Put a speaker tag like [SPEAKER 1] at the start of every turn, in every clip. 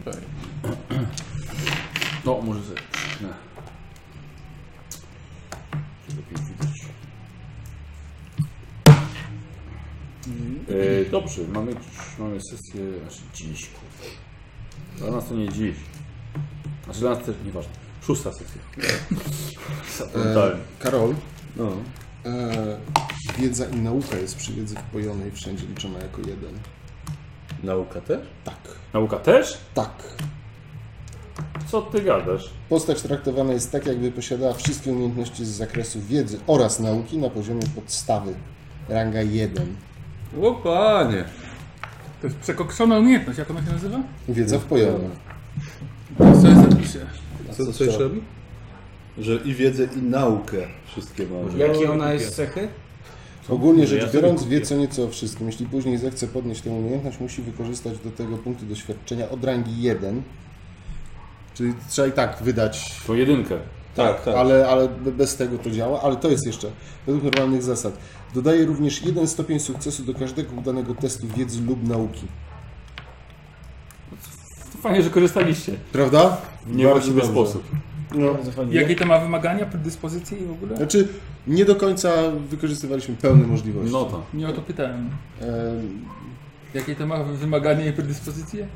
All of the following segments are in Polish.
[SPEAKER 1] Okej. No, może sobie przyknę. Lepiej widać. E, dobrze, mamy, dziś- mamy sesję, znaczy dziś, kurwa. Dla nas to nie dziś. Znaczy dla nas też nieważne. Szósta sesja. Zapamiętałem.
[SPEAKER 2] Karol,
[SPEAKER 1] No.
[SPEAKER 2] e, wiedza i nauka jest przy wiedzy wpojonej wszędzie liczona jako jeden.
[SPEAKER 3] Nauka też?
[SPEAKER 2] Tak.
[SPEAKER 1] Nauka też?
[SPEAKER 2] Tak.
[SPEAKER 1] Co ty gadasz?
[SPEAKER 2] Postać traktowana jest tak, jakby posiadała wszystkie umiejętności z zakresu wiedzy oraz nauki na poziomie podstawy. Ranga 1.
[SPEAKER 3] O panie!
[SPEAKER 4] To jest przekokszona umiejętność, jak ona się nazywa?
[SPEAKER 2] Wiedza wpojona.
[SPEAKER 4] To sobie zapiszę.
[SPEAKER 3] No, Co, co jeszcze robi? Że i wiedzę, i naukę wszystkie ma.
[SPEAKER 5] Jakie ona jest cechy?
[SPEAKER 2] Ogólnie rzecz biorąc, wie co nieco o wszystkim. Jeśli później zechce podnieść tę umiejętność, musi wykorzystać do tego punkty doświadczenia od rangi 1. Czyli trzeba i tak wydać
[SPEAKER 1] To jedynkę.
[SPEAKER 3] Tak, tak.
[SPEAKER 2] ale, ale be- bez tego to działa, ale to jest jeszcze według normalnych zasad. Dodaje również jeden stopień sukcesu do każdego udanego testu wiedzy lub nauki.
[SPEAKER 1] To fajnie, że korzystaliście.
[SPEAKER 2] Prawda?
[SPEAKER 1] W niewłaściwy
[SPEAKER 2] dobrze.
[SPEAKER 1] sposób.
[SPEAKER 2] No.
[SPEAKER 4] Jakie to ma wymagania, predyspozycje i w ogóle?
[SPEAKER 2] Znaczy, nie do końca wykorzystywaliśmy pełne możliwości. E,
[SPEAKER 1] No to.
[SPEAKER 4] Nie o to pytałem.
[SPEAKER 2] Em,
[SPEAKER 4] Jakie to ma wymagania i predyspozycje?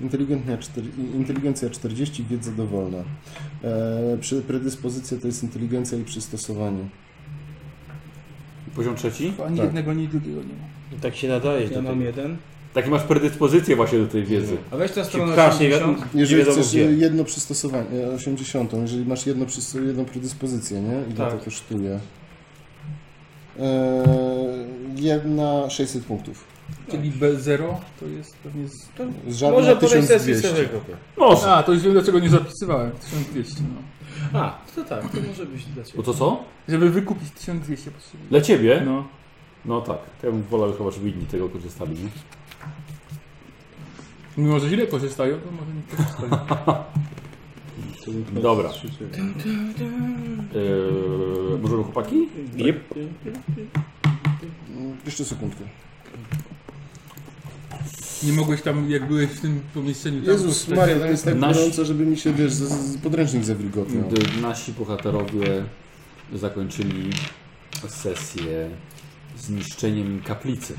[SPEAKER 2] Inteligentna czter- inteligencja 40, wiedza dowolna. E, przy- predyspozycja to jest inteligencja i przystosowanie.
[SPEAKER 1] Poziom trzeci?
[SPEAKER 4] Bo ani
[SPEAKER 2] Tak.
[SPEAKER 4] jednego, ani drugiego nie ma.
[SPEAKER 6] Tak się nadaje.
[SPEAKER 5] Ja mam jeden.
[SPEAKER 1] Taki masz predyspozycję właśnie do tej wiedzy.
[SPEAKER 5] A weź ta strona
[SPEAKER 6] Pchasz, nie, wi-
[SPEAKER 5] 80.
[SPEAKER 6] nie
[SPEAKER 2] Jeżeli
[SPEAKER 6] wiadomo
[SPEAKER 2] chcesz
[SPEAKER 6] gdzie.
[SPEAKER 2] e, jedno przystosowanie, e, 80, jeżeli masz jedno przys- jedną predyspozycję, nie? Ile
[SPEAKER 5] Tak.
[SPEAKER 2] to kosztuje? E, jedna 600 punktów.
[SPEAKER 4] Czyli
[SPEAKER 2] Tak.
[SPEAKER 4] B0 to jest pewnie... Z...
[SPEAKER 2] Z żadna
[SPEAKER 6] Może podejść sesję
[SPEAKER 2] 1200.
[SPEAKER 6] sobie kupię.
[SPEAKER 1] Może.
[SPEAKER 4] A, to już wiem dlaczego nie zapisywałem. 1200, no.
[SPEAKER 6] A, to tak, to może być
[SPEAKER 1] Bo
[SPEAKER 6] dla ciebie.
[SPEAKER 1] No to co?
[SPEAKER 4] Żeby wykupić 1200 potrzebuję.
[SPEAKER 1] Dla ciebie? No,
[SPEAKER 4] No.
[SPEAKER 1] tak. To ja bym wolał chyba, żeby inni tego korzystali. Nie?
[SPEAKER 4] Mimo, że źle korzystają, to może nie korzystają.
[SPEAKER 1] Dobra. Eee, możemy chłopaki?
[SPEAKER 6] Yep.
[SPEAKER 2] Mm, Jeszcze sekundkę.
[SPEAKER 4] Nie mogłeś tam, jak byłeś w tym pomieszczeniu... Tam
[SPEAKER 2] Jezus
[SPEAKER 4] postać-
[SPEAKER 2] Maria, to jest tak
[SPEAKER 1] Nasz-
[SPEAKER 2] gorąco, żeby mi się, wiesz, z, z podręcznik zawilgotniał.
[SPEAKER 1] D- Nasi bohaterowie zakończyli sesję zniszczeniem kaplicy.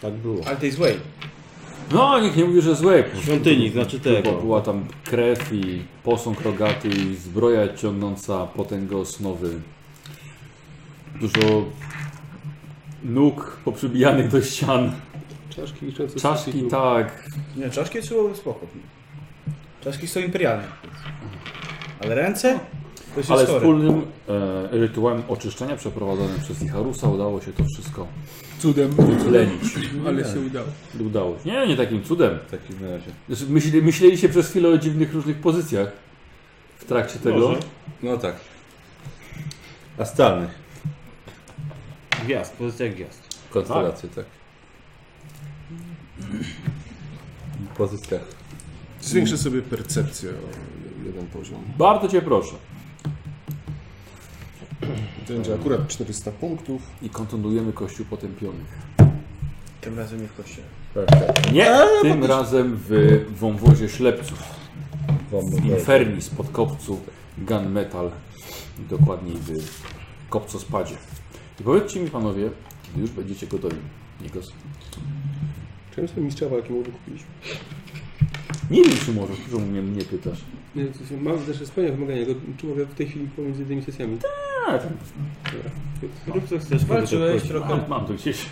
[SPEAKER 6] Tak było.
[SPEAKER 5] Ale tej złej.
[SPEAKER 1] No, nikt nie mówi, że złe. po prostu.
[SPEAKER 6] Świątyni, znaczy tego.
[SPEAKER 1] Bo była tam krew i posąg rogaty i zbroja ciągnąca potęgę osnowy. Dużo nóg poprzybijanych do ścian.
[SPEAKER 3] Czaszki liczące
[SPEAKER 1] Czaszki tak.
[SPEAKER 5] Nie, czaszki trzeba spoko. Czaszki są imperialne. Ale ręce? To jest
[SPEAKER 1] Ale
[SPEAKER 5] ale spór...
[SPEAKER 1] wspólnym e, rytuałem oczyszczenia przeprowadzonym przez Icharusa udało się to wszystko
[SPEAKER 4] Cudem,
[SPEAKER 1] utlenić.
[SPEAKER 4] ale się udało.
[SPEAKER 1] Udało się. Nie, nie takim cudem.
[SPEAKER 3] W takim razie.
[SPEAKER 1] Znaczy, myśli, myśleliście przez chwilę o dziwnych różnych pozycjach w trakcie tego.
[SPEAKER 6] Może.
[SPEAKER 3] No tak. Astralnych.
[SPEAKER 6] Gwiazd, pozycja gwiazd.
[SPEAKER 3] Konstelacje, tak. W pozycjach.
[SPEAKER 2] Zwiększę sobie percepcję o jeden poziom.
[SPEAKER 1] Bardzo cię proszę.
[SPEAKER 2] To będzie akurat 400 punktów.
[SPEAKER 1] I kontynuujemy Kościół Potępionych.
[SPEAKER 5] Tym razem nie w kościele.
[SPEAKER 1] Nie, tym razem w wąwozie ślepców. W Inferni spod kopcu Gunmetal. Dokładniej w kopcospadzie. I powiedzcie mi panowie, kiedy już będziecie gotowi. Nikos.
[SPEAKER 3] Czym są mistrza walki mogę kupić?
[SPEAKER 1] Nie wiem, czy możesz, czemu mnie, mnie pytasz.
[SPEAKER 3] Mam też spełnia wymagania, tylko czy mogę w tej chwili pomiędzy tymi sesjami?
[SPEAKER 1] Tak,
[SPEAKER 6] Rób co chcesz.
[SPEAKER 5] Walczyłeś
[SPEAKER 6] wtedy
[SPEAKER 5] trochę.
[SPEAKER 1] mam, mam to gdzieś.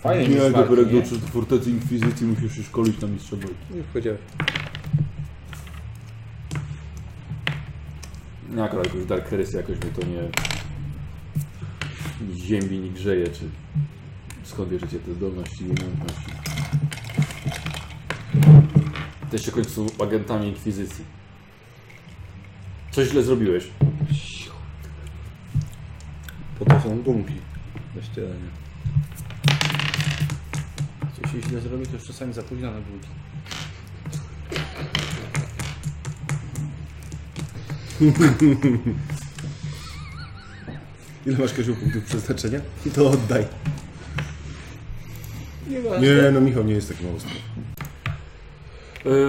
[SPEAKER 5] Fajnie mi smak, nie?
[SPEAKER 1] do fortecy inkwizycji musisz się szkolić na mistrza walki.
[SPEAKER 3] Nie wchodziłem.
[SPEAKER 1] Nie, akurat jakoś Dark Heresy jakoś mnie to nie ziemi nie grzeje, czy skąd bierzecie te zdolności i umiejętności. Jesteście w końcu agentami Inkwizycji. Coś źle zrobiłeś.
[SPEAKER 3] Po to są gumki. Do ścielenia.
[SPEAKER 5] Jeśli źle zrobi, to już czasami za późno na budzi.
[SPEAKER 2] Ile masz Kaziu punktów przeznaczenia? I to oddaj.
[SPEAKER 5] Nieważne.
[SPEAKER 2] Nie, no Michał nie jest taki mocny.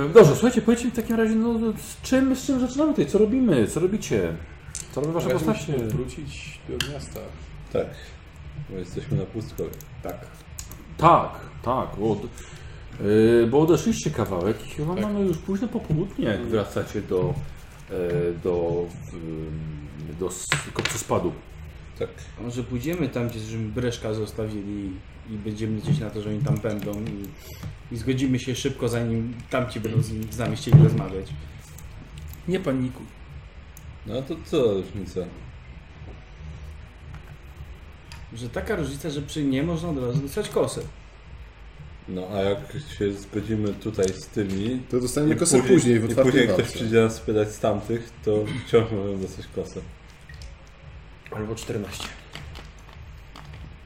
[SPEAKER 1] E, Dobrze, słuchajcie, powiedzcie mi w takim razie, no, z czym, z czym zaczynamy tutaj? Co robimy? Co robicie? Co robi wasza postać?
[SPEAKER 4] Wrócić do miasta.
[SPEAKER 3] Tak. Bo jesteśmy na pustkowie. Tak.
[SPEAKER 1] Tak, tak. Bo, od, e, bo odeszliście kawałek i chyba mamy już późne popołudnie, jak wracacie do, e, do, y, do s- kopciospadu.
[SPEAKER 3] Tak.
[SPEAKER 5] A Może pójdziemy tam, gdzie żeśmy Breszka zostawili i będziemy liczyć na to, że oni tam będą i, i zgodzimy się szybko, zanim tamci będą z, nim- z nami chcieli rozmawiać.
[SPEAKER 4] Nie panikuj.
[SPEAKER 3] No to co różnica?
[SPEAKER 5] Że taka różnica, że przy nie można od razu dostać kosę.
[SPEAKER 3] No a jak się zgodzimy tutaj z tymi...
[SPEAKER 2] To dostaniemy
[SPEAKER 3] i
[SPEAKER 2] kosę później, w
[SPEAKER 3] I
[SPEAKER 2] otwartej
[SPEAKER 3] później jak
[SPEAKER 2] walce.
[SPEAKER 3] ktoś przyjdzie nas spytać z tamtych, to wciąż możemy dostać kosę.
[SPEAKER 5] Albo 14.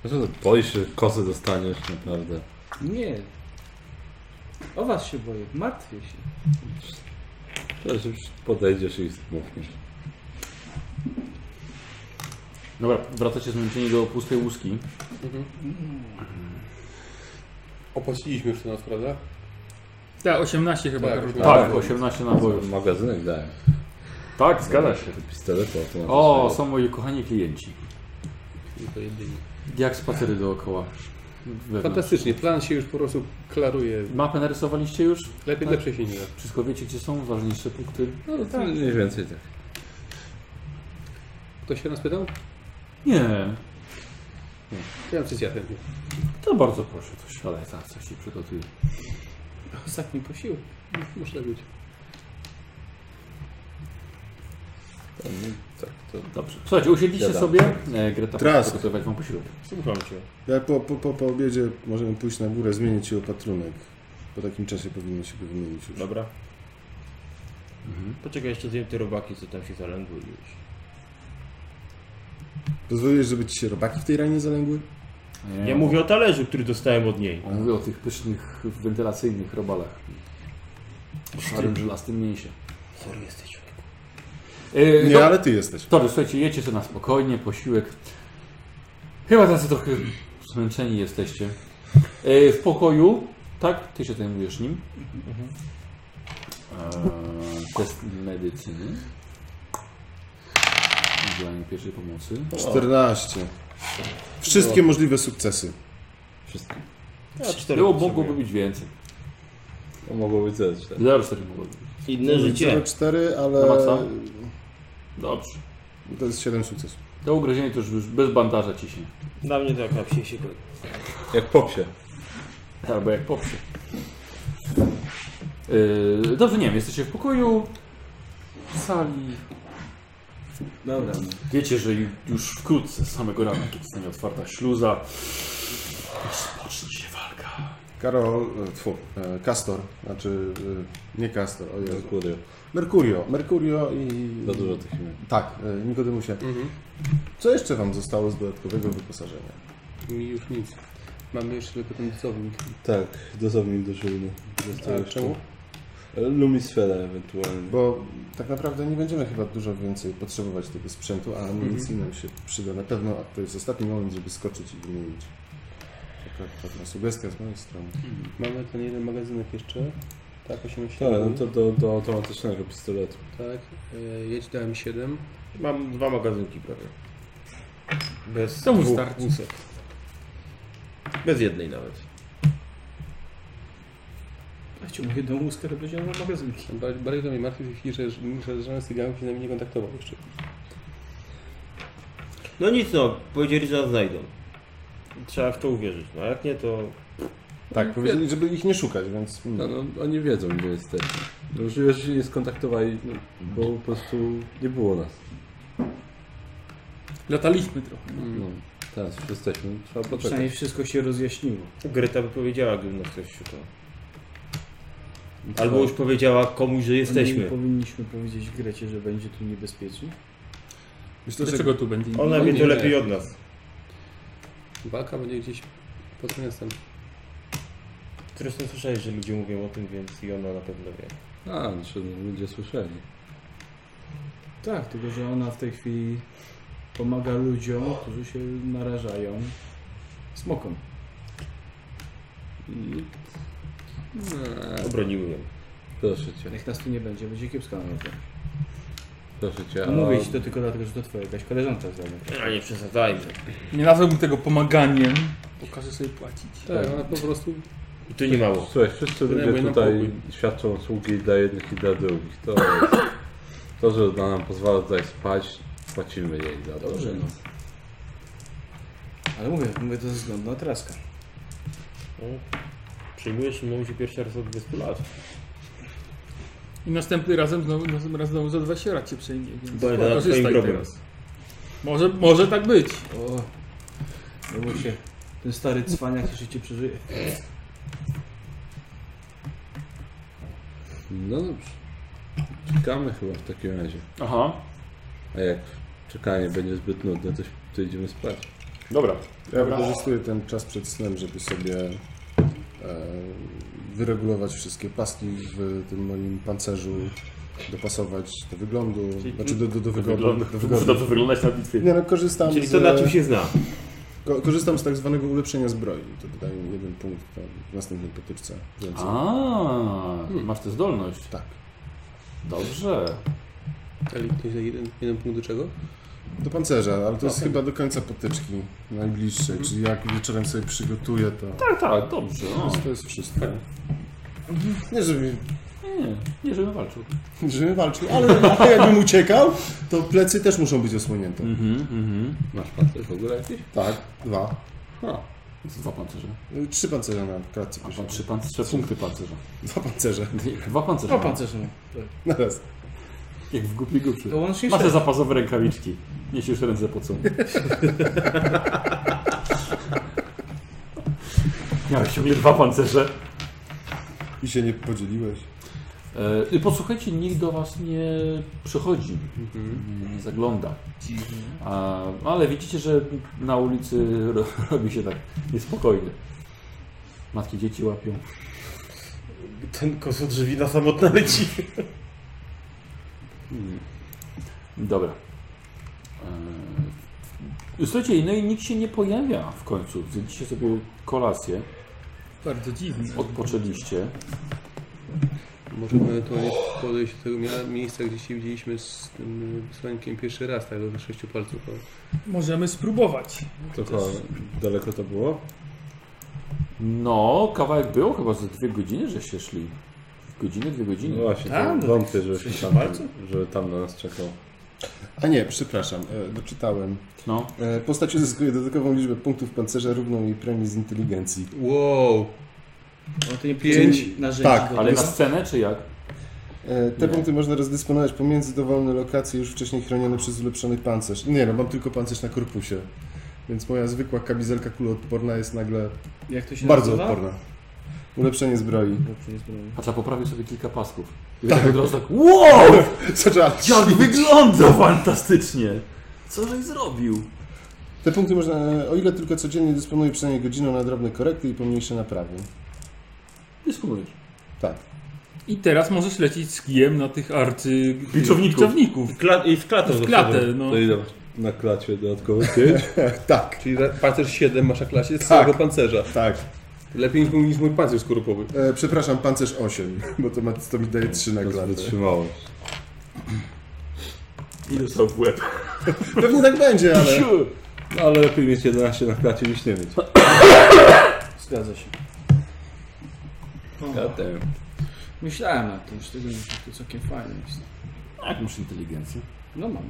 [SPEAKER 3] Dlaczego No boisz się, że kosę dostaniesz naprawdę?
[SPEAKER 5] Nie. O was się boję, martwię się.
[SPEAKER 3] To że podejdziesz i mówisz.
[SPEAKER 1] Dobra, wracacie zmęczeni do pustej łuski.
[SPEAKER 7] Opłaciliśmy już to nas, prawda?
[SPEAKER 4] Tak, 18 chyba.
[SPEAKER 7] Tak,
[SPEAKER 4] Karol.
[SPEAKER 7] tak.
[SPEAKER 1] Tak, 18 nabojów.
[SPEAKER 3] Magazynek daje.
[SPEAKER 1] Tak, zgadza się.
[SPEAKER 3] Pistolety automatyczne.
[SPEAKER 1] O, są moi kochani klienci. Jak spacery dookoła. Wewnątrz.
[SPEAKER 7] Fantastycznie, plan się już po prostu klaruje.
[SPEAKER 1] Mapę narysowaliście już?
[SPEAKER 7] Lepiej,
[SPEAKER 1] Tak.
[SPEAKER 7] lepsze się nie da.
[SPEAKER 1] Wszystko wiecie, gdzie są ważniejsze punkty?
[SPEAKER 3] No to mniej więcej tak.
[SPEAKER 7] Ktoś się nas pytał?
[SPEAKER 1] Nie,
[SPEAKER 7] Ja przecież ja chętnie.
[SPEAKER 1] to bardzo proszę, to siadaj, tak, coś ci przygotuję.
[SPEAKER 5] Ostatni posiłek.
[SPEAKER 7] Muszę tak być.
[SPEAKER 3] To, no, tak, to
[SPEAKER 1] Dobrze. Słuchajcie, usiedliście
[SPEAKER 3] Siadam.
[SPEAKER 1] sobie. E, Greta
[SPEAKER 2] Teraz.
[SPEAKER 1] Teraz. przygotować wam posiłek.
[SPEAKER 6] Słucham cię.
[SPEAKER 2] Jak po, po, po, po obiedzie możemy pójść na górę, zmienić się opatrunek. Po takim czasie powinno się go wymienić już.
[SPEAKER 6] Dobra.
[SPEAKER 2] Mhm.
[SPEAKER 6] Poczekaj, jeszcze zjem te robaki, co tam się zalęgły już.
[SPEAKER 2] Pozwoliłeś, żeby ci się robaki w tej ranie zalęgły?
[SPEAKER 6] Ja mówię o talerzu, który dostałem od niej.
[SPEAKER 1] On mówi E, o tych pysznych, wentylacyjnych robalach. O szarym, żelastym mięsie.
[SPEAKER 5] Sorry jesteś człowiek.
[SPEAKER 1] E,
[SPEAKER 3] No.
[SPEAKER 2] Nie, ale ty jesteś.
[SPEAKER 1] Dobrze, słuchajcie, jecie sobie na spokojnie, posiłek. Chyba tacy trochę zmęczeni jesteście. E, w pokoju, tak? Ty się zajmujesz nim. E, test medycyny. Udzielanie pierwszej pomocy.
[SPEAKER 2] 14. Wszystkie możliwe sukcesy.
[SPEAKER 3] wszystko.
[SPEAKER 6] A cztery
[SPEAKER 1] Było,
[SPEAKER 6] potrzebuję.
[SPEAKER 1] mogłoby być więcej.
[SPEAKER 3] To mogło być też. Tak.
[SPEAKER 1] Zero cztery mogłoby być.
[SPEAKER 6] Inne życie.
[SPEAKER 2] 4,
[SPEAKER 1] Na
[SPEAKER 2] ale
[SPEAKER 1] maksa? Dobrze.
[SPEAKER 2] to jest 7 sukcesów.
[SPEAKER 1] To ugryzienie to już bez bandaża ciśnie.
[SPEAKER 6] Dla mnie to jak na psie się godzi.
[SPEAKER 3] Jak popsie.
[SPEAKER 1] Albo jak poprze. Yy, dobrze, nie wiem, jesteście w pokoju, w sali.
[SPEAKER 5] Dobra. no.
[SPEAKER 1] Wiecie, że ju- już wkrótce, z samego rana, kiedy stanie otwarta śluza, rozpocznie się walka.
[SPEAKER 2] Karol, e, tfu, e, Castor, znaczy e, nie Castor, o Jezu.
[SPEAKER 3] Merkurio.
[SPEAKER 2] Mercurio, Mercurio i...
[SPEAKER 3] Za dużo tych imion.
[SPEAKER 2] Tak, e, Nikodemusie. Co jeszcze Wam zostało z dodatkowego wyposażenia?
[SPEAKER 7] Mi już nic. Mamy jeszcze tylko ten dozownik.
[SPEAKER 3] Tak, dozownik do żylny.
[SPEAKER 2] A czemu?
[SPEAKER 3] Lumisfera ewentualnie.
[SPEAKER 2] Bo tak naprawdę nie będziemy chyba dużo więcej potrzebować tego sprzętu, a amunicji nam się przyda na pewno, a to jest ostatni moment, żeby skoczyć i wymienić. Taka pewna sugestia z mojej strony.
[SPEAKER 7] Mamy ten jeden magazynek jeszcze. Tak, 18.
[SPEAKER 3] Tak, no to do, do automatycznego pistoletu.
[SPEAKER 7] Tak, e, jedź dałem 7.
[SPEAKER 6] Mam dwa magazynki prawie. Bez
[SPEAKER 4] To mu
[SPEAKER 6] dwóch
[SPEAKER 4] starczy.
[SPEAKER 6] łusek. Bez jednej nawet.
[SPEAKER 5] Ja ci mówię, tą łuskę to będzie na magazynki.
[SPEAKER 6] No
[SPEAKER 7] Ba- Bardziej to mnie martwi w tej chwili, że- że żaden z tych gangów się z nami nie kontaktował jeszcze.
[SPEAKER 6] No nic no, powiedzieli, że nas znajdą. Trzeba w to uwierzyć. No a jak nie, to
[SPEAKER 2] Tak, powiedzieli, żeby ich nie szukać, więc... mm.
[SPEAKER 3] No, no oni wiedzą gdzie jesteśmy. No możliwe, że się nie skontaktowali, no, bo po prostu nie było nas.
[SPEAKER 4] Tak. Lataliśmy trochę.
[SPEAKER 3] No, teraz już jesteśmy, trzeba
[SPEAKER 6] tak,
[SPEAKER 3] poczekać.
[SPEAKER 5] Przynajmniej wszystko się rozjaśniło.
[SPEAKER 6] Greta by powiedziała, gdyby nas ktoś szukał.
[SPEAKER 2] No.
[SPEAKER 6] Albo już powiedziała komuś, że
[SPEAKER 5] Nie
[SPEAKER 6] jesteśmy.
[SPEAKER 5] powinniśmy powiedzieć Grecie, że będzie tu niebezpiecznie.
[SPEAKER 2] Myślę, że
[SPEAKER 4] Dlaczego tu będzie?
[SPEAKER 2] No
[SPEAKER 6] Ona wie
[SPEAKER 7] nie,
[SPEAKER 6] to
[SPEAKER 7] nie.
[SPEAKER 6] lepiej od nas.
[SPEAKER 7] Walka będzie gdzieś pod miastem.
[SPEAKER 6] Zresztą słyszałeś, że ludzie mówią o tym, więc i ona na pewno wie.
[SPEAKER 3] A, znaczy, no, ludzie słyszeli.
[SPEAKER 5] Tak, tylko że ona w tej chwili Pomaga ludziom, którzy się narażają smokom. I
[SPEAKER 2] Tak.
[SPEAKER 6] Obroniły ją.
[SPEAKER 3] Proszę cię,
[SPEAKER 5] jak nas tu nie będzie, będzie kiepska na to.
[SPEAKER 3] proszę cię.
[SPEAKER 5] A... Mówię ci to tylko dlatego, że to twoja jakaś koleżanka z daleka.
[SPEAKER 6] A nie przesadzajmy.
[SPEAKER 4] Nie nazwałbym tego pomaganiem, bo każę sobie płacić.
[SPEAKER 7] Tak, ona po prostu
[SPEAKER 6] To nie mało.
[SPEAKER 3] Słuchaj, wszyscy ludzie
[SPEAKER 7] Wynajmuj nam
[SPEAKER 3] tutaj
[SPEAKER 7] pokój.
[SPEAKER 3] świadczą usługi dla jednych i dla drugich. To, jest, to że ona nam pozwala tutaj spać, płacimy jej za to.
[SPEAKER 5] Dobrze, no. Ale mówię, mówię to ze względu na traska.
[SPEAKER 6] Przyjmujesz mną się pierwszy raz od 20 lat.
[SPEAKER 4] I następny razem znowu, następnym razem znowu za 20 lat cię przejmie, więc
[SPEAKER 6] Będę nad twoim
[SPEAKER 1] tak
[SPEAKER 4] korzystaj
[SPEAKER 6] grobem.
[SPEAKER 4] teraz. Może, może tak być.
[SPEAKER 5] O, nie bój się. Ten stary cwaniak jeszcze cię przeżyje.
[SPEAKER 3] No dobrze. Czekamy chyba w takim razie.
[SPEAKER 1] Aha,
[SPEAKER 3] A jak czekanie będzie zbyt nudne, to, to idziemy spać.
[SPEAKER 1] dobra.
[SPEAKER 2] Ja wykorzystuję ten czas przed snem, żeby sobie e, wyregulować wszystkie paski w tym moim pancerzu, dopasować do wyglądu, znaczy do, do, do wyglądu. Do
[SPEAKER 1] Muszę
[SPEAKER 2] wyglądu.
[SPEAKER 1] dobrze wyglądać na bitwie.
[SPEAKER 2] Nie no, korzystam
[SPEAKER 6] Czyli
[SPEAKER 2] z,
[SPEAKER 6] to na czym się zna.
[SPEAKER 2] ko- korzystam z tak zwanego ulepszenia zbroi. To dodaję jeden punkt tam w następnej potyczce. Więc-
[SPEAKER 1] A, hmm, masz tę zdolność.
[SPEAKER 2] Tak.
[SPEAKER 1] Dobrze.
[SPEAKER 7] elitnie za jeden, jeden punkt do czego?
[SPEAKER 2] Do pancerza, ale to jest chyba do końca potyczki najbliższej, czyli jak wieczorem sobie przygotuję to.
[SPEAKER 1] Tak, tak, dobrze. No.
[SPEAKER 2] To jest wszystko. Nie, żeby,
[SPEAKER 1] Nie, nie, żebym walczył.
[SPEAKER 2] żeby walczył, ale, ale jakbym uciekał, to plecy też muszą być osłonięte.
[SPEAKER 6] Mm.
[SPEAKER 1] Mhm, mhm.
[SPEAKER 3] Masz pancerz w ogóle jakiś?
[SPEAKER 2] Tak, dwa.
[SPEAKER 1] No. Dwa pancerze.
[SPEAKER 2] Y, Trzy pancerze na klatce.
[SPEAKER 1] A
[SPEAKER 2] posiadam.
[SPEAKER 1] trzy pancerze, punkty pancerza.
[SPEAKER 2] Dwa pancerze.
[SPEAKER 1] Dwa pancerze.
[SPEAKER 5] O, pancerz no.
[SPEAKER 2] Na raz.
[SPEAKER 1] Jak w głupi głupszy.
[SPEAKER 5] To on się
[SPEAKER 1] Masz te zapasowe rękawiczki. Niesiesz ręce po co. Miałeś ciągle dwa pancerze.
[SPEAKER 2] I się nie podzieliłeś.
[SPEAKER 1] E, i posłuchajcie, nikt do Was nie przychodzi, nie, nie zagląda. A, ale widzicie, że na ulicy ro, robi się tak niespokojnie. Matki dzieci łapią.
[SPEAKER 6] Ten kosodrzewina samotna leci.
[SPEAKER 1] Dobra. E, słuchajcie, no i nikt się nie pojawia w końcu. Zjedliście sobie kolację,
[SPEAKER 4] Bardzo dziwne.
[SPEAKER 1] odpoczęliście.
[SPEAKER 7] Możemy ewentualnie podejść do tego mia- miejsca, gdzie się widzieliśmy z tym y, wysłannikiem pierwszy raz, tak, do sześciu palców. o.
[SPEAKER 4] Możemy spróbować.
[SPEAKER 3] To chyba daleko to było?
[SPEAKER 1] No, kawałek było chyba ze dwie godziny, że się szli. Godzinę, dwie
[SPEAKER 3] No
[SPEAKER 1] godziny.
[SPEAKER 3] właśnie, to
[SPEAKER 5] A, no
[SPEAKER 3] wątpię, żebyśmy
[SPEAKER 5] sześć
[SPEAKER 3] tam,
[SPEAKER 5] palców?
[SPEAKER 3] że tam na nas czekał.
[SPEAKER 2] A nie, przepraszam, e, doczytałem.
[SPEAKER 1] No.
[SPEAKER 2] E, Postać uzyskuje dodatkową liczbę punktów pancerza równą jej premii z inteligencji.
[SPEAKER 7] Wow!
[SPEAKER 5] On to nie
[SPEAKER 7] Pięć.
[SPEAKER 5] pięć narzędzi.
[SPEAKER 2] Tak,
[SPEAKER 5] do
[SPEAKER 1] Ale na
[SPEAKER 5] tego.
[SPEAKER 1] scenę czy jak?
[SPEAKER 2] E, Te punkty można rozdysponować pomiędzy dowolne lokacje już wcześniej chronione przez ulepszony pancerz. Nie no, mam tylko pancerz na korpusie. Więc moja zwykła kamizelka kuloodporna jest nagle
[SPEAKER 5] Jak to się
[SPEAKER 2] bardzo
[SPEAKER 5] nazywa?
[SPEAKER 2] odporna. Ulepszenie zbroi.
[SPEAKER 5] Dobrze, nie zbrałem.
[SPEAKER 1] Patrz, a poprawił sobie kilka pasków. I tak. od razu tak, wow!
[SPEAKER 2] Zaczęła
[SPEAKER 1] Jak
[SPEAKER 2] świt.
[SPEAKER 1] wygląda fantastycznie! Co żeś zrobił?
[SPEAKER 2] Te punkty można, e, o ile tylko codziennie dysponuję przynajmniej godziną na drobne korekty i pomniejsze naprawy.
[SPEAKER 1] Dysponujesz.
[SPEAKER 2] Tak.
[SPEAKER 4] I teraz możesz lecieć z kijem na tych arcy...
[SPEAKER 1] Biczowników.
[SPEAKER 4] biczowników.
[SPEAKER 6] Kla- I w klatę.
[SPEAKER 4] W klatę, no.
[SPEAKER 3] To ile masz na klacie dodatkowo? Pięć?
[SPEAKER 2] Tak,
[SPEAKER 7] Czyli ra- pancerz 7 masz na klasie z
[SPEAKER 2] Tak.
[SPEAKER 7] całego pancerza.
[SPEAKER 2] tak.
[SPEAKER 7] Lepiej niż mój- niż mój pancerz skorupowy.
[SPEAKER 2] E, przepraszam, pancerz 8, bo to, ma, to mi daje 3 na
[SPEAKER 3] To
[SPEAKER 2] klatę.
[SPEAKER 3] wytrzymałość.
[SPEAKER 1] I dostał w łeb.
[SPEAKER 2] Pewnie tak będzie, ale...
[SPEAKER 3] No, ale lepiej mieć 11 na klacie niż nie mieć.
[SPEAKER 6] No.
[SPEAKER 5] Zgadza się.
[SPEAKER 3] Zatem.
[SPEAKER 5] Myślałem nad tym, że tego nie to całkiem fajne jest.
[SPEAKER 1] Jak masz inteligencję?
[SPEAKER 5] No mam.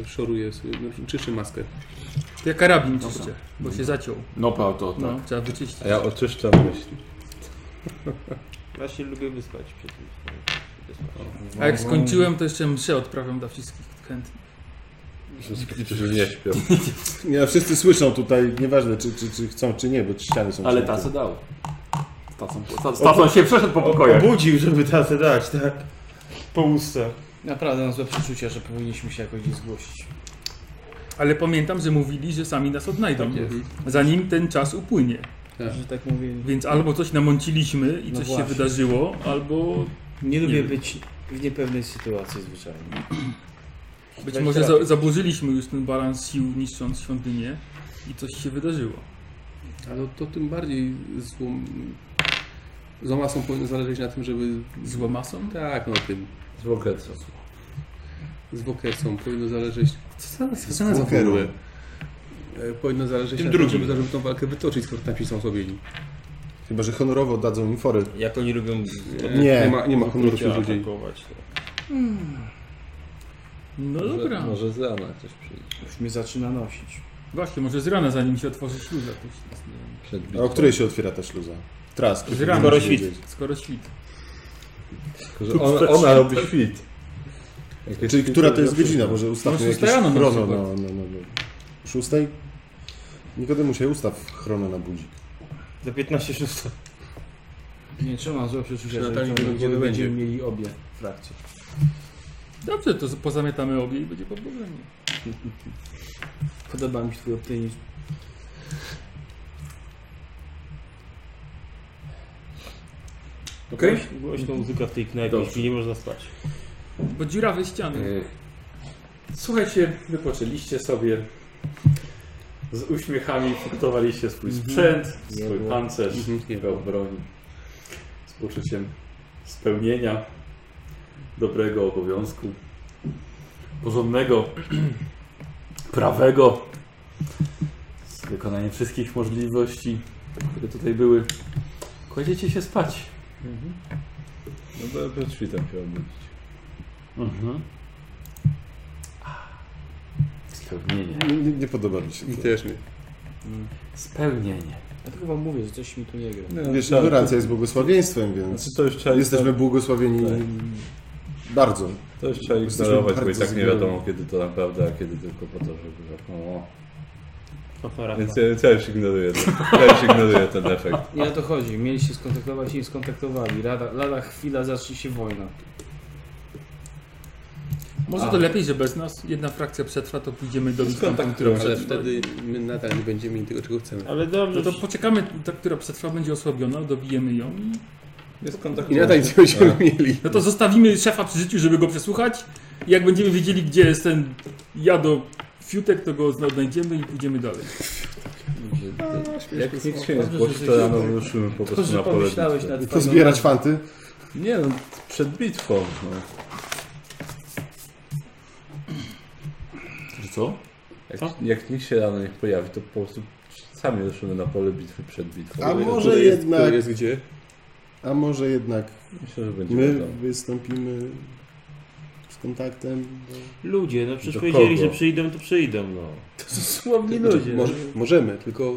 [SPEAKER 7] Ja Szoruję sobie, no, czyszczę maskę.
[SPEAKER 4] Ja karabin czyszczę, bo się zaciął.
[SPEAKER 1] No pa, to tak.
[SPEAKER 4] No, trzeba wyczyścić.
[SPEAKER 3] A ja oczyszczam myśli.
[SPEAKER 6] Ja się lubię wyspać przed tym.
[SPEAKER 4] A jak skończyłem, to jeszcze mszę odprawiam dla wszystkich chętnych.
[SPEAKER 3] Że nie śpią.
[SPEAKER 2] Nie, no, wszyscy słyszą tutaj, nieważne czy, czy, czy chcą, czy nie, bo ściany są...
[SPEAKER 1] Ale
[SPEAKER 2] przykryte.
[SPEAKER 1] tacę dał. Z Tacą, ta- z tacą się przeszedł po pokojach.
[SPEAKER 6] Obudził, żeby tasę dać, tak? Po łusce.
[SPEAKER 5] Naprawdę mam złe przeczucia, że powinniśmy się jakoś gdzieś zgłosić.
[SPEAKER 4] Ale pamiętam, że mówili, że sami nas odnajdą, zanim ten czas upłynie.
[SPEAKER 5] Że tak mówię.
[SPEAKER 4] Więc albo coś namąciliśmy i
[SPEAKER 5] No
[SPEAKER 4] coś się
[SPEAKER 5] właśnie.
[SPEAKER 4] wydarzyło, albo
[SPEAKER 5] Nie lubię
[SPEAKER 4] Nie.
[SPEAKER 5] być
[SPEAKER 6] W niepewnej sytuacji zwyczajnie.
[SPEAKER 4] Być
[SPEAKER 6] Weź
[SPEAKER 4] może
[SPEAKER 6] radę.
[SPEAKER 4] za, zaburzyliśmy już ten balans sił, niszcząc świątynię i coś się wydarzyło.
[SPEAKER 7] Ale no to tym bardziej złom... Złoma są powinny zależeć na tym, żeby...
[SPEAKER 4] Złą masą?
[SPEAKER 7] Tak, no tym.
[SPEAKER 3] Z Wokersa.
[SPEAKER 7] Z wokercą powinno zależeć...
[SPEAKER 4] Co za,
[SPEAKER 7] Co za formułę? E, Powinno zależeć
[SPEAKER 6] Tym
[SPEAKER 7] na tym,
[SPEAKER 6] drugim.
[SPEAKER 7] żeby, żeby tą walkę wytoczyć, skoro tam są osłabieni.
[SPEAKER 2] Chyba, że honorowo dadzą mi forę.
[SPEAKER 6] Jak oni lubią
[SPEAKER 2] Nie.
[SPEAKER 7] Nie ma, nie ma honoru
[SPEAKER 6] odkrycia
[SPEAKER 7] wśród ludzi.
[SPEAKER 6] atakować, to
[SPEAKER 4] No dobra.
[SPEAKER 3] Może, może z rana ktoś przyjdzie.
[SPEAKER 5] Już mnie zaczyna nosić.
[SPEAKER 4] Właśnie, może z rana, zanim się otworzy no, śluza. To już nas nie
[SPEAKER 3] Przed
[SPEAKER 4] wiem.
[SPEAKER 2] A o
[SPEAKER 3] bitwą.
[SPEAKER 2] której się otwiera ta śluza? Trask.
[SPEAKER 4] Z rana.
[SPEAKER 6] Skoro świt.
[SPEAKER 4] Skoro świt.
[SPEAKER 3] Tylko, że ona, ona robi świt. Jak jest
[SPEAKER 2] Czyli
[SPEAKER 3] świt,
[SPEAKER 2] która to jest
[SPEAKER 3] robi
[SPEAKER 2] godzina? Może ustawmy
[SPEAKER 4] No,
[SPEAKER 2] jakieś
[SPEAKER 4] szósta rano na
[SPEAKER 2] chrono.
[SPEAKER 4] przykład.
[SPEAKER 2] No, no, no, no. Szóstej? Nikodemu się ustaw chrono na budzik.
[SPEAKER 6] Za 15 szósta.
[SPEAKER 5] Nie trzeba złe przeczucia,
[SPEAKER 7] Przy
[SPEAKER 5] że
[SPEAKER 7] Natalii
[SPEAKER 5] będziemy,
[SPEAKER 7] nigdy nie będzie.
[SPEAKER 5] będziemy mieli obie frakcje.
[SPEAKER 4] Dobrze, to z- pozamiatamy obie i będzie po problemie.
[SPEAKER 5] Podoba mi się twój optymizm.
[SPEAKER 1] Okej.
[SPEAKER 6] Głośno muzyka w tej knajpie,
[SPEAKER 1] Dobrze.
[SPEAKER 6] jeśli nie można spać.
[SPEAKER 4] Bo dziurawe ściany.
[SPEAKER 1] Ech. Słuchajcie, wypoczęliście sobie. Z uśmiechami punktowaliście swój sprzęt, swój pancerz, swoją broń. Z poczuciem spełnienia, dobrego obowiązku, porządnego, prawego, z wykonaniem wszystkich możliwości, które tutaj były. Kładziecie się spać.
[SPEAKER 3] No to przed świtem się obudzić.
[SPEAKER 1] Mhm. Spełnienie.
[SPEAKER 2] Nie, nie, nie podoba mi się
[SPEAKER 7] Mi
[SPEAKER 2] to.
[SPEAKER 7] też nie.
[SPEAKER 1] Spełnienie.
[SPEAKER 5] Ja tylko wam mówię, że coś mi tu nie gra.
[SPEAKER 2] Wiesz,
[SPEAKER 3] tak,
[SPEAKER 2] ignorancja jest błogosławieństwem,
[SPEAKER 3] to-
[SPEAKER 2] więc
[SPEAKER 3] Znaczy to już trzeba,
[SPEAKER 2] jesteśmy błogosławieni bardzo.
[SPEAKER 3] to już trzeba
[SPEAKER 2] jesteśmy
[SPEAKER 3] ignorować, bo i
[SPEAKER 2] bardzo
[SPEAKER 3] tak nie
[SPEAKER 2] zgodni.
[SPEAKER 3] wiadomo kiedy to naprawdę, a kiedy tylko po to, żeby zapomniało.
[SPEAKER 6] Fotorafa.
[SPEAKER 3] Więc ja, ja już ignoruję ten, ja już ignoruję ten efekt.
[SPEAKER 5] Nie o to chodzi. Mieli się skontaktować i nie skontaktowali. Lada, lada chwila zacznie się wojna.
[SPEAKER 4] Może
[SPEAKER 5] A.
[SPEAKER 4] to lepiej, że bez nas jedna frakcja przetrwa, to pójdziemy do
[SPEAKER 7] Kontakt,
[SPEAKER 4] następnej,
[SPEAKER 7] którą, ale
[SPEAKER 4] przetrwa.
[SPEAKER 7] wtedy my nadal nie będziemy mieli tego, czego chcemy.
[SPEAKER 6] Ale
[SPEAKER 4] No
[SPEAKER 6] dobrze,
[SPEAKER 4] to poczekamy, ta, która przetrwa będzie osłabiona, dobijemy ją i...
[SPEAKER 3] Jest kontakt.
[SPEAKER 7] I nadal nic nie będziemy mieli.
[SPEAKER 4] No to zostawimy szefa przy życiu, żeby go przesłuchać. I jak będziemy wiedzieli, gdzie jest ten jado fiutek, to go znajdziemy i pójdziemy dalej.
[SPEAKER 3] Jak nikt się nie
[SPEAKER 5] Dobrze, że
[SPEAKER 3] zgłosi, to
[SPEAKER 5] jesteś-
[SPEAKER 3] rano wyruszymy po
[SPEAKER 5] To,
[SPEAKER 3] prostu tak.
[SPEAKER 5] że
[SPEAKER 3] na pole
[SPEAKER 5] pomyślałeś
[SPEAKER 3] bitwy.
[SPEAKER 5] nad twoją-
[SPEAKER 2] Pozbierać fanty.
[SPEAKER 3] Nie no, przed bitwą. No.
[SPEAKER 1] Że co?
[SPEAKER 3] Jak, jak nikt się rano nie pojawi, to po prostu sami ruszymy na pole bitwy przed bitwą.
[SPEAKER 2] A może
[SPEAKER 7] Które jest,
[SPEAKER 2] jednak-
[SPEAKER 7] które jest gdzie?
[SPEAKER 2] A może jednak
[SPEAKER 3] Myślę, że będzie
[SPEAKER 2] my
[SPEAKER 3] wiadomo.
[SPEAKER 2] wystąpimy z kontaktem?
[SPEAKER 6] ludzie, no przecież
[SPEAKER 3] Do
[SPEAKER 6] powiedzieli,
[SPEAKER 3] kogo?
[SPEAKER 6] że przyjdą, to przyjdą, no.
[SPEAKER 5] Słowni ludzie.
[SPEAKER 7] Może, możemy, tylko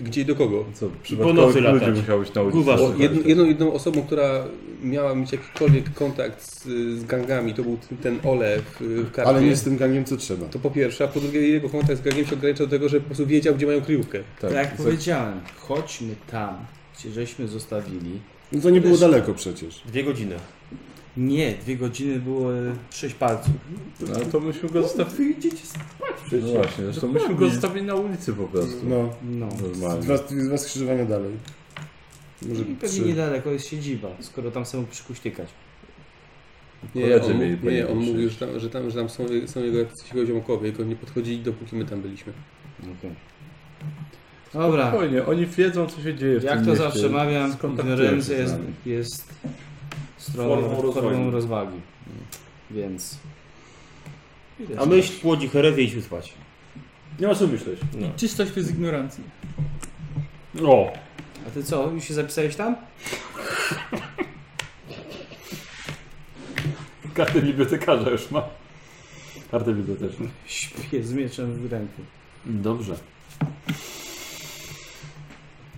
[SPEAKER 7] gdzie i do kogo?
[SPEAKER 3] No Co,
[SPEAKER 6] nocy
[SPEAKER 3] przypadkowych ludzi
[SPEAKER 6] latać.
[SPEAKER 3] musiałeś nauczyć.
[SPEAKER 6] Guwa
[SPEAKER 7] O,
[SPEAKER 3] posłuchać.
[SPEAKER 7] jed, jedną, jedną osobą, która miała mieć jakikolwiek kontakt z, z gangami, to był ten, ten Ole w, w karpie.
[SPEAKER 2] Ale nie z tym gangiem, co trzeba.
[SPEAKER 7] Tak, To po pierwsze, a po drugie jego kontakt z gangiem się ograniczał do tego, że po prostu wiedział, gdzie mają kryjówkę.
[SPEAKER 5] Tak jak
[SPEAKER 3] za-
[SPEAKER 5] powiedziałem, chodźmy tam, gdzie żeśmy zostawili.
[SPEAKER 2] No to nie było daleko przecież.
[SPEAKER 6] Dwie godziny.
[SPEAKER 5] Nie, dwie godziny było e, sześć palców.
[SPEAKER 3] No to myśmy go zostawili. No właśnie, zresztą myśmy
[SPEAKER 4] tak
[SPEAKER 3] go zostawili na ulicy po prostu.
[SPEAKER 2] No,
[SPEAKER 5] No.
[SPEAKER 3] Normalnie.
[SPEAKER 2] dwa, dwa skrzyżowania dalej. Może
[SPEAKER 5] I pewnie
[SPEAKER 2] trzy.
[SPEAKER 5] niedaleko jest siedziba, skoro tam są przykuśtykać.
[SPEAKER 7] Nie,
[SPEAKER 3] Koledzy
[SPEAKER 7] on,
[SPEAKER 3] mieli
[SPEAKER 7] nie,
[SPEAKER 3] pojechać
[SPEAKER 7] on mówił,
[SPEAKER 3] przecież.
[SPEAKER 7] że tam, że tam, że tam są, są jego jacyś jego ziomkowie, jego nie podchodzili, dopóki my tam byliśmy.
[SPEAKER 5] Okay. Dobra,
[SPEAKER 3] Spokojnie, oni wiedzą co się dzieje w
[SPEAKER 5] jak
[SPEAKER 3] tym
[SPEAKER 5] to
[SPEAKER 3] mieście.
[SPEAKER 5] zawsze mawiam,
[SPEAKER 3] Skontaktują się
[SPEAKER 5] ignorancja
[SPEAKER 3] z
[SPEAKER 5] jest,
[SPEAKER 3] nami.
[SPEAKER 5] jest stroną,
[SPEAKER 1] Formą
[SPEAKER 5] formą,
[SPEAKER 1] rozwagi.
[SPEAKER 5] rozwagi. Więc...
[SPEAKER 6] A myśl płodzi herezję i się spać.
[SPEAKER 1] Nie ma co myśleć.
[SPEAKER 6] No.
[SPEAKER 4] Czystość z ignorancji.
[SPEAKER 1] O!
[SPEAKER 5] A ty co, już się zapisałeś tam?
[SPEAKER 1] Kartę bibliotekarza już ma. Kartę biblioteczną.
[SPEAKER 5] Śpię z mieczem w ręku.
[SPEAKER 1] Dobrze.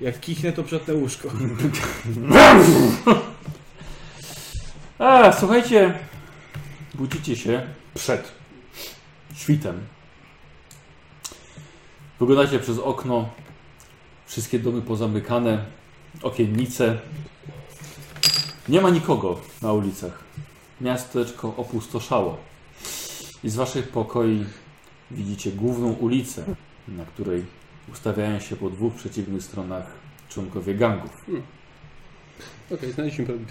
[SPEAKER 5] Jak kichnę, to przetnę łóżko.
[SPEAKER 1] A, słuchajcie. Budzicie się przed świtem. Wyglądacie przez okno. Wszystkie domy pozamykane. Okiennice. Nie ma nikogo na ulicach. Miasteczko opustoszało. I z waszych pokoi widzicie główną ulicę, na której ustawiają się po dwóch przeciwnych stronach członkowie gangów.
[SPEAKER 7] Okej, znaleźliśmy prawdę.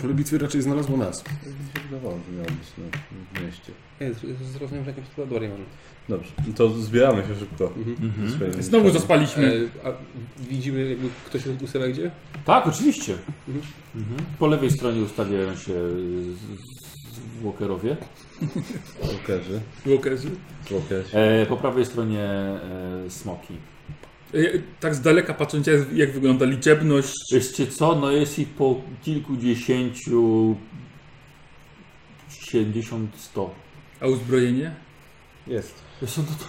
[SPEAKER 2] Polubitwy No, raczej znalazło nas.
[SPEAKER 3] Nie wydawało, że miał być na, w mieście.
[SPEAKER 7] Nie, z- zrozumiałem, że jakimś laboratorium może.
[SPEAKER 3] Dobrze, no to zbieramy się szybko. Swoimi
[SPEAKER 4] Znowu
[SPEAKER 3] rzeczami.
[SPEAKER 4] zaspaliśmy.
[SPEAKER 7] E, a widzimy, jakby ktoś ustawia gdzie?
[SPEAKER 1] Tak, oczywiście.
[SPEAKER 7] Mhm.
[SPEAKER 1] Mhm. Po lewej stronie ustawiają się z- z- walkerowie.
[SPEAKER 3] Walkerzy.
[SPEAKER 4] Walkerzy.
[SPEAKER 3] Walkerzy.
[SPEAKER 1] E, po prawej stronie e, smoki.
[SPEAKER 4] E, Tak z daleka patrząc, jak, jak wygląda liczebność.
[SPEAKER 1] Wiecie co, no jest ich po kilkudziesięciu, siedemdziesiąt, sto.
[SPEAKER 4] A uzbrojenie?
[SPEAKER 3] Jest.
[SPEAKER 1] Są to, to...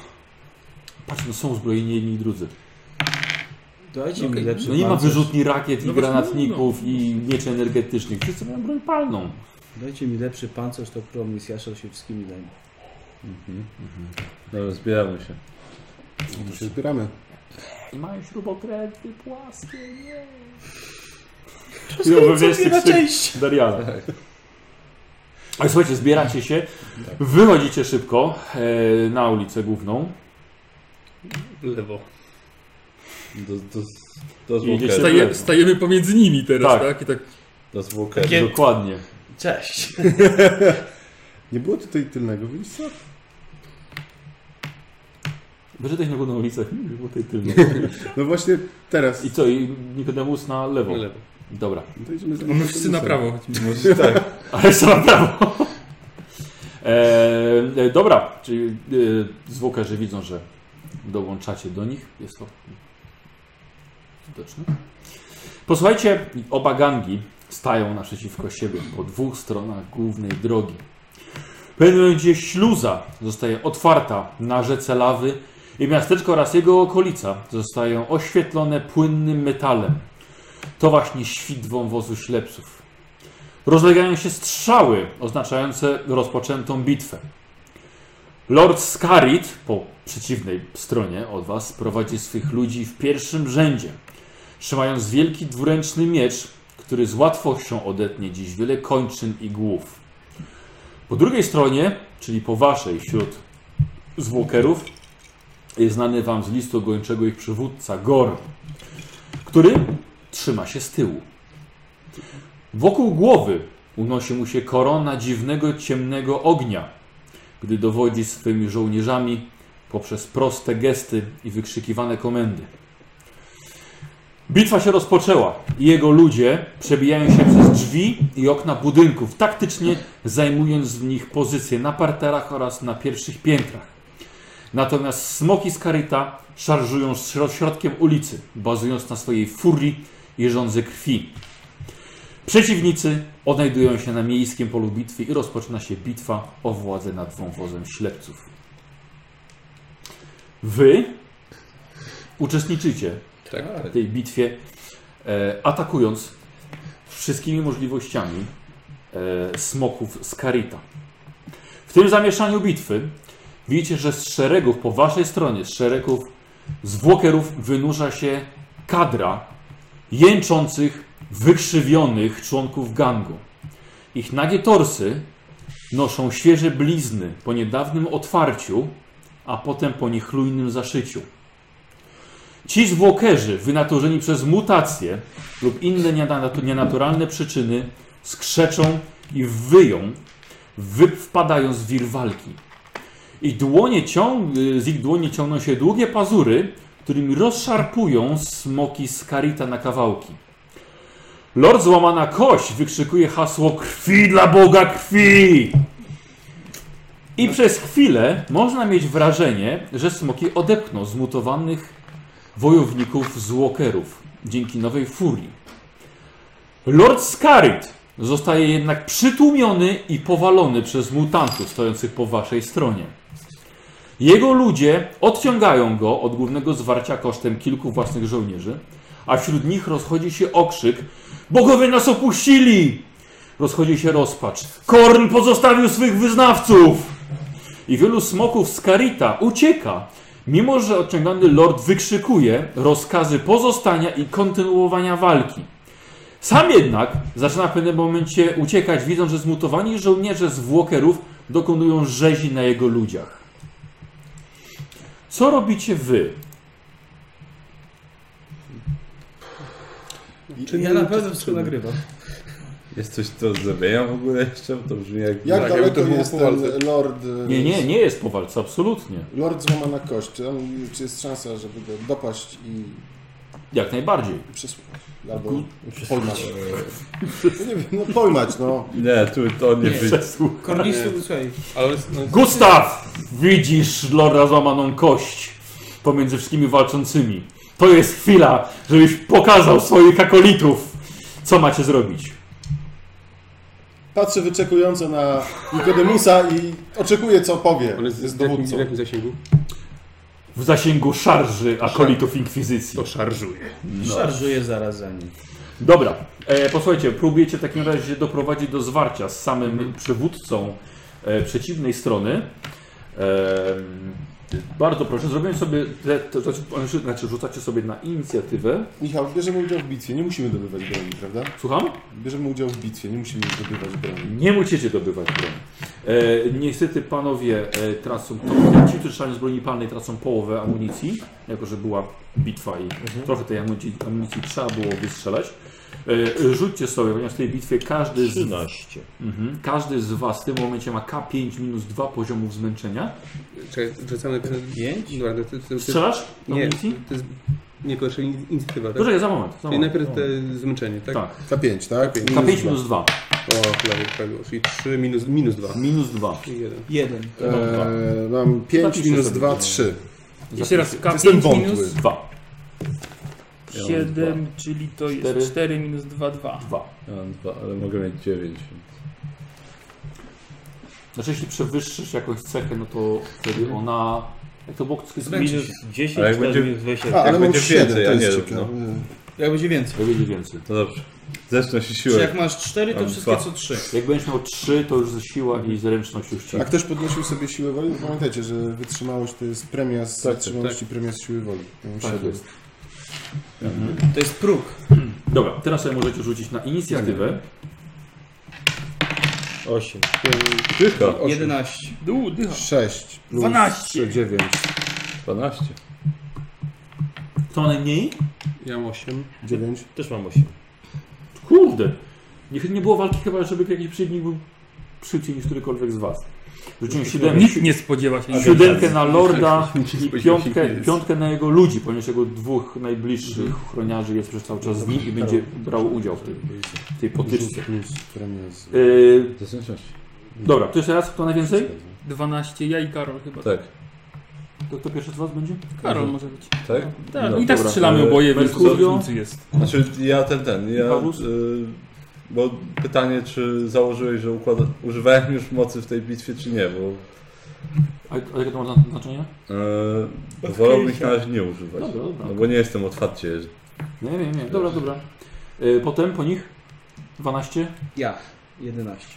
[SPEAKER 1] Patrz, no są uzbrojeni jedni i drudzy.
[SPEAKER 5] Dajcie
[SPEAKER 4] Okej.
[SPEAKER 5] mi lepszy
[SPEAKER 1] No nie ma
[SPEAKER 5] pancerz.
[SPEAKER 1] wyrzutni rakiet i
[SPEAKER 4] No właśnie,
[SPEAKER 1] granatników i mieczy energetycznych. Wszyscy mają broń palną.
[SPEAKER 5] Dajcie mi lepszy pancerz, to promis, ja się wszystkimi dajmy.
[SPEAKER 3] Dobra, No, zbieramy się.
[SPEAKER 2] Tu się zbieramy.
[SPEAKER 1] I mają śrubokręty płaskie, nie. I obowiązek na część. Dariana. Ale słuchajcie, zbieracie się, wychodzicie szybko e, na ulicę główną.
[SPEAKER 7] Lewo.
[SPEAKER 3] Do, do, do
[SPEAKER 1] Jedziecie-
[SPEAKER 3] Walkerzy.
[SPEAKER 4] Staje, stajemy pomiędzy nimi teraz,
[SPEAKER 1] Tak.
[SPEAKER 4] tak? I tak
[SPEAKER 3] Do Walkerzy.
[SPEAKER 6] Gie-
[SPEAKER 1] Dokładnie.
[SPEAKER 5] Cześć!
[SPEAKER 2] Nie było tutaj tylnego wyjścia?
[SPEAKER 1] Wyszedłeś na główną ulicę, hmm, było tutaj tylnie.
[SPEAKER 2] No właśnie teraz.
[SPEAKER 1] I co, i Nikodemus na lewo.
[SPEAKER 7] Na lewo.
[SPEAKER 1] Dobra.
[SPEAKER 2] No to idziemy za
[SPEAKER 4] mamy wszyscy na prawo.
[SPEAKER 3] Może tak.
[SPEAKER 1] Ale co na prawo. E, e, dobra, czyli e, zwłokarze widzą, że dołączacie do nich. Jest to widoczne. Posłuchajcie, oba gangi stają naprzeciwko siebie po dwóch stronach głównej drogi. W pewnym momencie śluza zostaje otwarta na rzece lawy i miasteczko oraz jego okolica zostają oświetlone płynnym metalem. To właśnie świt wąwozu ślepców. Rozlegają się strzały oznaczające rozpoczętą bitwę. Lord Scarid po przeciwnej stronie od was prowadzi swych ludzi w pierwszym rzędzie, trzymając wielki dwuręczny miecz, który z łatwością odetnie dziś wiele kończyn i głów. Po drugiej stronie, czyli po waszej wśród zwłokerów, jest znany wam z listu gończego ich przywódca Gor, który trzyma się z tyłu. Wokół głowy unosi mu się korona dziwnego ciemnego ognia, gdy dowodzi swymi żołnierzami poprzez proste gesty i wykrzykiwane komendy. Bitwa się rozpoczęła i jego ludzie przebijają się przez drzwi i okna budynków, taktycznie zajmując w nich pozycje na parterach oraz na pierwszych piętrach. Natomiast smoki z Karita szarżują śro- środkiem ulicy, bazując na swojej furii i żądzy krwi. Przeciwnicy odnajdują się na miejskim polu bitwy i rozpoczyna się bitwa o władzę nad wąwozem ślepców. Wy uczestniczycie
[SPEAKER 7] Tak.
[SPEAKER 1] w tej bitwie, e, atakując wszystkimi możliwościami e, smoków z Karita. W tym zamieszaniu bitwy widzicie, że z szeregów po waszej stronie, z szeregów zwłokerów wynurza się kadra jęczących, wykrzywionych członków gangu. Ich nagie torsy noszą świeże blizny po niedawnym otwarciu, a potem po niechlujnym zaszyciu. Ci zwłokerzy, wynaturzeni przez mutacje lub inne nienatu- nienaturalne przyczyny, skrzeczą i wyją, wy- wpadając w wir walki. I dłonie cią- y, z ich dłoni ciągną się długie pazury, którymi rozszarpują smoki z karita na kawałki. Lord Złamana Kość wykrzykuje hasło krwi dla Boga krwi! I przez chwilę można mieć wrażenie, że smoki odepchną zmutowanych wojowników z Walkerów dzięki nowej furii. Lord Scarit zostaje jednak przytłumiony i powalony przez mutantów stojących po waszej stronie. Jego ludzie odciągają go od głównego zwarcia kosztem kilku własnych żołnierzy, a wśród nich rozchodzi się okrzyk Bogowie nas opuścili! Rozchodzi się rozpacz. Korn pozostawił swych wyznawców! I wielu smoków z Karita ucieka, mimo że odciągany lord wykrzykuje rozkazy pozostania i kontynuowania walki. Sam jednak zaczyna w pewnym momencie uciekać, widząc, że zmutowani żołnierze z Walkerów dokonują rzezi na jego ludziach. Co robicie wy?
[SPEAKER 5] Czy ja na pewno wszystko nagrywam.
[SPEAKER 3] Jest coś, co zamienia w ogóle jeszcze? Bo To brzmi jak...
[SPEAKER 2] Jak
[SPEAKER 7] Tak, jakby
[SPEAKER 2] daleko
[SPEAKER 7] to było
[SPEAKER 2] jest
[SPEAKER 7] po
[SPEAKER 2] ten
[SPEAKER 7] walce.
[SPEAKER 2] Lord... e,
[SPEAKER 1] Nie, nie, nie jest po walce, absolutnie.
[SPEAKER 2] Lord złamana kość. Czy, on, czy jest szansa, żeby go dopaść i
[SPEAKER 1] Jak najbardziej.
[SPEAKER 2] przesłuchać? Albo polmać. No nie wiem, no polmać, no.
[SPEAKER 3] Nie, tu to nie
[SPEAKER 5] Nie.
[SPEAKER 3] wyjdzie.
[SPEAKER 5] Kornisu, słuchaj,
[SPEAKER 7] Ale on jest, on jest,
[SPEAKER 1] Gustaw! Widzisz Lorda złamaną kość pomiędzy wszystkimi walczącymi. To jest chwila, żebyś pokazał swoich akolitów, co macie zrobić.
[SPEAKER 2] Patrzę wyczekująco na Nikodemusa i oczekuję, co powie.
[SPEAKER 7] on jest,
[SPEAKER 2] Jest
[SPEAKER 7] w, jakim,
[SPEAKER 2] dowódcą.
[SPEAKER 7] w jakim zasięgu?
[SPEAKER 1] W zasięgu szarży akolitów Inkwizycji.
[SPEAKER 7] szarżuje.
[SPEAKER 5] No. szarżuję zaraz za nim.
[SPEAKER 1] Dobra, e, posłuchajcie, próbujecie w takim razie doprowadzić do zwarcia z samym przywódcą e, przeciwnej strony. Em, bardzo proszę, zrobimy sobie, te, to, to, znaczy rzucacie sobie na inicjatywę.
[SPEAKER 2] Michał, bierzemy udział w bitwie, nie musimy dobywać broni, prawda?
[SPEAKER 1] Słucham?
[SPEAKER 2] Bierzemy udział w bitwie, nie musimy zdobywać broni.
[SPEAKER 1] Nie musicie dobywać broni. E, niestety panowie e, tracą, to, ci, którzy strzelają z broni palnej tracą połowę amunicji, jako że była bitwa i
[SPEAKER 7] Mhm.
[SPEAKER 1] trochę tej amunicji, amunicji trzeba było wystrzelać. E, rzućcie sobie, ponieważ w tej bitwie każdy z,
[SPEAKER 6] 13.
[SPEAKER 1] mhm, każdy z was w tym momencie ma K5 minus 2 poziomów zmęczenia.
[SPEAKER 7] Czekaj, wrzucamy...
[SPEAKER 5] Pięć?
[SPEAKER 7] Dobra, to, to, to, to,
[SPEAKER 1] Strzelasz
[SPEAKER 7] nie,
[SPEAKER 1] amunicji?
[SPEAKER 7] to jest... Nie, pierwsza in- inicjatywa, tak?
[SPEAKER 1] Poczekaj, za moment. Za
[SPEAKER 7] I
[SPEAKER 1] moment.
[SPEAKER 7] najpierw te zmęczenie, tak?
[SPEAKER 1] Tak,
[SPEAKER 2] K5, tak?
[SPEAKER 1] K5 minus 2.
[SPEAKER 7] O, chlebie, prawie. Czyli 3 minus, minus 2.
[SPEAKER 1] Minus 2.
[SPEAKER 7] Czyli 1.
[SPEAKER 5] Jeden.
[SPEAKER 2] Eee, mam 5
[SPEAKER 1] Zapiszcie
[SPEAKER 2] minus
[SPEAKER 1] sobie
[SPEAKER 2] 2,
[SPEAKER 1] to.
[SPEAKER 2] 3.
[SPEAKER 4] Jeszcze raz,
[SPEAKER 2] Jestem
[SPEAKER 4] K5
[SPEAKER 2] wątły.
[SPEAKER 4] minus
[SPEAKER 1] 2.
[SPEAKER 4] 7, czyli to
[SPEAKER 1] Cztery.
[SPEAKER 4] jest 4 minus 2, 2.
[SPEAKER 1] 2.
[SPEAKER 3] Ja mam dwa, ale mogę mieć dziewięć.
[SPEAKER 1] Znaczy, jeśli przewyższysz jakąś cechę, no to wtedy ona. Jak to było?
[SPEAKER 5] Zmęczy
[SPEAKER 6] Minus
[SPEAKER 5] się.
[SPEAKER 6] 10,
[SPEAKER 3] Ale jak
[SPEAKER 6] 4
[SPEAKER 3] będzie-
[SPEAKER 6] minus 20.
[SPEAKER 2] A, Tak, ale mam
[SPEAKER 3] będzie
[SPEAKER 2] 7,
[SPEAKER 3] więcej,
[SPEAKER 2] to
[SPEAKER 3] a
[SPEAKER 2] jest
[SPEAKER 3] nie,
[SPEAKER 2] ciekawe.
[SPEAKER 5] Jak będzie więcej.
[SPEAKER 1] To będzie więcej.
[SPEAKER 3] To dobrze. Zeszną się
[SPEAKER 5] Czy
[SPEAKER 3] siłę.
[SPEAKER 5] jak masz cztery, to
[SPEAKER 3] Mam
[SPEAKER 5] wszystkie
[SPEAKER 3] dwa.
[SPEAKER 5] co trzy.
[SPEAKER 1] Jak będziesz miał 3, to już ze siła i zręczność już ci.
[SPEAKER 2] A ktoś podnosił sobie siłę woli? Pamiętajcie, że wytrzymałość to jest premia z
[SPEAKER 3] Tak,
[SPEAKER 2] wytrzymałości, premia z siły woli. Ja mam
[SPEAKER 1] Tak
[SPEAKER 2] siedem.
[SPEAKER 1] jest.
[SPEAKER 5] To jest próg.
[SPEAKER 1] Dobra, teraz sobie możecie rzucić na inicjatywę.
[SPEAKER 6] 8.
[SPEAKER 3] Tylko.
[SPEAKER 5] 11.
[SPEAKER 4] Du, dycha.
[SPEAKER 2] 6 plus
[SPEAKER 4] 12.
[SPEAKER 2] 3, 9.
[SPEAKER 3] 12.
[SPEAKER 1] Co najmniej?
[SPEAKER 7] Ja mam 8.
[SPEAKER 2] 9.
[SPEAKER 6] Też mam 8.
[SPEAKER 1] Kurde! Nie, nie było walki chyba, żeby jakiś przeciwnik był szybciej niż którykolwiek z was. Rzuciłem 7.
[SPEAKER 4] Nikt nie spodziewa się. nic.
[SPEAKER 1] Siódemkę na Lorda i
[SPEAKER 7] spodziewał się,
[SPEAKER 1] piątkę,
[SPEAKER 7] kim jest.
[SPEAKER 1] piątkę na jego ludzi, ponieważ jego dwóch najbliższych chroniarzy jest przez cały czas z nim i będzie brał udział w tej, w tej potyczce.
[SPEAKER 2] Plus premia z...
[SPEAKER 1] Yy,
[SPEAKER 3] Zręczności.
[SPEAKER 1] dobra, to jeszcze raz, kto najwięcej?
[SPEAKER 4] 12, ja i Karol chyba.
[SPEAKER 3] Tak.
[SPEAKER 1] To kto pierwszy z was będzie?
[SPEAKER 4] Karol może być.
[SPEAKER 3] Tak?
[SPEAKER 4] Tak,
[SPEAKER 3] No,
[SPEAKER 4] i tak
[SPEAKER 1] dobra. e,
[SPEAKER 4] strzelamy oboje, więc
[SPEAKER 1] Mercurio?
[SPEAKER 4] różnicy jest.
[SPEAKER 3] Znaczy ja ten, ten, ja...
[SPEAKER 1] Paulus?
[SPEAKER 3] Y, bo pytanie, czy założyłeś, że układa, używałem już mocy w tej bitwie, czy nie, bo
[SPEAKER 1] A, a jakie to ma zna- znaczenie?
[SPEAKER 3] y, wolałbym ich na razie nie używać.
[SPEAKER 1] Dobra, dobra.
[SPEAKER 3] No bo nie jestem otwarcie, że
[SPEAKER 1] Nie, nie, nie. Dobra, dobra. Yy, potem po nich 12,
[SPEAKER 5] Ja. 11.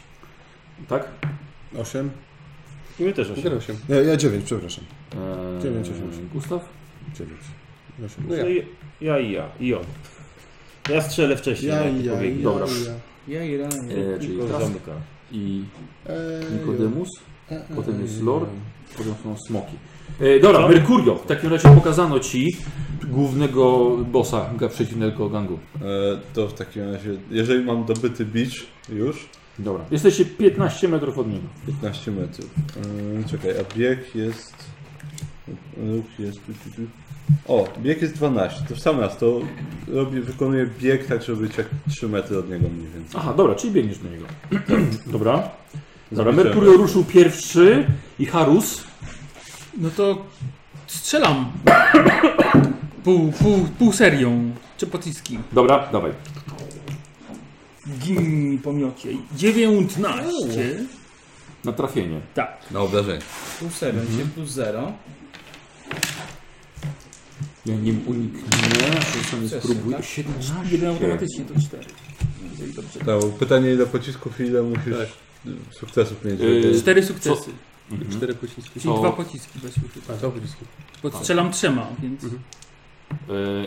[SPEAKER 1] tak?
[SPEAKER 2] 8?
[SPEAKER 6] I my też 8.
[SPEAKER 7] Teraz 8.
[SPEAKER 2] Ja, ja 9, przepraszam.
[SPEAKER 1] Eee,
[SPEAKER 2] Dziewięć, osiem, osiem.
[SPEAKER 1] Gustaw?
[SPEAKER 2] 9.
[SPEAKER 7] No ja.
[SPEAKER 6] No i, ja i ja. I on. Ja strzelę wcześniej. no,
[SPEAKER 2] Ja,
[SPEAKER 6] na
[SPEAKER 2] i ja, i
[SPEAKER 6] odpowiedni.
[SPEAKER 2] ja,
[SPEAKER 1] Dobra.
[SPEAKER 2] i ja.
[SPEAKER 5] Ja i Ryan.
[SPEAKER 1] Eee, czyli
[SPEAKER 6] Tylko
[SPEAKER 1] Trask
[SPEAKER 6] zamyka.
[SPEAKER 1] i
[SPEAKER 2] Eee,
[SPEAKER 1] Nikodemus.
[SPEAKER 2] ja. Eee,
[SPEAKER 1] Potem jest
[SPEAKER 2] ja.
[SPEAKER 1] Lord, potem są smoki. E, dobra, Merkurio, w takim razie pokazano ci głównego bossa ga- przeciwnego gangu.
[SPEAKER 3] E, To w takim razie, jeżeli mam dobyty bicz już,
[SPEAKER 1] Dobra. Jesteście 15 metrów od niego.
[SPEAKER 3] 15 metrów. E, Czekaj, a bieg jest... Ruch jest... tu, tu, tu. O, bieg jest 12, to w sam raz, to robię, wykonuję bieg tak, żeby być jak 3 metry od niego mniej więcej.
[SPEAKER 1] Aha, dobra, czyli biegniesz do niego. dobra. Dobra,
[SPEAKER 3] Zobaczymy.
[SPEAKER 1] Merkurio ruszył pierwszy i Harus.
[SPEAKER 4] No to strzelam. Pół, pół, pół serią. Czy pociski.
[SPEAKER 1] Dobra, dawaj.
[SPEAKER 4] Gin mi po miocie. 19.
[SPEAKER 1] Na trafienie.
[SPEAKER 4] Tak.
[SPEAKER 3] Na obrażenie.
[SPEAKER 5] Plus 7, mhm. plus 0.
[SPEAKER 1] Ja nim uniknę, że sobie
[SPEAKER 5] Sukcesy,
[SPEAKER 1] spróbuję.
[SPEAKER 5] tak?
[SPEAKER 1] 17.
[SPEAKER 4] Jeden automatycznie to 4. Jeżeli dobrze.
[SPEAKER 3] To pytanie ile pocisków i ile musisz sukcesów mieć, żeby...
[SPEAKER 1] Yy,
[SPEAKER 4] 4 sukcesy.
[SPEAKER 1] Mhm.
[SPEAKER 7] 4 pociski.
[SPEAKER 4] Czyli
[SPEAKER 1] To-
[SPEAKER 4] dwa pociski weszły chyba.
[SPEAKER 7] A, to pociski.
[SPEAKER 4] Bo strzelam trzema, więc.
[SPEAKER 1] Yy,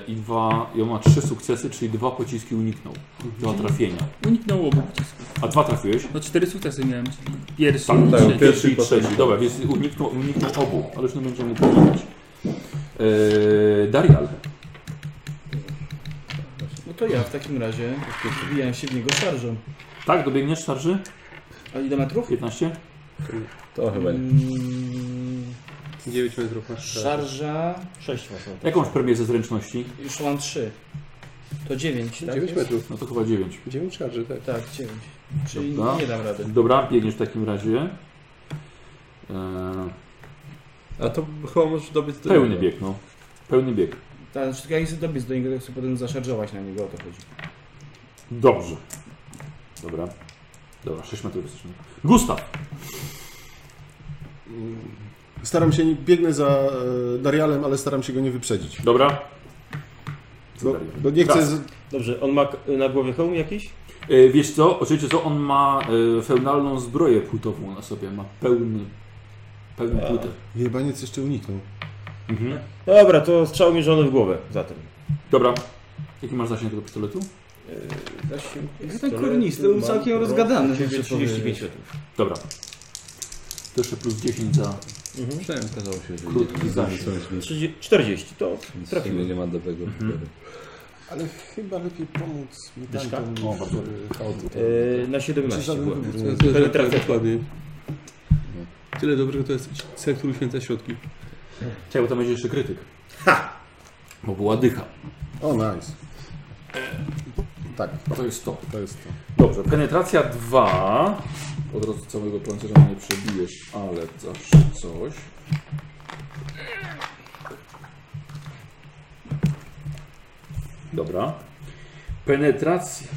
[SPEAKER 1] I dwa, i on ma trzy sukcesy, czyli dwa pociski uniknął. Dwa trafienia.
[SPEAKER 4] Uniknął obu pocisków.
[SPEAKER 1] A dwa trafiłeś?
[SPEAKER 4] No cztery sukcesy miałem. czyli Pierwszy,
[SPEAKER 1] Tak,
[SPEAKER 3] tak,
[SPEAKER 4] trzeci.
[SPEAKER 1] Pierwszy i
[SPEAKER 3] Pierwszy i
[SPEAKER 1] trzeci. Dobra, więc uniknął, uniknął obu, ale już nie będziemy pomagać. Eee, Darial.
[SPEAKER 5] No to ja w takim razie wbijam się w niego szarżą.
[SPEAKER 1] Tak, dobiegniesz szarży?
[SPEAKER 5] A ile metrów?
[SPEAKER 1] 15?
[SPEAKER 3] To chyba nie.
[SPEAKER 5] Mm,
[SPEAKER 7] 9 metrów masz. tak.
[SPEAKER 5] Szarża.
[SPEAKER 6] 6 masz na to.
[SPEAKER 1] Jaką masz premię ze zręczności?
[SPEAKER 5] Już mam 3. To 9, tak?
[SPEAKER 7] 9
[SPEAKER 5] jest?
[SPEAKER 7] metrów.
[SPEAKER 1] No to chyba 9.
[SPEAKER 7] 9 szarży, tak.
[SPEAKER 5] Tak, 9. Czyli
[SPEAKER 1] Dobra.
[SPEAKER 5] nie dam rady.
[SPEAKER 1] Dobra, biegniesz w takim razie. Eee,
[SPEAKER 3] A to chyba możesz dobiec do
[SPEAKER 1] pełny
[SPEAKER 3] niego.
[SPEAKER 1] bieg, no. Pełny bieg.
[SPEAKER 5] Tak, znaczy, tylko jak chcę dobiec do niego, to chcę potem zaszarżować na niego, o to chodzi.
[SPEAKER 1] Dobrze. Dobra. Dobra, 6 metrów jesteśmy. Gustaw!
[SPEAKER 2] Staram się, nie- biegnę za e, Darialem, ale staram się go nie wyprzedzić.
[SPEAKER 1] Dobra.
[SPEAKER 2] Bo, bo nie chcę.
[SPEAKER 1] Raz.
[SPEAKER 2] Z...
[SPEAKER 6] Dobrze, on ma k- na głowie hełm jakiś?
[SPEAKER 1] E, Wiesz co, oczywiście co, on ma e, feudalną zbroję płutową na sobie, ma pełny, pełny płytę.
[SPEAKER 2] Jebaniec jeszcze uniknął.
[SPEAKER 1] Mhm.
[SPEAKER 6] Dobra, to strzał mierzony w głowę zatem.
[SPEAKER 1] Dobra, jaki masz zasięg tego pistoletu?
[SPEAKER 5] Ja ten kornisty był całkiem rozgadany. muszę
[SPEAKER 6] 35
[SPEAKER 5] powiedzieć.
[SPEAKER 6] metrów.
[SPEAKER 1] Dobra. To jeszcze plus 10 za
[SPEAKER 3] Przynajmniej okazało się, że
[SPEAKER 1] Krótki
[SPEAKER 3] nie-
[SPEAKER 1] zasięg.
[SPEAKER 3] no, nic- nic-
[SPEAKER 6] 30 40, to
[SPEAKER 3] nic
[SPEAKER 6] trafiło.
[SPEAKER 3] nie ma dobrego.
[SPEAKER 2] Ale chyba lepiej pomóc mutantom niż
[SPEAKER 1] O, bardzo.
[SPEAKER 2] e, chaotom.
[SPEAKER 6] Yy, na 17
[SPEAKER 2] żaden
[SPEAKER 6] była. Mm,
[SPEAKER 2] wybór.
[SPEAKER 7] Co- co-
[SPEAKER 6] Penetracja.
[SPEAKER 1] Tak,
[SPEAKER 7] Dokładnie. Tyle dobrego to jest cel, który święca środki.
[SPEAKER 1] Czekaj, bo tam będzie jeszcze krytyk. Ha! Bo była dycha.
[SPEAKER 2] O, nice. Tak,
[SPEAKER 1] To jest to.
[SPEAKER 2] to jest to.
[SPEAKER 1] Dobrze, penetracja 2. Od razu całego pancerza nie przebijesz, ale zawsze coś. Dobra. Penetracja.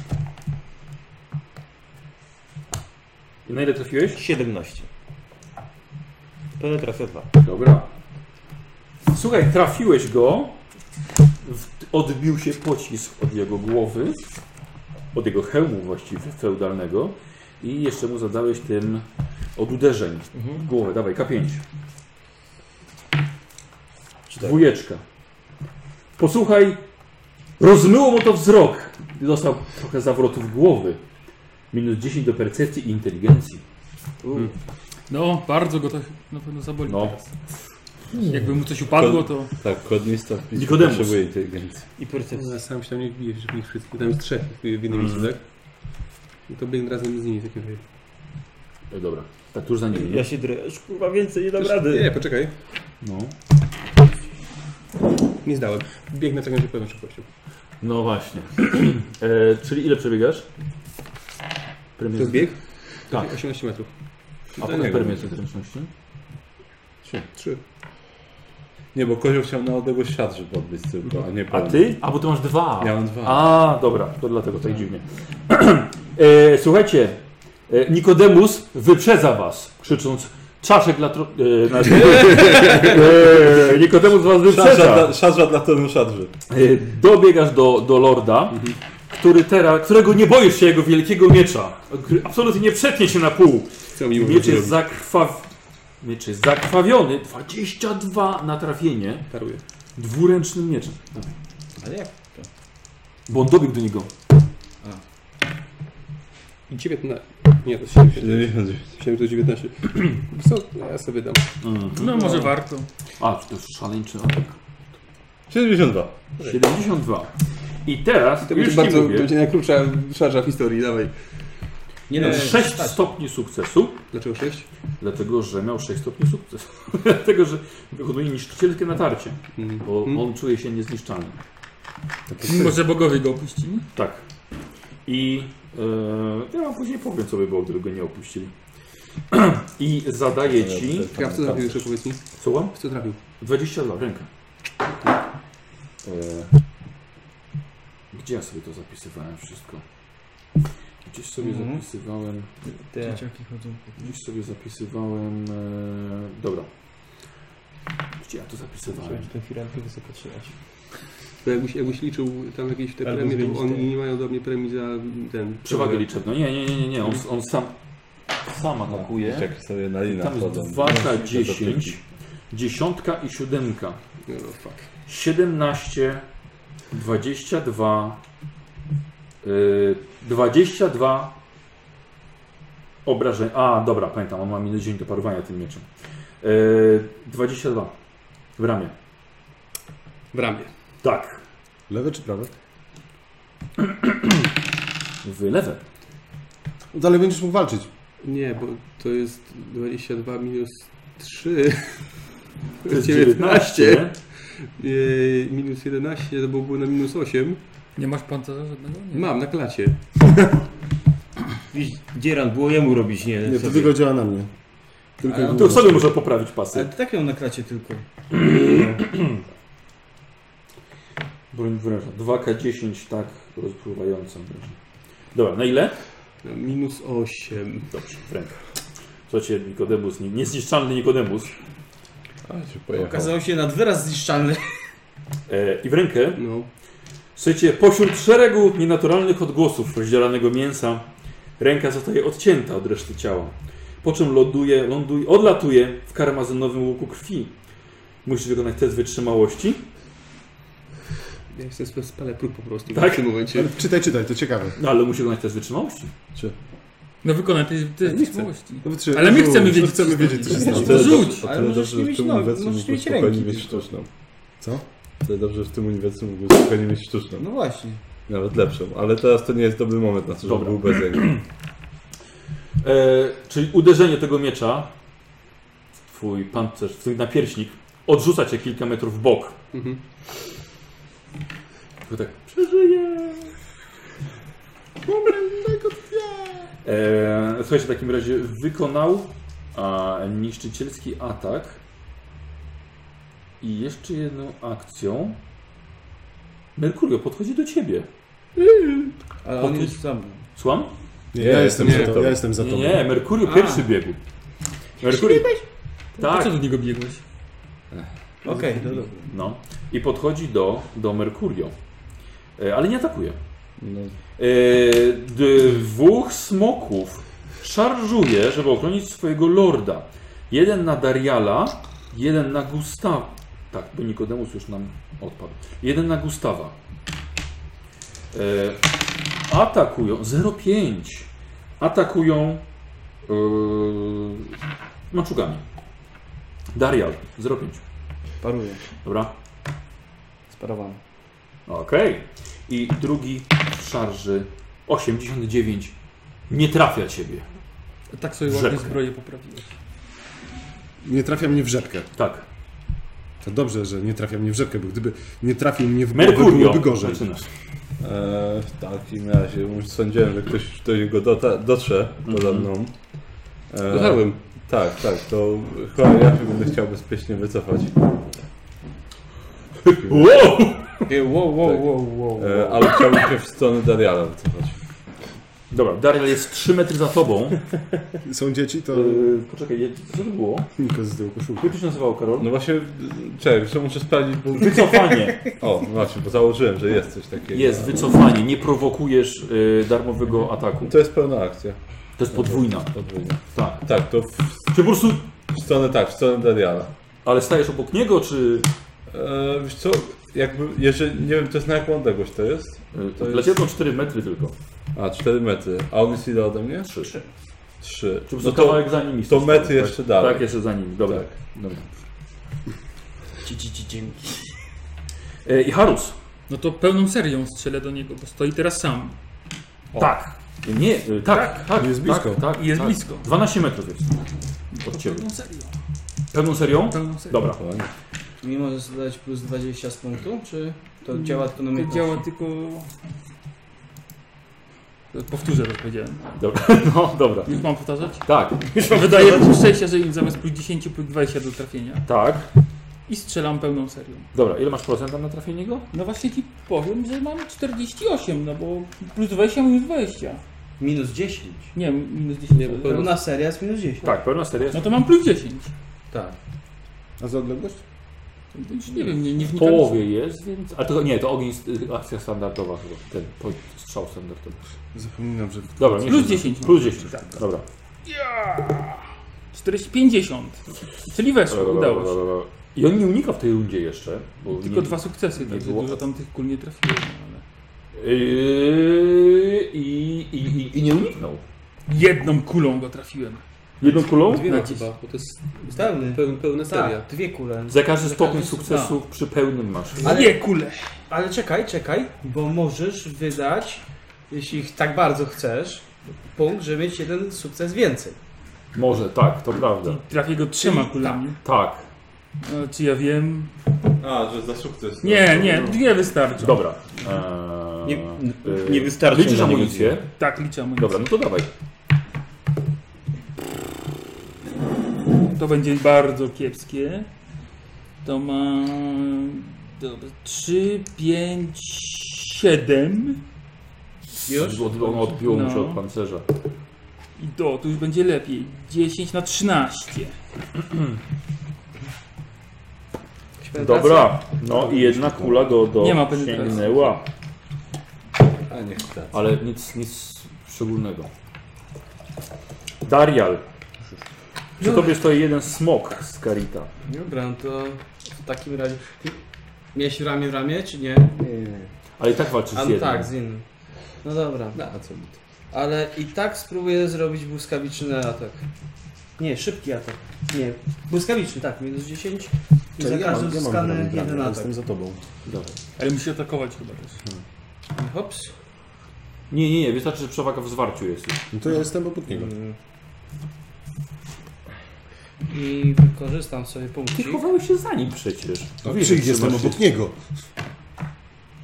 [SPEAKER 1] I na ile trafiłeś?
[SPEAKER 6] 17. Penetracja 2.
[SPEAKER 1] Dobra. Słuchaj, trafiłeś go. W- Odbił się pocisk od jego głowy, od jego hełmu właściwie feudalnego i jeszcze mu zadałeś tym od uderzeń w głowę. Dawaj, K5. Dwójeczka. Posłuchaj, rozmyło mu to wzrok. Dostał trochę zawrotów głowy. Minus 10 do percepcji i inteligencji.
[SPEAKER 4] No, bardzo go to na pewno zaboli
[SPEAKER 1] No.
[SPEAKER 4] teraz. Jakby mu coś upadło, to...
[SPEAKER 3] Tak, kodnista wpisuje
[SPEAKER 1] Nikodemus.
[SPEAKER 3] potrzebuje inteligencji.
[SPEAKER 6] I percepcja.
[SPEAKER 7] Ja sam się tam nie wbiję, żeby ich wszystkich. Tam jest trzech w jednym miejscu, tak? No To biegnę razem z nimi w takim razie.
[SPEAKER 1] E, Dobra, tak tuż za nim.
[SPEAKER 6] Ja się drę. Aż, Kurwa więcej, nie dam
[SPEAKER 7] Nie,
[SPEAKER 6] rady.
[SPEAKER 7] nie, poczekaj.
[SPEAKER 1] No.
[SPEAKER 7] Nie zdałem. Biegnę w takim razie pełną szybkością.
[SPEAKER 1] No właśnie. e, czyli ile przebiegasz?
[SPEAKER 7] To
[SPEAKER 1] Premier...
[SPEAKER 7] jest bieg?
[SPEAKER 1] Tak.
[SPEAKER 7] 18 metrów.
[SPEAKER 1] A
[SPEAKER 3] do
[SPEAKER 1] potem
[SPEAKER 3] niego.
[SPEAKER 1] premier zręczności?
[SPEAKER 7] Trzy.
[SPEAKER 3] Nie, bo kozioł chciał na odległość siat, żeby odbić tylko, a nie
[SPEAKER 1] A
[SPEAKER 3] pełny.
[SPEAKER 1] ty? A bo ty masz dwa.
[SPEAKER 3] Ja mam dwa.
[SPEAKER 1] A, dobra, to dlatego tak dziwnie. e, słuchajcie, e, Nikodemus wyprzedza was, krzycząc czaszek dla... Tro... E, na... e, Nikodemus was
[SPEAKER 3] Szadrza
[SPEAKER 1] wyprzedza.
[SPEAKER 3] dla, szadrza dla tonu szadrzy.
[SPEAKER 1] E, dobiegasz do, do lorda,
[SPEAKER 3] Mhm.
[SPEAKER 1] który teraz, którego nie boisz się jego wielkiego miecza. który Absolutnie nie przetnie się na pół.
[SPEAKER 7] Co mi
[SPEAKER 1] Miecz
[SPEAKER 7] mówił?
[SPEAKER 1] jest, zakrwaw... Miecz jest zakrwawiony. 22 na trafienie
[SPEAKER 7] Paruję.
[SPEAKER 1] dwuręcznym mieczem.
[SPEAKER 5] Ale jak?
[SPEAKER 1] Bo on dobiegł do niego.
[SPEAKER 7] 19. Nie, to 79.
[SPEAKER 3] 79.
[SPEAKER 7] Chciałem to 19. Co? Ja sobie dam.
[SPEAKER 4] No, może warto.
[SPEAKER 1] A, to jest szaleńczy atak.
[SPEAKER 3] 72.
[SPEAKER 1] 72. I teraz,
[SPEAKER 7] To
[SPEAKER 1] już
[SPEAKER 7] będzie
[SPEAKER 1] ci
[SPEAKER 7] bardzo,
[SPEAKER 1] mówię,
[SPEAKER 7] będzie najkrótsza szarża w historii, dawaj.
[SPEAKER 5] Nie no,
[SPEAKER 1] 6 stopni sukcesu,
[SPEAKER 7] Dlaczego 6?
[SPEAKER 1] dlatego że miał 6 stopni sukcesu. dlatego, że wykonuje niszczycielskie natarcie, bo on czuje się niezniszczalny.
[SPEAKER 4] Może bogowie go opuścili?
[SPEAKER 1] Tak. I e, ja wam później powiem, co by było, gdyby go nie opuścili. I zadaję ci...
[SPEAKER 7] Ja w co trafił jeszcze powiedz mi?
[SPEAKER 1] Co mam?
[SPEAKER 7] W co trafił?
[SPEAKER 1] 22, ręka. E, gdzie ja sobie to zapisywałem wszystko? Gdzieś sobie
[SPEAKER 5] Mhm.
[SPEAKER 1] zapisywałem...
[SPEAKER 6] Te-
[SPEAKER 4] Dzieciaki chodzą.
[SPEAKER 1] Gdzieś sobie zapisywałem... E, dobra. Gdzie ja to zapisywałem?
[SPEAKER 6] Chciałem tę firankę wysoko trzymać.
[SPEAKER 7] Bo jakbyś, jakbyś liczył tam jakieś te
[SPEAKER 6] Albo
[SPEAKER 7] premie,
[SPEAKER 6] zmienić
[SPEAKER 7] to oni
[SPEAKER 6] te-
[SPEAKER 7] nie mają do mnie premii za ten...
[SPEAKER 1] Przewagę liczebną. Nie, nie, nie, nie, nie. On, on sam, sam atakuje.
[SPEAKER 3] Jak sobie na linę
[SPEAKER 1] Tam jest
[SPEAKER 3] wchodzą.
[SPEAKER 1] 2 na 10. Dziesiątka i siódemka.
[SPEAKER 7] No, no, fuck.
[SPEAKER 1] 17, 22, yy, 22 obrażeń. A, dobra, pamiętam, on ma minus 10 do parowania tym mieczem. Yy, 22 w ramię.
[SPEAKER 7] W ramię.
[SPEAKER 1] Tak,
[SPEAKER 2] Lewe czy prawe?
[SPEAKER 1] w lewe.
[SPEAKER 2] No Dalej będziesz mógł walczyć.
[SPEAKER 7] Nie, bo to jest 22 minus 3. To
[SPEAKER 1] jest
[SPEAKER 7] jest 19.
[SPEAKER 1] nie?
[SPEAKER 7] Yy, minus 11 to byłoby na minus 8.
[SPEAKER 4] Nie masz pancerza żadnego? Nie.
[SPEAKER 7] Mam na klacie.
[SPEAKER 6] Widzisz, Dzieran, było jemu robić, nie?
[SPEAKER 2] Nie, to
[SPEAKER 6] sobie.
[SPEAKER 2] tylko działa na mnie. Tylko
[SPEAKER 5] Ale on
[SPEAKER 1] no To
[SPEAKER 2] głową.
[SPEAKER 1] sobie może poprawić pasy.
[SPEAKER 5] Ale ty tak ją na klacie tylko.
[SPEAKER 1] Broń wręża. 2K10 tak rozpływającą będzie. Dobra, na ile?
[SPEAKER 7] Na minus 8.
[SPEAKER 1] Dobrze, w rękę. Słuchajcie, Nikodemus, nie- niezniszczalny Nikodemus.
[SPEAKER 3] No, A, się pojechał.
[SPEAKER 5] Okazało się nad wyraz zniszczalny.
[SPEAKER 1] E, I w rękę,
[SPEAKER 7] No.
[SPEAKER 1] słuchajcie, pośród szeregu nienaturalnych odgłosów rozdzielanego mięsa, ręka zostaje odcięta od reszty ciała. Po czym ląduje, ląduje, odlatuje w karmazynowym łuku krwi. Musisz wykonać test wytrzymałości.
[SPEAKER 7] Ja jestem sp- spalę próg po prostu
[SPEAKER 1] Tak?
[SPEAKER 7] w tym momencie.
[SPEAKER 2] Ale Czytaj, czytaj, to ciekawe.
[SPEAKER 1] No ale musisz wykonać test wytrzymałości.
[SPEAKER 4] No wykonaj te, te
[SPEAKER 2] chcę.
[SPEAKER 4] złości.
[SPEAKER 2] No, wytrzy-
[SPEAKER 4] Ale my chcemy
[SPEAKER 2] no,
[SPEAKER 4] wiedzieć,
[SPEAKER 2] chcemy
[SPEAKER 4] co
[SPEAKER 2] wiedzieć, co się
[SPEAKER 4] jest.
[SPEAKER 2] stało.
[SPEAKER 4] To rzuć!
[SPEAKER 3] O
[SPEAKER 5] Ale
[SPEAKER 3] tyle
[SPEAKER 5] możesz
[SPEAKER 3] dobrze,
[SPEAKER 5] nie
[SPEAKER 3] że w
[SPEAKER 5] mieć
[SPEAKER 3] tym
[SPEAKER 5] nogi,
[SPEAKER 3] uniwersum
[SPEAKER 5] możesz
[SPEAKER 3] mógłbyś
[SPEAKER 5] mieć ręki
[SPEAKER 3] spokojnie mieć
[SPEAKER 5] tylko.
[SPEAKER 3] sztuczną.
[SPEAKER 2] Co?
[SPEAKER 3] Tyle dobrze, że w tym uniwersum mógłbyś spokojnie mieć sztuczną.
[SPEAKER 5] No właśnie.
[SPEAKER 3] Nawet lepszą. Ale teraz to nie jest dobry moment na to, żeby
[SPEAKER 1] Dobra.
[SPEAKER 3] był bez ręki.
[SPEAKER 1] E, czyli uderzenie tego miecza, twój pancerz, twój napierśnik, odrzuca cię kilka metrów w bok.
[SPEAKER 7] Mhm.
[SPEAKER 1] Tylko tak, przeżyję! E, słuchajcie, w takim razie wykonał a, niszczycielski atak i jeszcze jedną akcją Merkurio podchodzi do ciebie.
[SPEAKER 5] Ale
[SPEAKER 1] Potem-
[SPEAKER 5] on jest za mną.
[SPEAKER 1] Słucham?
[SPEAKER 2] Nie, ja, jestem
[SPEAKER 3] nie.
[SPEAKER 2] za to, ja jestem za
[SPEAKER 1] nie,
[SPEAKER 2] tobą.
[SPEAKER 1] nie, Merkurio
[SPEAKER 5] A.
[SPEAKER 1] pierwszy biegł. Merkurio...
[SPEAKER 4] Po
[SPEAKER 1] Tak,
[SPEAKER 4] co do niego biegłeś?
[SPEAKER 5] Okej, no dobra.
[SPEAKER 1] No. I podchodzi do, do Merkurio. E, Ale nie atakuje.
[SPEAKER 3] No.
[SPEAKER 1] E, dwóch smoków szarżuje, żeby ochronić swojego lorda. Jeden na Dariala, jeden na Gustawa. Tak, bo Nikodemus już nam odpadł. Jeden na Gustawa. E, atakują. 0,5. Atakują e, maczugami. Darial. 0,5.
[SPEAKER 5] Paruję.
[SPEAKER 1] Dobra.
[SPEAKER 5] Sparowany.
[SPEAKER 1] Okej. I drugi w szarży 89 nie trafia ciebie.
[SPEAKER 4] Tak sobie ładnie
[SPEAKER 1] Rzepkę.
[SPEAKER 4] zbroję poprawiłeś.
[SPEAKER 2] Nie trafia mnie w rzepkę.
[SPEAKER 1] Tak.
[SPEAKER 2] To dobrze, że nie trafia mnie w rzepkę, bo gdyby nie trafił mnie w głowę,
[SPEAKER 1] Merkurio.
[SPEAKER 2] byłoby gorzej.
[SPEAKER 1] Zaczynasz.
[SPEAKER 3] Eee, w takim razie już sądziłem, że ktoś do niego dota, dotrze pode
[SPEAKER 1] Mhm.
[SPEAKER 3] mną. Eee,
[SPEAKER 7] Dotarłem.
[SPEAKER 3] Tak, tak, to chyba ja się będę chciał bezpiecznie wycofać.
[SPEAKER 1] Wow!
[SPEAKER 5] Ej, Wow,
[SPEAKER 3] Tak.
[SPEAKER 5] wow, wow, wow.
[SPEAKER 3] Eee, ale chciałbym się w stronę Dariala wycofać.
[SPEAKER 1] Dobra, Dariel jest 3 metry za tobą.
[SPEAKER 2] Są dzieci, to
[SPEAKER 1] Yy, poczekaj, co to było?
[SPEAKER 2] Niko zdjął koszulkę.
[SPEAKER 1] Jak to się nazywało, Karol?
[SPEAKER 3] No właśnie, czekaj, jeszcze muszę sprawdzić, bo...
[SPEAKER 1] Wycofanie.
[SPEAKER 3] O, no właśnie, bo założyłem, że jest coś takiego.
[SPEAKER 1] Jest wycofanie, nie prowokujesz y, darmowego ataku.
[SPEAKER 3] To jest pełna akcja.
[SPEAKER 1] To jest podwójna.
[SPEAKER 3] Podwójna.
[SPEAKER 1] Tak.
[SPEAKER 3] Tak, to w,
[SPEAKER 1] Czy po prostu.
[SPEAKER 3] w stronę, tak, w stronę Dariala.
[SPEAKER 1] Ale stajesz obok niego, czy. y,
[SPEAKER 3] Eee, wiesz co, jakby, jeżeli, nie wiem, to jest na jaką odległość to jest?
[SPEAKER 1] Yy,
[SPEAKER 3] To jest-
[SPEAKER 1] Dla ciebie to 4 metry tylko.
[SPEAKER 3] A, 4 metry. A on jest ile ode mnie?
[SPEAKER 1] 3. Czy
[SPEAKER 3] 3.
[SPEAKER 1] po prostu kawałek za nimi.
[SPEAKER 3] No to
[SPEAKER 1] stoisz,
[SPEAKER 3] metry
[SPEAKER 1] tak?
[SPEAKER 3] jeszcze dalej.
[SPEAKER 1] Tak, jeszcze za nimi. Dobra.
[SPEAKER 3] Tak.
[SPEAKER 1] Dobra.
[SPEAKER 5] Ci, ci, ci, dzięki.
[SPEAKER 1] E, I Harus.
[SPEAKER 4] No to pełną serią strzelę do niego, bo stoi teraz sam.
[SPEAKER 1] Tak. Nie, y, tak, tak, tak.
[SPEAKER 2] Jest blisko.
[SPEAKER 1] Tak, tak,
[SPEAKER 4] Jest
[SPEAKER 1] tak.
[SPEAKER 4] blisko.
[SPEAKER 1] 12 metrów jest od ciebie.
[SPEAKER 4] Pełną serią.
[SPEAKER 1] Pełną serią?
[SPEAKER 4] Pełną serią.
[SPEAKER 1] Dobra.
[SPEAKER 5] Mi możesz dodać plus 20 z punktu, czy to działa tylko na
[SPEAKER 4] To
[SPEAKER 5] mnie?
[SPEAKER 4] działa tylko... Powtórzę to powiedziałem.
[SPEAKER 1] dobra. No, dobra.
[SPEAKER 4] Już mam powtarzać?
[SPEAKER 1] Tak,
[SPEAKER 4] Wydaje mi się, szczęście, że im zamiast plus 10 plus 20 do trafienia.
[SPEAKER 1] tak.
[SPEAKER 4] I strzelam pełną serią.
[SPEAKER 1] Dobra, ile masz procent tam na trafienie go?
[SPEAKER 4] No właśnie ci powiem, że mam 48, no bo plus 20 minus 20.
[SPEAKER 5] Minus 10.
[SPEAKER 4] Nie, minus 10.
[SPEAKER 7] bo to-
[SPEAKER 5] Pełna seria jest minus 10.
[SPEAKER 1] Tak, pełna seria jest
[SPEAKER 4] No to mam plus 10.
[SPEAKER 5] Tak.
[SPEAKER 2] A za odległość?
[SPEAKER 4] To Już nie wiem, nie, nie
[SPEAKER 1] w
[SPEAKER 4] wnikam.
[SPEAKER 1] połowie jest, więc... A to nie, to ogień, y, akcja standardowa chyba. Ten po- strzał standardowy.
[SPEAKER 2] Zapominam,
[SPEAKER 4] No
[SPEAKER 2] że...
[SPEAKER 1] Dobra, nie
[SPEAKER 4] Plus
[SPEAKER 1] wiem.
[SPEAKER 4] 10.
[SPEAKER 1] Plus 10, tak. Dobra.
[SPEAKER 4] 40, 50. Czyli weszło,
[SPEAKER 1] Dobra,
[SPEAKER 4] udało
[SPEAKER 1] dobra,
[SPEAKER 4] się.
[SPEAKER 1] dobra, dobra. I on nie unika w tej rundzie jeszcze, bo
[SPEAKER 4] Tylko
[SPEAKER 1] nie...
[SPEAKER 4] dwa sukcesy,
[SPEAKER 1] nie
[SPEAKER 4] także
[SPEAKER 1] było-
[SPEAKER 4] dużo tam tych kul nie trafiło. no Ale...
[SPEAKER 1] Yy, i, i, i, I nie uniknął.
[SPEAKER 4] Jedną kulą go trafiłem.
[SPEAKER 1] Jedną kulą?
[SPEAKER 7] Dwie na
[SPEAKER 4] Nacisk.
[SPEAKER 7] chyba, bo to jest
[SPEAKER 5] Ustawny.
[SPEAKER 7] pełna, pełna seria.
[SPEAKER 5] Tak, dwie kule.
[SPEAKER 1] Za każdy stopień
[SPEAKER 4] każdy
[SPEAKER 1] sukcesu przy pełnym masz.
[SPEAKER 4] Ale...
[SPEAKER 5] Ale-
[SPEAKER 4] Dwie kule.
[SPEAKER 5] Ale czekaj, czekaj, bo możesz wydać, jeśli ich tak bardzo chcesz, punkt, żeby mieć jeden sukces więcej.
[SPEAKER 1] Może, tak, to prawda.
[SPEAKER 4] I trafię go trzema kulami.
[SPEAKER 1] Tak,
[SPEAKER 4] E, Czy ja wiem?
[SPEAKER 3] A, że za sukces. No.
[SPEAKER 4] Nie, nie, dwie wystarczą.
[SPEAKER 1] dobra. Eee,
[SPEAKER 6] Nie,
[SPEAKER 1] y,
[SPEAKER 6] nie wystarczy
[SPEAKER 1] Liczysz
[SPEAKER 6] na niego
[SPEAKER 1] amunicję?
[SPEAKER 4] Tak, liczę amunicję.
[SPEAKER 1] Dobra, no to dawaj.
[SPEAKER 4] To będzie bardzo kiepskie. To ma. Dobra, 3, 5, 7.
[SPEAKER 5] Już?
[SPEAKER 1] Od, ono odbiło mu się
[SPEAKER 4] No.
[SPEAKER 1] od pancerza.
[SPEAKER 4] I do, tu już będzie lepiej. 10 na 13.
[SPEAKER 1] Dobra, no i jedna kula go do
[SPEAKER 4] Nie ma penetracji.
[SPEAKER 1] sięgnęła,
[SPEAKER 3] A nie chcę.
[SPEAKER 1] ale nic, nic szczególnego. Darial. Przy tobie stoi jeden smok z Karita.
[SPEAKER 5] Dobra, no to w takim razie... Ty Miałeś ramię w ramię, czy nie?
[SPEAKER 1] Ale i tak walczysz z
[SPEAKER 5] A no
[SPEAKER 1] jednym.
[SPEAKER 5] tak, z innym. No dobra.
[SPEAKER 3] A co mi to?
[SPEAKER 5] Ale i tak spróbuję zrobić błyskawiczny atak. Nie, szybki atak. Nie, błyskawiczny, tak, minus 10. I za każdym uzyskany jeden atak.
[SPEAKER 2] Jestem za tobą.
[SPEAKER 1] Dobra.
[SPEAKER 4] Ale musi atakować chyba też.
[SPEAKER 5] Hops.
[SPEAKER 1] Nie, nie, nie, wystarczy, że przewaga w zwarciu jest. już.
[SPEAKER 2] No to ja jestem obok niego.
[SPEAKER 7] Mm.
[SPEAKER 5] I wykorzystam sobie
[SPEAKER 1] Ty
[SPEAKER 5] punkcik.
[SPEAKER 1] chowałeś się za nim przecież.
[SPEAKER 2] No,
[SPEAKER 1] Wiesz,
[SPEAKER 2] Czy
[SPEAKER 1] że
[SPEAKER 2] jestem
[SPEAKER 1] masz-
[SPEAKER 2] obok niego?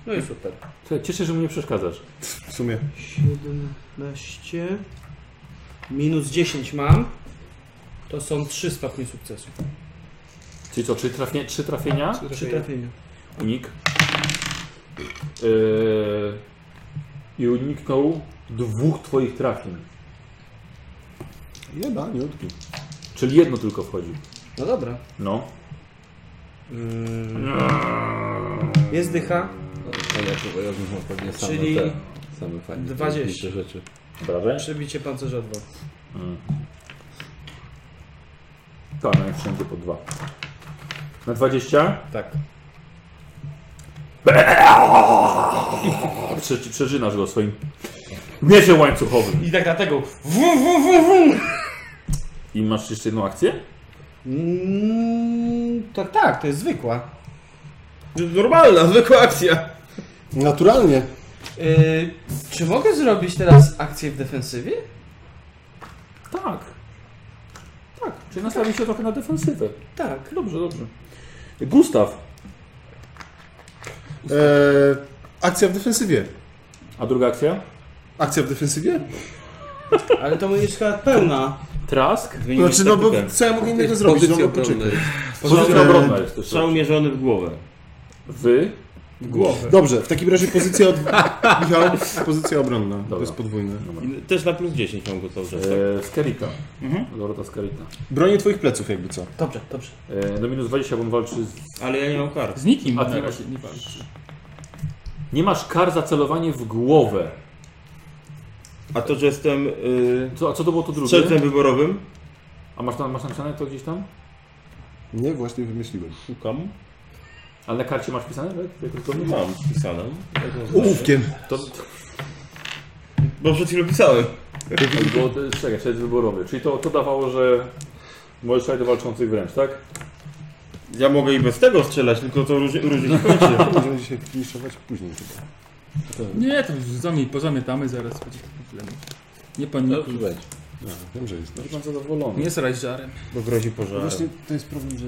[SPEAKER 5] No i super.
[SPEAKER 1] Słuchaj, Cieszę, że mu nie przeszkadzasz.
[SPEAKER 2] W sumie.
[SPEAKER 5] 17. Minus 10 mam. To są 3 stopnie sukcesu.
[SPEAKER 1] Czyli co, trzy, trafnie, trzy trafienia?
[SPEAKER 5] Przy trafieniu.
[SPEAKER 1] Unik. Yy, I uniknął dwóch twoich trafień.
[SPEAKER 2] Jeba, nie odbił.
[SPEAKER 1] Czyli jedno tylko wchodzi.
[SPEAKER 5] No dobra.
[SPEAKER 1] No.
[SPEAKER 5] Jest dycha.
[SPEAKER 3] A ja to ja bym pewnie same
[SPEAKER 5] Czyli
[SPEAKER 3] te, same fajne
[SPEAKER 5] 20.
[SPEAKER 3] te rzeczy.
[SPEAKER 1] Brawe.
[SPEAKER 5] Przebicie pancerza 2.
[SPEAKER 1] Tak, no i wszędzie po dwa. Na 20?
[SPEAKER 5] Tak.
[SPEAKER 1] Prze, przeżynasz go swoim mieczem łańcuchowym.
[SPEAKER 5] I tak dlatego. Wum, wum, wum, wum.
[SPEAKER 1] I masz jeszcze jedną akcję?
[SPEAKER 5] Mm, tak, tak, to jest zwykła. Normalna, zwykła akcja.
[SPEAKER 2] Naturalnie.
[SPEAKER 5] Yy, czy mogę zrobić teraz akcję w defensywie?
[SPEAKER 1] Tak. Tak, czyli nastawi się trochę na defensywę.
[SPEAKER 5] Tak.
[SPEAKER 1] Dobrze, dobrze. Gustaw.
[SPEAKER 2] Eee, akcja w defensywie.
[SPEAKER 1] A druga akcja?
[SPEAKER 2] Akcja w defensywie?
[SPEAKER 5] Ale to jest chyba pełna.
[SPEAKER 1] Trask.
[SPEAKER 2] Znaczy, no bo co ja mogę innego zrobić? No,
[SPEAKER 7] Pozycja
[SPEAKER 2] bo
[SPEAKER 7] obronna
[SPEAKER 2] poczekaj.
[SPEAKER 7] jest.
[SPEAKER 1] Pozycja
[SPEAKER 2] Eee,
[SPEAKER 1] obronna jest też.
[SPEAKER 6] Strzał mierzony w głowę.
[SPEAKER 1] Wy.
[SPEAKER 4] Głowę.
[SPEAKER 2] Dobrze, w takim razie pozycja od... Michał, pozycja obronna. To
[SPEAKER 1] Dobra.
[SPEAKER 2] jest podwójne.
[SPEAKER 6] I Też na plus 10 mam go cały czas. tak?
[SPEAKER 1] E, Skelita. Dorota Skelita.
[SPEAKER 2] Bronię twoich pleców jakby co.
[SPEAKER 5] Dobrze, dobrze.
[SPEAKER 1] E, do minus 20, bo on walczy z...
[SPEAKER 6] Ale ja nie mam kart.
[SPEAKER 4] Tak. Z nikim
[SPEAKER 1] A ty
[SPEAKER 4] na
[SPEAKER 1] masz-
[SPEAKER 4] razie nie walczy.
[SPEAKER 1] Nie masz kar za celowanie w głowę.
[SPEAKER 6] A to, że jestem y,
[SPEAKER 1] Co, a co to było to drugie?
[SPEAKER 6] strzelcem wyborowym,
[SPEAKER 1] A masz, tam, masz napisane to gdzieś tam?
[SPEAKER 2] Nie, właśnie wymyśliłem.
[SPEAKER 6] szukam.
[SPEAKER 1] Ale na karcie masz pisane? Tak? Jak to zgodnie?
[SPEAKER 6] Mam wpisaną.
[SPEAKER 2] Ołówkiem.
[SPEAKER 1] To,
[SPEAKER 6] Bo przed chwilą pisałem.
[SPEAKER 1] to było, to, czekaj, to jest wyborowy. Czyli to, to dawało, że możesz strzelać do walczących wręcz, tak?
[SPEAKER 6] Ja mogę i bez tego strzelać, tylko to różnie, różnie się kończy.
[SPEAKER 2] Będziemy dzisiaj finiszować później chyba.
[SPEAKER 4] Nie, to już zami- pozamiatamy zaraz. Będzie problemu. Nie panikuj.
[SPEAKER 2] Wiem, że jest.
[SPEAKER 1] Będzie pan zadowolony.
[SPEAKER 4] Nie sraj żarem.
[SPEAKER 6] Bo grozi pożar.
[SPEAKER 2] Właśnie to jest problem, że...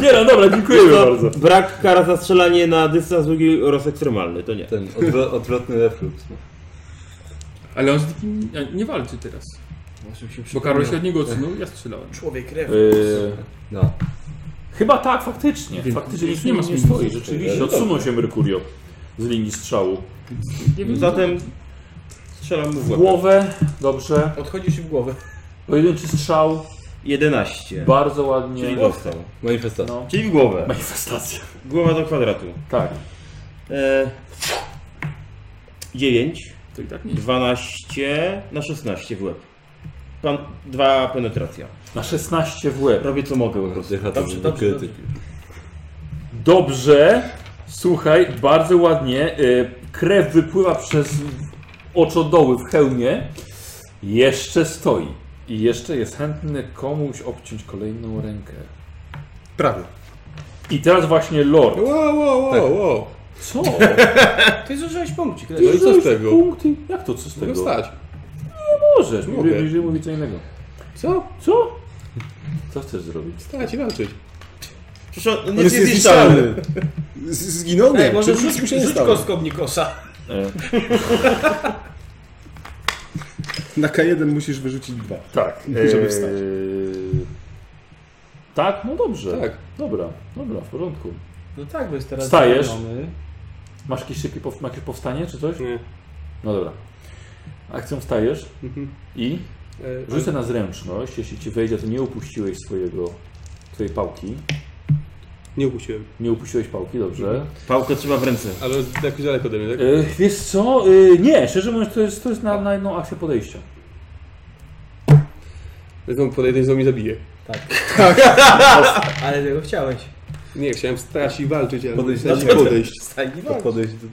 [SPEAKER 1] Nie, no dobra, dziękujemy
[SPEAKER 6] To
[SPEAKER 1] bardzo.
[SPEAKER 6] Brak kara za strzelanie na dystans długi oraz ekstremalny, to nie.
[SPEAKER 3] Ten odwro- odwrotny reflux. No.
[SPEAKER 4] Ale on z nikim nie, nie walczy teraz. Bo Karol się od niego odsunął, ja strzelałem.
[SPEAKER 5] Człowiek rew.
[SPEAKER 1] Yy,
[SPEAKER 3] No.
[SPEAKER 1] Chyba tak, faktycznie. Faktycznie nic nie ma nie stoi. Rzeczywiście odsunął się Merkurio z linii strzału.
[SPEAKER 4] Nie wiem,
[SPEAKER 6] Zatem strzelam mu w
[SPEAKER 1] W
[SPEAKER 6] głowę.
[SPEAKER 1] głowę, dobrze.
[SPEAKER 5] Odchodzi się w głowę.
[SPEAKER 1] Pojedynczy strzał,
[SPEAKER 6] 11.
[SPEAKER 1] bardzo ładnie.
[SPEAKER 6] Czyli dostał.
[SPEAKER 3] Manifestacja.
[SPEAKER 1] No.
[SPEAKER 6] Czyli w głowę.
[SPEAKER 1] Manifestacja.
[SPEAKER 6] Głowa do kwadratu.
[SPEAKER 1] Tak.
[SPEAKER 6] E, 9,
[SPEAKER 4] to i tak nie.
[SPEAKER 6] 12 na 16 w łeb. Pan, dwa penetracja.
[SPEAKER 1] Na 16 w łeb.
[SPEAKER 6] Robię co mogę po prostu.
[SPEAKER 3] Rozjechał
[SPEAKER 5] Dobrze, dobrze, dobrze.
[SPEAKER 1] Dobrze. Słuchaj, bardzo ładnie. Y, Krew wypływa przez oczodoły w hełmie. Jeszcze stoi. I jeszcze jest chętny komuś obciąć kolejną rękę.
[SPEAKER 2] Prawie.
[SPEAKER 1] I teraz właśnie Lord. Tak.
[SPEAKER 7] Wow, wow, wow, wow.
[SPEAKER 1] Co?
[SPEAKER 5] Ty zużyłeś punkcik.
[SPEAKER 1] Ty
[SPEAKER 7] i co z
[SPEAKER 1] wziąłeś
[SPEAKER 7] tego?
[SPEAKER 1] Punkty. Jak to co z
[SPEAKER 7] Mogę
[SPEAKER 1] tego?
[SPEAKER 7] wstać.
[SPEAKER 1] Możesz,
[SPEAKER 7] Mogę.
[SPEAKER 1] mówię, bliżej mówi co innego.
[SPEAKER 7] Co?
[SPEAKER 1] Co? Co chcesz zrobić?
[SPEAKER 7] Wstać i walczyć.
[SPEAKER 6] Przecież on
[SPEAKER 2] On
[SPEAKER 6] nic
[SPEAKER 2] jest
[SPEAKER 6] nie zniszczalny.
[SPEAKER 2] niezniszczalny. Z- Zginął? Nie,
[SPEAKER 5] Ej, może
[SPEAKER 2] czyli
[SPEAKER 5] rzuć,
[SPEAKER 2] nic mu się nie
[SPEAKER 5] rzuć
[SPEAKER 2] stało.
[SPEAKER 5] kostką Nikosa.
[SPEAKER 2] Na K1 musisz wyrzucić dwa.
[SPEAKER 1] Tak.
[SPEAKER 2] Żeby wstać.
[SPEAKER 1] eee, Tak, no dobrze.
[SPEAKER 7] Tak.
[SPEAKER 1] Dobra, dobra, w porządku.
[SPEAKER 5] No tak, bo jest teraz
[SPEAKER 1] Wstajesz.
[SPEAKER 5] zielony.
[SPEAKER 1] Masz jakieś szybkie pow- jakieś powstanie czy coś?
[SPEAKER 7] Nie.
[SPEAKER 1] No dobra. Akcją wstajesz
[SPEAKER 7] Mhm.
[SPEAKER 1] i
[SPEAKER 7] E,
[SPEAKER 1] rzucę na zręczność. Jeśli ci wejdzie, to nie upuściłeś swojego, swojej pałki.
[SPEAKER 7] Nie upuściłem.
[SPEAKER 1] Nie upuściłeś pałki, dobrze.
[SPEAKER 7] Mhm.
[SPEAKER 6] Pałkę trzyma w ręce.
[SPEAKER 7] Ale jakoś daleko ode mnie, tak?
[SPEAKER 1] Yy, wiesz co? Eee, nie, szczerze mówiąc, to jest, to jest na, na jedną akcję podejścia.
[SPEAKER 7] Znowu podejdę i znowu mi zabije.
[SPEAKER 5] Ale tego chciałeś.
[SPEAKER 7] Nie, chciałem wstać i walczyć, ale
[SPEAKER 3] No, Znaczy, Podejść
[SPEAKER 7] myślałem,
[SPEAKER 3] na
[SPEAKER 7] że
[SPEAKER 3] dół.
[SPEAKER 7] podejść.
[SPEAKER 5] Wstaj i
[SPEAKER 3] To
[SPEAKER 5] walcz.
[SPEAKER 3] podejść do...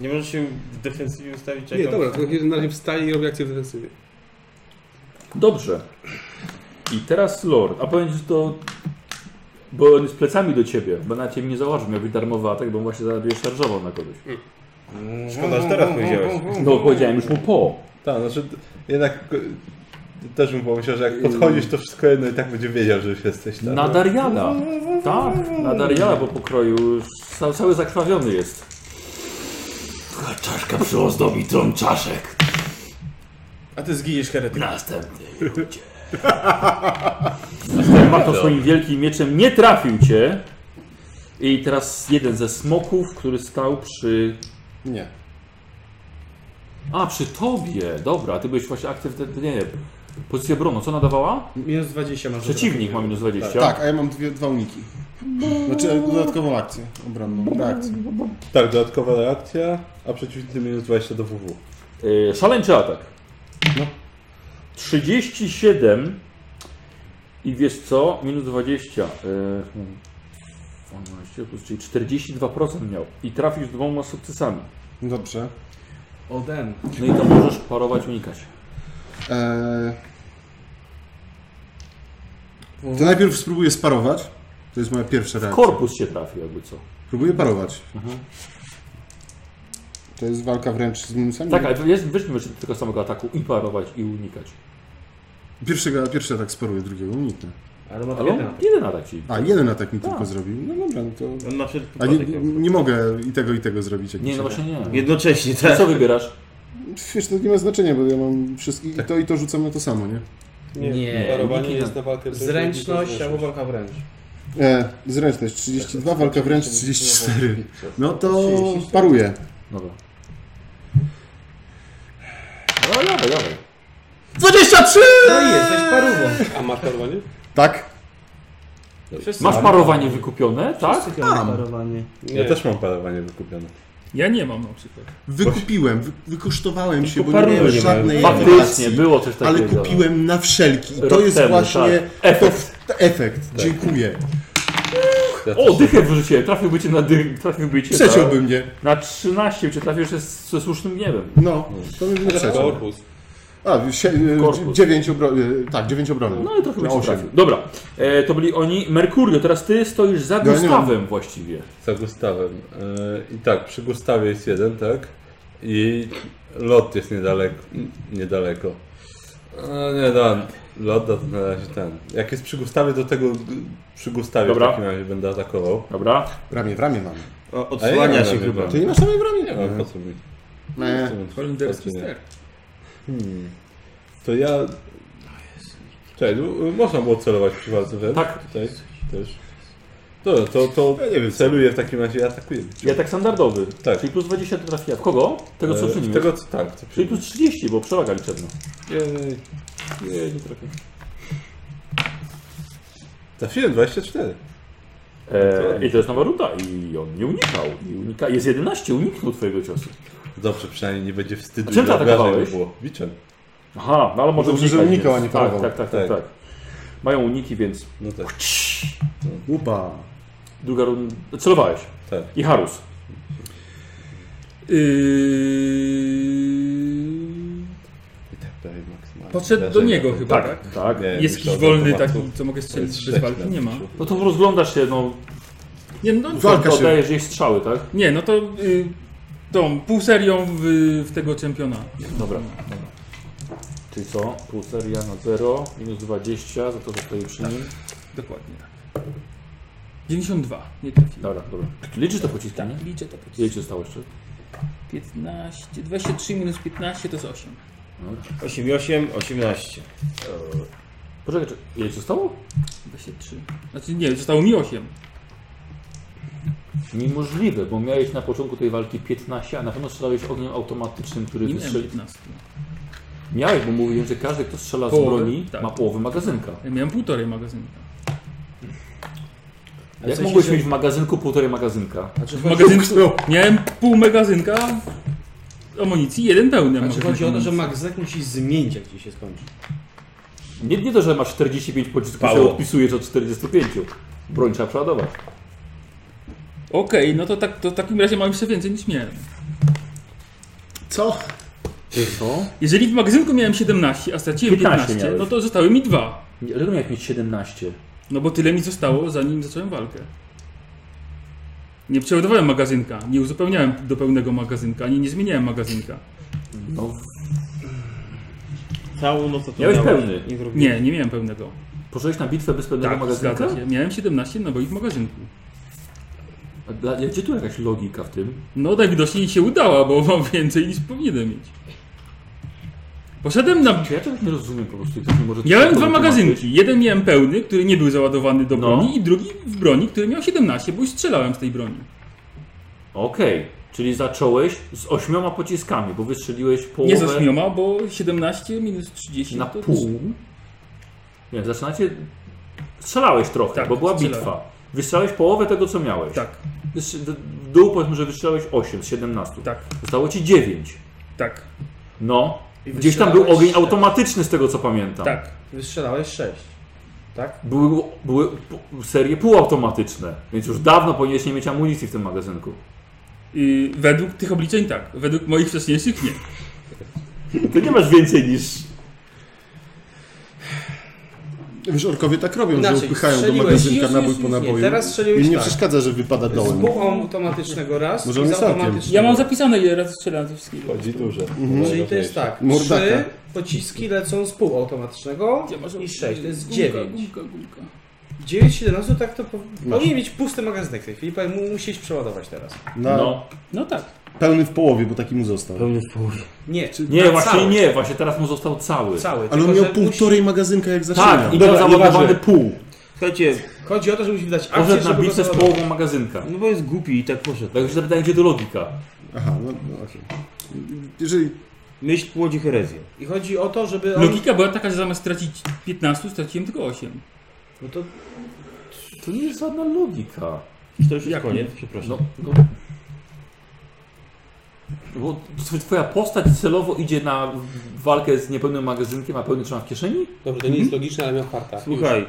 [SPEAKER 6] Nie możesz się w defensywie ustawić jak
[SPEAKER 7] Nie,
[SPEAKER 6] on-
[SPEAKER 7] dobra, to na razie wstaję i robię akcję w defensywie.
[SPEAKER 1] Dobrze. I teraz Lord, a powiem ci że to, bo on jest plecami do ciebie, bo na ciebie nie zauważył, miał być darmowy atak, bo on właśnie zaledwie szarżował na kogoś.
[SPEAKER 6] Szkoda, że teraz powiedziałeś.
[SPEAKER 1] No powiedziałem już mu po.
[SPEAKER 3] Tak, znaczy jednak ko- też bym pomyślał, że jak podchodzisz, to wszystko jedno i tak będzie wiedział, że już jesteś tam.
[SPEAKER 1] Na Dariana. Tak, na Dariana po pokroju już ca- cały zakrwawiony jest. Taka czaszka przyozdobi tron czaszek.
[SPEAKER 5] A ty zginiesz heretyk.
[SPEAKER 1] Następny ludzie. Następny ma to swoim wielkim mieczem nie trafił cię. I teraz jeden ze smoków, który stał przy
[SPEAKER 2] Nie.
[SPEAKER 1] A, przy tobie. Dobra, ty byłeś właśnie aktyw... te- te- Nie, nie. Pozycja bronu, co nadawała?
[SPEAKER 5] Minus 20 masz.
[SPEAKER 1] Przeciwnik ma minus 20.
[SPEAKER 2] Tak, a ja mam dwie, dwa uniki. Znaczy dodatkową akcję obronną. Reakcję.
[SPEAKER 3] Tak, dodatkowa reakcja, a przeciwnik minus 20 do WW.
[SPEAKER 1] Yy, szaleńczy atak. No. 37 i wiesz co? Minus 20. Yy, 12 plus, czyli 42% miał. I trafił z dwoma sukcesami.
[SPEAKER 2] Dobrze.
[SPEAKER 5] Oden.
[SPEAKER 1] No i to możesz parować, unikać.
[SPEAKER 2] Eee... To najpierw spróbuję sparować. To jest moja pierwsza reakcja.
[SPEAKER 1] Korpus się trafił, jakby co.
[SPEAKER 2] Próbuję parować. To jest walka wręcz z minusami?
[SPEAKER 1] Tak, ale jest- weźmy jeszcze tylko samego ataku i parować, i unikać.
[SPEAKER 2] Pierwszego, pierwszy atak sparuję, drugiego uniknę.
[SPEAKER 5] Ale ma
[SPEAKER 1] Ale on
[SPEAKER 5] jeden.
[SPEAKER 1] jeden atak ci.
[SPEAKER 2] A, jeden atak mi
[SPEAKER 1] Tak.
[SPEAKER 2] tylko zrobił. No dobra, no to...
[SPEAKER 6] On ma przed
[SPEAKER 2] A nie, nie mogę i tego, i tego zrobić. jak mi
[SPEAKER 1] Nie,
[SPEAKER 2] się
[SPEAKER 1] no
[SPEAKER 2] da.
[SPEAKER 1] właśnie nie.
[SPEAKER 6] Jednocześnie,
[SPEAKER 1] Ty
[SPEAKER 6] tak.
[SPEAKER 1] co wybierasz?
[SPEAKER 2] Wiesz, to nie ma znaczenia, bo ja mam wszystkich...
[SPEAKER 1] Tak.
[SPEAKER 2] I to, i to rzucam na to samo, nie?
[SPEAKER 7] Nie,
[SPEAKER 1] Nie,
[SPEAKER 7] parowanie
[SPEAKER 1] uniki
[SPEAKER 7] jest na walkę. wręcz,
[SPEAKER 5] Zręczność
[SPEAKER 7] tylko
[SPEAKER 5] albo walka wręcz.
[SPEAKER 2] E, zręczność 32, walka wręcz 34. No to paruję.
[SPEAKER 1] Dobra. No dawaj, dawaj.
[SPEAKER 2] 23!
[SPEAKER 5] No i jesteś parówą.
[SPEAKER 7] zręczność. A masz parowanie?
[SPEAKER 2] Tak?
[SPEAKER 5] Wszyscy
[SPEAKER 1] Masz
[SPEAKER 5] mamy-
[SPEAKER 1] parowanie wykupione, tak?
[SPEAKER 5] Wszyscy mamy parowanie.
[SPEAKER 3] Ja też mam parowanie wykupione.
[SPEAKER 4] Ja nie mam na przykład.
[SPEAKER 2] Wykupiłem, wy, wykosztowałem się, bo nie
[SPEAKER 1] paruję.
[SPEAKER 2] miałem żadnej
[SPEAKER 1] Faktycznie,
[SPEAKER 2] edukacji,
[SPEAKER 1] było coś
[SPEAKER 2] ale
[SPEAKER 1] takiego.
[SPEAKER 2] kupiłem na wszelki. I to
[SPEAKER 1] Rok
[SPEAKER 2] jest
[SPEAKER 1] temu,
[SPEAKER 2] właśnie
[SPEAKER 1] tak.
[SPEAKER 2] to
[SPEAKER 1] Efekt.
[SPEAKER 2] w- to efekt. Dziękuję.
[SPEAKER 3] Ja
[SPEAKER 1] O,
[SPEAKER 3] też-
[SPEAKER 1] dychę wyrzuciłem, trafiłby cię na dym, trafiłby cię
[SPEAKER 2] Przeciąłby mnie.
[SPEAKER 1] na, na 13, cię trafił jeszcze z- ze słusznym gniewem.
[SPEAKER 2] No, to bym nie przeciął.
[SPEAKER 7] Korpus.
[SPEAKER 2] A, sie,
[SPEAKER 1] Korpus.
[SPEAKER 2] 9 obrony. Tak, 9 obrony.
[SPEAKER 1] No ale trochę by cię
[SPEAKER 2] osiem.
[SPEAKER 1] trafił. Dobra, e, to byli oni. Merkurio, teraz ty stoisz za
[SPEAKER 2] Ja nie
[SPEAKER 1] Gustawem właściwie.
[SPEAKER 3] Za Gustawem. Yy, I tak, przy Gustawie jest jeden, tak? I lot jest niedaleko. Niedaleko. E, nie da, lot da to na razie ten. Jak jest przy Gustawie, to tego g- przy Gustawie
[SPEAKER 1] Dobra.
[SPEAKER 3] w takim razie będę atakował.
[SPEAKER 1] Dobra,
[SPEAKER 2] Ramię w ramię mamy.
[SPEAKER 6] O,
[SPEAKER 3] A ja
[SPEAKER 6] Odsłania
[SPEAKER 3] nie
[SPEAKER 6] się
[SPEAKER 3] mam
[SPEAKER 6] chyba.
[SPEAKER 3] chyba.
[SPEAKER 2] Ty nie masz ramię w ramię?
[SPEAKER 3] A
[SPEAKER 1] no
[SPEAKER 3] po co mi?
[SPEAKER 2] Nie.
[SPEAKER 4] Holenderski
[SPEAKER 3] Patrz, nie.
[SPEAKER 4] ster.
[SPEAKER 3] Hmm. To ja... Czekaj, no, można było celować przy walce wręcz?
[SPEAKER 1] Tak.
[SPEAKER 3] Tutaj też. Dobra, to, to ja nie wiem, celuję w takim razie i atakuję.
[SPEAKER 1] ja tak standardowy.
[SPEAKER 3] Tak.
[SPEAKER 1] Czyli plus 20 to trafia. W kogo? Tego co
[SPEAKER 3] E,
[SPEAKER 1] przy nim
[SPEAKER 3] Tego
[SPEAKER 1] jest.
[SPEAKER 3] co tak, co przy
[SPEAKER 1] Czyli plus 30, bo przewaga liczebna.
[SPEAKER 3] Jej.
[SPEAKER 1] Nie, nie trafię.
[SPEAKER 3] Trafiłem 24.
[SPEAKER 1] E, I to jest nowa ruta. I on nie unikał. I unika... Jest 11, uniknął twojego ciosu.
[SPEAKER 3] Dobrze, przynajmniej nie będzie wstydu.
[SPEAKER 1] A czym
[SPEAKER 3] i
[SPEAKER 1] ty
[SPEAKER 3] obrażeń
[SPEAKER 1] atakowałeś?
[SPEAKER 3] nie było. Wiczem.
[SPEAKER 1] Aha, no ale może
[SPEAKER 2] Dobrze, że
[SPEAKER 1] unikać,
[SPEAKER 2] unikał,
[SPEAKER 1] więc-
[SPEAKER 2] a nie
[SPEAKER 1] tak,
[SPEAKER 2] parował.
[SPEAKER 1] tak, tak, tak,
[SPEAKER 3] Tak.
[SPEAKER 1] tak. Mają uniki, więc
[SPEAKER 3] No tak,
[SPEAKER 2] Upa.
[SPEAKER 1] druga runda... Celowałeś.
[SPEAKER 3] tak.
[SPEAKER 1] I Harus.
[SPEAKER 4] Yy...
[SPEAKER 3] I tak prawie maksymalnie.
[SPEAKER 4] Podszedł do
[SPEAKER 3] Wrażenie
[SPEAKER 4] niego
[SPEAKER 3] to-
[SPEAKER 4] chyba,
[SPEAKER 1] Tak,
[SPEAKER 4] tak?
[SPEAKER 1] tak.
[SPEAKER 3] Nie,
[SPEAKER 4] Jest
[SPEAKER 3] myślę,
[SPEAKER 4] jakiś
[SPEAKER 3] że
[SPEAKER 4] wolny
[SPEAKER 3] automatów
[SPEAKER 4] taki, co
[SPEAKER 3] to
[SPEAKER 4] mogę
[SPEAKER 3] jest
[SPEAKER 4] strzelić bez
[SPEAKER 3] sześć
[SPEAKER 4] walki?
[SPEAKER 3] na
[SPEAKER 4] Nie ma.
[SPEAKER 3] przyszłość.
[SPEAKER 1] No to rozglądasz się, no...
[SPEAKER 4] Nie, no,
[SPEAKER 2] Walka
[SPEAKER 1] to
[SPEAKER 2] się-
[SPEAKER 1] dajesz jej strzały, tak?
[SPEAKER 4] nie, no to y, tą półserią w, w tego czempiona.
[SPEAKER 1] Dobra,
[SPEAKER 2] No,
[SPEAKER 1] dobra. Czyli co? Pół seria na 0, minus 20, za to zostaje przy nim.
[SPEAKER 4] Dokładnie tak. 92, nie trafiłem.
[SPEAKER 6] Tak.
[SPEAKER 1] Dobra, dobra. Liczysz to
[SPEAKER 3] Tak.
[SPEAKER 1] pociski, nie?
[SPEAKER 4] Liczę to
[SPEAKER 1] Ile
[SPEAKER 4] pocisk.
[SPEAKER 1] ci zostało jeszcze?
[SPEAKER 4] 15, 23 minus 15 to jest 8.
[SPEAKER 6] 8 i 8, 18.
[SPEAKER 1] Poczekaj, czy... ile ci zostało?
[SPEAKER 4] 23. Znaczy nie, zostało mi 8.
[SPEAKER 1] Niemożliwe, bo miałeś na początku tej walki 15, a na pewno strzelałeś ogniem automatycznym, który
[SPEAKER 4] Inne
[SPEAKER 1] wystrzeli...
[SPEAKER 4] 15.
[SPEAKER 1] Miałeś, bo mówiłem, że każdy, kto strzela z
[SPEAKER 4] Połowę,
[SPEAKER 1] broni,
[SPEAKER 4] tak.
[SPEAKER 1] ma połowę magazynka.
[SPEAKER 4] Ja miałem półtorej magazynka.
[SPEAKER 1] Jak
[SPEAKER 6] sensie,
[SPEAKER 1] mogłeś
[SPEAKER 6] że-
[SPEAKER 1] mieć w magazynku półtorej magazynka?
[SPEAKER 6] Znaczy
[SPEAKER 4] W magazynku miałem pół magazynka amunicji, jeden pełny
[SPEAKER 6] Znaczy
[SPEAKER 4] magazynk
[SPEAKER 6] chodzi o to, że
[SPEAKER 4] amunicji.
[SPEAKER 6] magazyn musisz zmienić, jak ci się skończy.
[SPEAKER 1] Nie, nie to, że masz 45 pocisków,
[SPEAKER 6] Mało.
[SPEAKER 1] się odpisujesz od 45. Broń trzeba przeładować.
[SPEAKER 4] Okej, no to, tak, to w takim razie mam jeszcze więcej niż miałem.
[SPEAKER 2] Co?
[SPEAKER 1] Co?
[SPEAKER 4] Jeżeli w magazynku miałem 17, a straciłem
[SPEAKER 1] 15
[SPEAKER 4] 15,
[SPEAKER 1] miałeś.
[SPEAKER 4] no to zostały mi dwa.
[SPEAKER 1] Dlaczego miałeś mieć 17?
[SPEAKER 4] No bo tyle mi zostało, zanim zacząłem walkę. Nie przeładowałem magazynka, nie uzupełniałem do pełnego magazynka, ani nie zmieniałem magazynka.
[SPEAKER 1] No,
[SPEAKER 6] Całą noc to tu
[SPEAKER 1] Miałeś
[SPEAKER 6] miałem,
[SPEAKER 1] pełny.
[SPEAKER 6] Nie zrobiłem.
[SPEAKER 4] Nie, nie miałem pełnego.
[SPEAKER 1] poszedłeś na bitwę bez pewnego
[SPEAKER 4] Tak,
[SPEAKER 1] magazynka?
[SPEAKER 4] zgadza się. Miałem 17 naboi w magazynku.
[SPEAKER 1] A Dla, gdzie tu jakaś logika w tym?
[SPEAKER 4] No najwidoczniej się udała, bo mam więcej niż powinienem mieć. Poszedłem na...
[SPEAKER 1] Czy ja czegoś nie rozumiem po prostu? Ktoś mi może
[SPEAKER 4] Miałem
[SPEAKER 1] to
[SPEAKER 4] dwa
[SPEAKER 1] wytłumaczyć?
[SPEAKER 4] magazynki. Jeden miałem pełny, który nie był załadowany do
[SPEAKER 1] No.
[SPEAKER 4] broni i drugi w broni, który miał 17, bo już strzelałem z tej broni.
[SPEAKER 1] Okej, czyli zacząłeś z ośmioma pociskami, bo wystrzeliłeś połowę
[SPEAKER 4] Nie z ośmioma, bo 17 minus 30
[SPEAKER 1] na
[SPEAKER 4] to
[SPEAKER 1] pół. Nie, zaczynacie... Strzelałeś trochę,
[SPEAKER 4] Tak,
[SPEAKER 1] bo była
[SPEAKER 4] strzelałem.
[SPEAKER 1] bitwa. Wystrzelałeś połowę tego, co miałeś.
[SPEAKER 4] Tak,
[SPEAKER 1] Wystrz- W dół powiedzmy, że wystrzelałeś 8 z 17.
[SPEAKER 4] tak,
[SPEAKER 1] Zostało ci 9.
[SPEAKER 4] tak,
[SPEAKER 1] No.
[SPEAKER 6] I
[SPEAKER 1] Gdzieś tam był
[SPEAKER 6] wystrzelałeś
[SPEAKER 1] ogień
[SPEAKER 6] sześć.
[SPEAKER 1] automatyczny z tego co pamiętam.
[SPEAKER 4] tak.
[SPEAKER 6] Wystrzelałeś 6. Tak?
[SPEAKER 1] Były, były p- serie półautomatyczne, więc już dawno powinieneś nie mieć amunicji w tym magazynku.
[SPEAKER 4] Y, według tych obliczeń tak, według moich wcześniejszych nie.
[SPEAKER 1] Ty nie masz więcej niż...
[SPEAKER 2] Wiesz, orkowie tak robią, że
[SPEAKER 5] Inaczej,
[SPEAKER 2] upychają do
[SPEAKER 5] strzeliłeś,
[SPEAKER 2] magazynka
[SPEAKER 5] już,
[SPEAKER 2] nabój
[SPEAKER 5] już,
[SPEAKER 2] po
[SPEAKER 5] już nie.
[SPEAKER 2] naboju.
[SPEAKER 5] Teraz strzeliłeś
[SPEAKER 2] I nie
[SPEAKER 5] tak.
[SPEAKER 2] przeszkadza, że wypada
[SPEAKER 5] Z
[SPEAKER 2] dołem.
[SPEAKER 5] automatycznego raz
[SPEAKER 2] Może
[SPEAKER 5] i
[SPEAKER 2] on
[SPEAKER 5] z
[SPEAKER 2] jest tankiem.
[SPEAKER 5] automatycznego.
[SPEAKER 4] Ja mam zapisane ile razy strzelałem ze wszystkiego.
[SPEAKER 3] Chodzi duże.
[SPEAKER 1] Mhm.
[SPEAKER 5] Czyli to jest tak,
[SPEAKER 2] Mordaka.
[SPEAKER 5] trzy pociski lecą z półautomatycznego i sześć, to jest dziewięć.
[SPEAKER 4] Gumka, gumka, gumka.
[SPEAKER 5] 9, 17, tak to po...
[SPEAKER 2] Masz.
[SPEAKER 5] powinien mieć pusty magazynek w tej chwili, mu musisz przeładować teraz.
[SPEAKER 2] Na
[SPEAKER 1] No.
[SPEAKER 4] No tak.
[SPEAKER 2] Pełny w połowie, bo taki mu został.
[SPEAKER 6] Pełny w połowie.
[SPEAKER 5] Nie,
[SPEAKER 1] Nie,
[SPEAKER 5] na
[SPEAKER 1] właśnie
[SPEAKER 5] cały,
[SPEAKER 1] nie, właśnie teraz mu został cały.
[SPEAKER 5] Cały,
[SPEAKER 2] Ale
[SPEAKER 5] tylko,
[SPEAKER 2] on miał
[SPEAKER 5] że
[SPEAKER 2] półtorej magazynka jak zaczynał.
[SPEAKER 1] Tak, i miał
[SPEAKER 2] Dobra,
[SPEAKER 1] załadowany
[SPEAKER 2] nieważne.
[SPEAKER 1] pół.
[SPEAKER 6] Słuchajcie,
[SPEAKER 5] Musi... Chodzi o to, żeby wydać akcję,
[SPEAKER 1] Poszedł na
[SPEAKER 5] żeby
[SPEAKER 1] bitwę
[SPEAKER 5] go
[SPEAKER 1] z połową magazynka.
[SPEAKER 6] no bo jest głupi i tak poszedł.
[SPEAKER 1] Dlatego się zapytałem, gdzie tu logika.
[SPEAKER 2] Aha, no, no okej. Jeżeli
[SPEAKER 6] Myśl płodzi herezję.
[SPEAKER 5] I chodzi o to, żeby on...
[SPEAKER 4] Logika była taka, że zamiast stracić 15, straciłem tylko 8.
[SPEAKER 6] No to
[SPEAKER 1] To nie jest żadna logika.
[SPEAKER 6] czy to już jest
[SPEAKER 4] Jak
[SPEAKER 6] koniec? Przepraszam.
[SPEAKER 1] No, no. Bo tw- twoja postać celowo idzie na walkę z niepełnym magazynkiem, a pełny trzyma w kieszeni?
[SPEAKER 7] Dobrze, to nie jest logiczne, ale miał farta.
[SPEAKER 6] Słuchaj,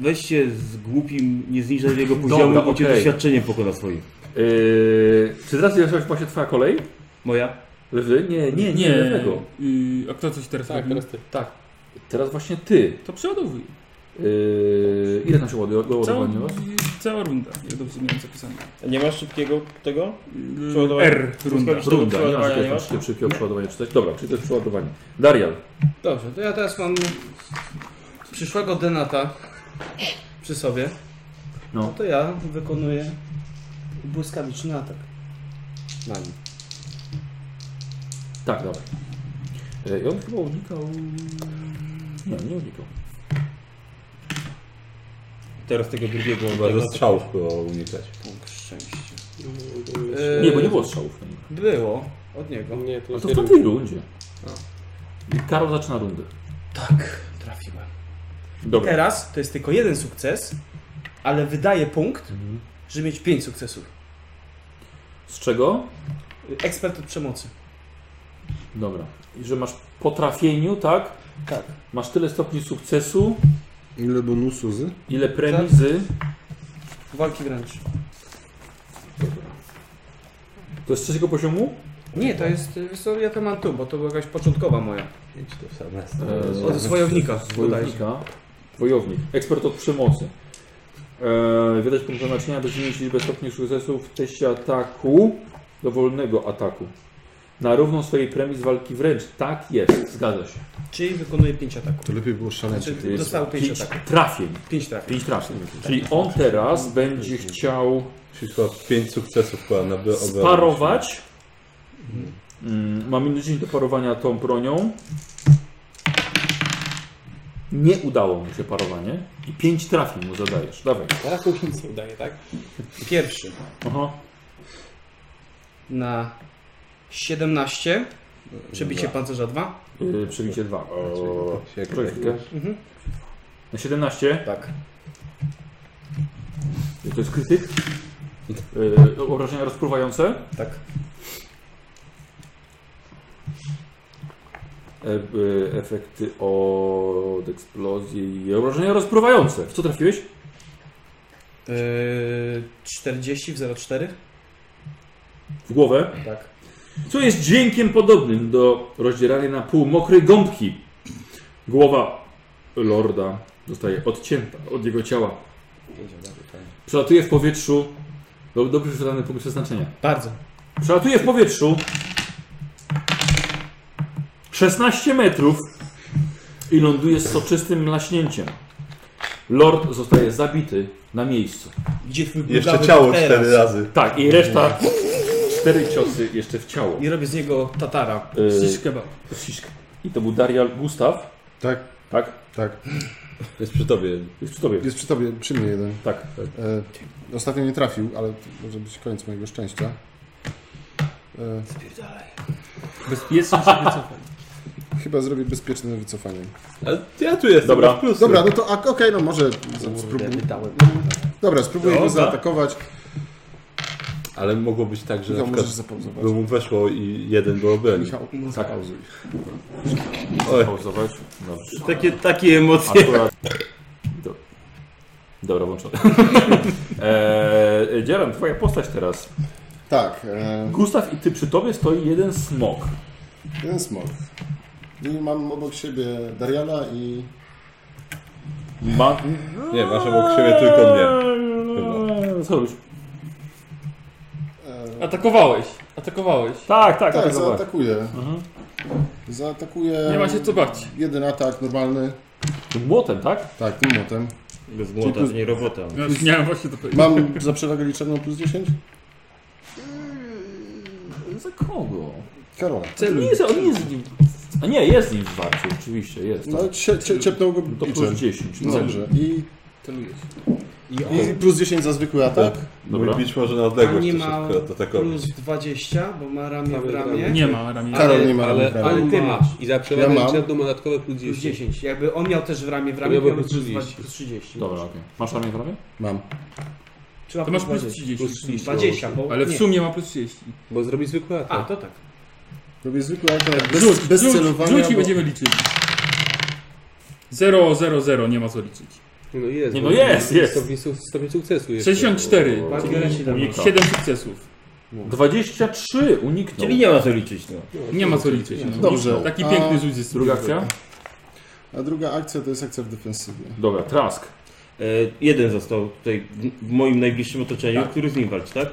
[SPEAKER 6] weź się z głupim, nie zniżaj jego poziomu,
[SPEAKER 1] Dobra,
[SPEAKER 6] bo cię
[SPEAKER 1] okej.
[SPEAKER 6] doświadczenie pokona swoim.
[SPEAKER 1] Yy, czy teraz jest właśnie twoja kolej?
[SPEAKER 6] Moja?
[SPEAKER 1] Lewy? Nie, nie, nie. Lewego.
[SPEAKER 4] Y, a kto coś teraz
[SPEAKER 7] Tak,
[SPEAKER 4] robi?
[SPEAKER 7] teraz ty. Tak.
[SPEAKER 1] Teraz właśnie ty.
[SPEAKER 4] To przeładowuj.
[SPEAKER 1] Yy, ile tam się
[SPEAKER 4] Cała,
[SPEAKER 1] ładowanie?
[SPEAKER 4] y, cała runda, jak dobrze miałem zapisane.
[SPEAKER 6] Nie masz szybkiego tego?
[SPEAKER 4] Y,
[SPEAKER 6] Przeładowanie.
[SPEAKER 4] R runda.
[SPEAKER 1] Runda, nie masz
[SPEAKER 6] Przeładowania nie
[SPEAKER 1] jakiegoś tam
[SPEAKER 6] masz?
[SPEAKER 1] szybkiego- szybkiego przeładowania czytać. Dobra, czyli to jest przeładowanie. Darial,
[SPEAKER 5] Dobrze, to ja teraz mam przyszłego Denata przy sobie.
[SPEAKER 1] No.
[SPEAKER 5] No. to ja wykonuję błyskawiczny atak. Na nim.
[SPEAKER 1] tak, dawaj. Yy, I on chyba unikał... Nie, nie unikał.
[SPEAKER 6] Teraz tego drugiego
[SPEAKER 3] Chyba, że
[SPEAKER 6] tego-
[SPEAKER 3] Tak, no, strzałów było unikać.
[SPEAKER 5] Punkt szczęścia. Yy,
[SPEAKER 7] Yy,
[SPEAKER 1] Nie, bo nie było strzałów. na niego.
[SPEAKER 5] Było od niego.
[SPEAKER 7] Nie, to
[SPEAKER 1] No
[SPEAKER 7] już
[SPEAKER 1] to
[SPEAKER 7] nie
[SPEAKER 1] w
[SPEAKER 7] robię.
[SPEAKER 1] tamtej rundzie. I Karol zaczyna rundę.
[SPEAKER 5] Tak, trafiłem.
[SPEAKER 1] Dobra.
[SPEAKER 5] Teraz to jest tylko jeden sukces, ale wydaje punkt, żeby mieć pięć sukcesów.
[SPEAKER 1] Z czego?
[SPEAKER 5] Ekspert od przemocy.
[SPEAKER 1] Dobra. I że masz po trafieniu, tak?
[SPEAKER 5] Tak.
[SPEAKER 1] Masz tyle stopni sukcesu,
[SPEAKER 2] Ile bonusu z?
[SPEAKER 1] ile premii
[SPEAKER 5] Tak.
[SPEAKER 1] z...
[SPEAKER 5] Walki wręcz.
[SPEAKER 1] To jest z trzeciego poziomu?
[SPEAKER 5] Nie, to jest, y, wiesz co, ja to mam tu, bo to była jakaś początkowa moja. E,
[SPEAKER 3] Idź to w sam
[SPEAKER 1] Eee,
[SPEAKER 5] Od wojownika.
[SPEAKER 1] Wojownika. Wojownik. Ekspert od przemocy. E, widać punkt przeznaczenia do zmniejszyć liczbę stopni sukcesu w teście ataku, dowolnego ataku. Na równą swojej premii z walki wręcz. Tak jest, zgadza się.
[SPEAKER 5] Czyli wykonuje 5 ataków.
[SPEAKER 2] To lepiej było szaleć.
[SPEAKER 5] Znaczy,
[SPEAKER 1] To jest
[SPEAKER 5] dostał 5
[SPEAKER 1] pięć
[SPEAKER 5] ataków. Tak.
[SPEAKER 1] trafień.
[SPEAKER 5] 5 trafień.
[SPEAKER 1] Pięć trafień. Czyli on teraz będzie chciał
[SPEAKER 3] Czyli chyba 5 sukcesów chyba na by- obronić.
[SPEAKER 1] sparować. Mm, ma minus 10 do parowania tą bronią. Nie udało mu się parowanie. I 5 trafień mu zadajesz. Dawaj.
[SPEAKER 5] Teraz już nic nie udaje, tak? Pierwszy
[SPEAKER 1] Aha.
[SPEAKER 5] na 17. Przebicie pancerza 2.
[SPEAKER 1] Yy, przebicie 2.
[SPEAKER 3] Siek-
[SPEAKER 5] Mhm.
[SPEAKER 1] Na 17.
[SPEAKER 5] Tak.
[SPEAKER 1] Y, To jest krytyk. Yy, obrażenia rozpruwające.
[SPEAKER 5] Tak.
[SPEAKER 1] E, e, efekty od eksplozji i obrażenia rozpruwające. W co trafiłeś?
[SPEAKER 5] Yy, 40 w 04?
[SPEAKER 1] W głowę.
[SPEAKER 5] Tak.
[SPEAKER 1] Co jest dźwiękiem podobnym do rozdzierania na pół mokrej gąbki. Głowa lorda zostaje odcięta od jego ciała. Przelatuje w powietrzu. Dob- Dobrze przeczytany punkt przeznaczenia.
[SPEAKER 5] Bardzo.
[SPEAKER 1] Przelatuje w powietrzu 16 metrów i ląduje z soczystym mlaśnięciem. Lord zostaje zabity na miejscu.
[SPEAKER 5] Gdzie twój
[SPEAKER 3] Jeszcze
[SPEAKER 5] bludawy
[SPEAKER 3] ciało
[SPEAKER 5] teraz?
[SPEAKER 3] 4 razy.
[SPEAKER 1] Tak, i reszta cztery ciosy jeszcze w ciało.
[SPEAKER 5] I robię z niego tatara.
[SPEAKER 1] Yy.
[SPEAKER 5] Yy. kebab.
[SPEAKER 1] Ścisk. I to był Darial Gustaw,
[SPEAKER 2] Tak,
[SPEAKER 1] tak?
[SPEAKER 2] tak.
[SPEAKER 3] Jest przy tobie.
[SPEAKER 1] Jest przy tobie.
[SPEAKER 2] Jest przy tobie, przy mnie jeden.
[SPEAKER 1] Tak.
[SPEAKER 2] E, ostatnio nie trafił, ale to może być koniec mojego szczęścia. E,
[SPEAKER 4] Bezpiecznie się wycofaj.
[SPEAKER 2] chyba zrobię bezpieczne wycofanie.
[SPEAKER 3] Ale ja tu jestem.
[SPEAKER 1] Dobra.
[SPEAKER 3] masz Plus.
[SPEAKER 2] Dobra, no to a- okej, no może spróbuję. Dobra, spróbuję go
[SPEAKER 3] Dobra.
[SPEAKER 2] zaatakować.
[SPEAKER 3] Ale mogło być tak, że na
[SPEAKER 2] Michał,
[SPEAKER 3] przykład
[SPEAKER 2] możesz zapauzować.
[SPEAKER 3] by mu weszło i jeden był obronił.
[SPEAKER 2] Michał,
[SPEAKER 1] Tak.
[SPEAKER 2] zapauzuj.
[SPEAKER 3] Oj,
[SPEAKER 1] Pauzować. Dobrze.
[SPEAKER 6] Takie, takie emocje.
[SPEAKER 1] Akurat. Do... Dobra, włączony. eee, Dzieran, twoja postać teraz.
[SPEAKER 2] Tak, e,
[SPEAKER 1] Gustaw i ty przy tobie stoi jeden smok.
[SPEAKER 2] jeden smok. I mam obok siebie Dariala i...
[SPEAKER 1] Ma...
[SPEAKER 3] nie, masz obok siebie tylko mnie.
[SPEAKER 1] Co robisz?
[SPEAKER 2] E,
[SPEAKER 4] Atakowałeś, atakowałeś.
[SPEAKER 1] Tak, tak,
[SPEAKER 2] tak,
[SPEAKER 1] tak. zobacz.
[SPEAKER 2] zaatakuję. Zaatakuję...
[SPEAKER 4] Mhm. Nie ma się co bać.
[SPEAKER 2] Jeden atak normalny.
[SPEAKER 1] Tym młotem, tak?
[SPEAKER 2] Tak, tym motem.
[SPEAKER 6] Bez młota, to nie robota.
[SPEAKER 4] Ja już miałem właśnie to powiedzieć.
[SPEAKER 2] Mam za przewagę liczebną plus 10?
[SPEAKER 1] Za kogo?
[SPEAKER 2] Karola.
[SPEAKER 1] On nie jest, on nie jest z nim. A nie, jest z nim w walce, oczywiście, jest. Tak.
[SPEAKER 2] No, cie, cie, ciepnął go
[SPEAKER 1] To plus
[SPEAKER 2] biczem.
[SPEAKER 1] 10.
[SPEAKER 2] No
[SPEAKER 1] No.
[SPEAKER 2] dobrze. I,
[SPEAKER 7] Celuję się.
[SPEAKER 2] I plus 10 za zwykły atak.
[SPEAKER 1] Dobra.
[SPEAKER 3] Mój bić może na
[SPEAKER 5] A
[SPEAKER 3] odległość
[SPEAKER 5] nie
[SPEAKER 3] też
[SPEAKER 5] ma
[SPEAKER 3] akurat atakować.
[SPEAKER 5] plus 20, bo ma ramię w
[SPEAKER 7] Prawie
[SPEAKER 5] ramię.
[SPEAKER 7] ramię.
[SPEAKER 4] Nie ma ramienia.
[SPEAKER 2] Karol
[SPEAKER 7] Ale-
[SPEAKER 2] nie ma
[SPEAKER 7] ale,
[SPEAKER 2] ramienia.
[SPEAKER 7] ale ty
[SPEAKER 5] Ja
[SPEAKER 7] masz. I za przewagę
[SPEAKER 2] Ja mam.
[SPEAKER 7] liczebną dodatkowe plus
[SPEAKER 5] Plus
[SPEAKER 7] 10.
[SPEAKER 5] 10. Jakby on miał też w ramię w ramię,
[SPEAKER 7] Ja
[SPEAKER 5] to
[SPEAKER 7] bym
[SPEAKER 5] miałby plus
[SPEAKER 7] 30.
[SPEAKER 5] 20, plus 30.
[SPEAKER 1] Dobra, okej. Masz ramię w ramię?
[SPEAKER 2] Mam.
[SPEAKER 5] Czy ma
[SPEAKER 4] To masz plus 30.
[SPEAKER 7] Plus 30.
[SPEAKER 5] 20, bo
[SPEAKER 4] Ale w
[SPEAKER 5] nie.
[SPEAKER 4] sumie ma plus 30.
[SPEAKER 7] Bo zrobi zwykły
[SPEAKER 5] A,
[SPEAKER 7] atak.
[SPEAKER 5] to tak.
[SPEAKER 2] Robię zwykły atak bez,
[SPEAKER 4] Tak, Rzuć,
[SPEAKER 2] bez
[SPEAKER 4] rzuć,
[SPEAKER 2] celowania.
[SPEAKER 4] rzuć i
[SPEAKER 2] bo-
[SPEAKER 4] będziemy liczyć. 0, 0, 0, nie ma co liczyć.
[SPEAKER 7] Nie, No jest.
[SPEAKER 1] Nie,
[SPEAKER 7] bo
[SPEAKER 1] no jest, jest.
[SPEAKER 7] Stopień, su- stopień sukcesu jest.
[SPEAKER 4] 64,
[SPEAKER 5] Biorę się tam.
[SPEAKER 1] Unik.
[SPEAKER 4] czyli 7 sukcesów.
[SPEAKER 1] 23 uniknął.
[SPEAKER 6] Czyli nie ma co liczyć, no.
[SPEAKER 4] Nie ma co liczyć. No.
[SPEAKER 2] Dobrze.
[SPEAKER 4] Taki
[SPEAKER 2] A-
[SPEAKER 4] piękny rzuć jest
[SPEAKER 1] Druga
[SPEAKER 4] druga
[SPEAKER 1] akcja?
[SPEAKER 2] A druga akcja to jest akcja w defensywie.
[SPEAKER 1] Dobra, trask.
[SPEAKER 6] E, jeden został tutaj w- w moim najbliższym otoczeniu, który z nim walczy, tak?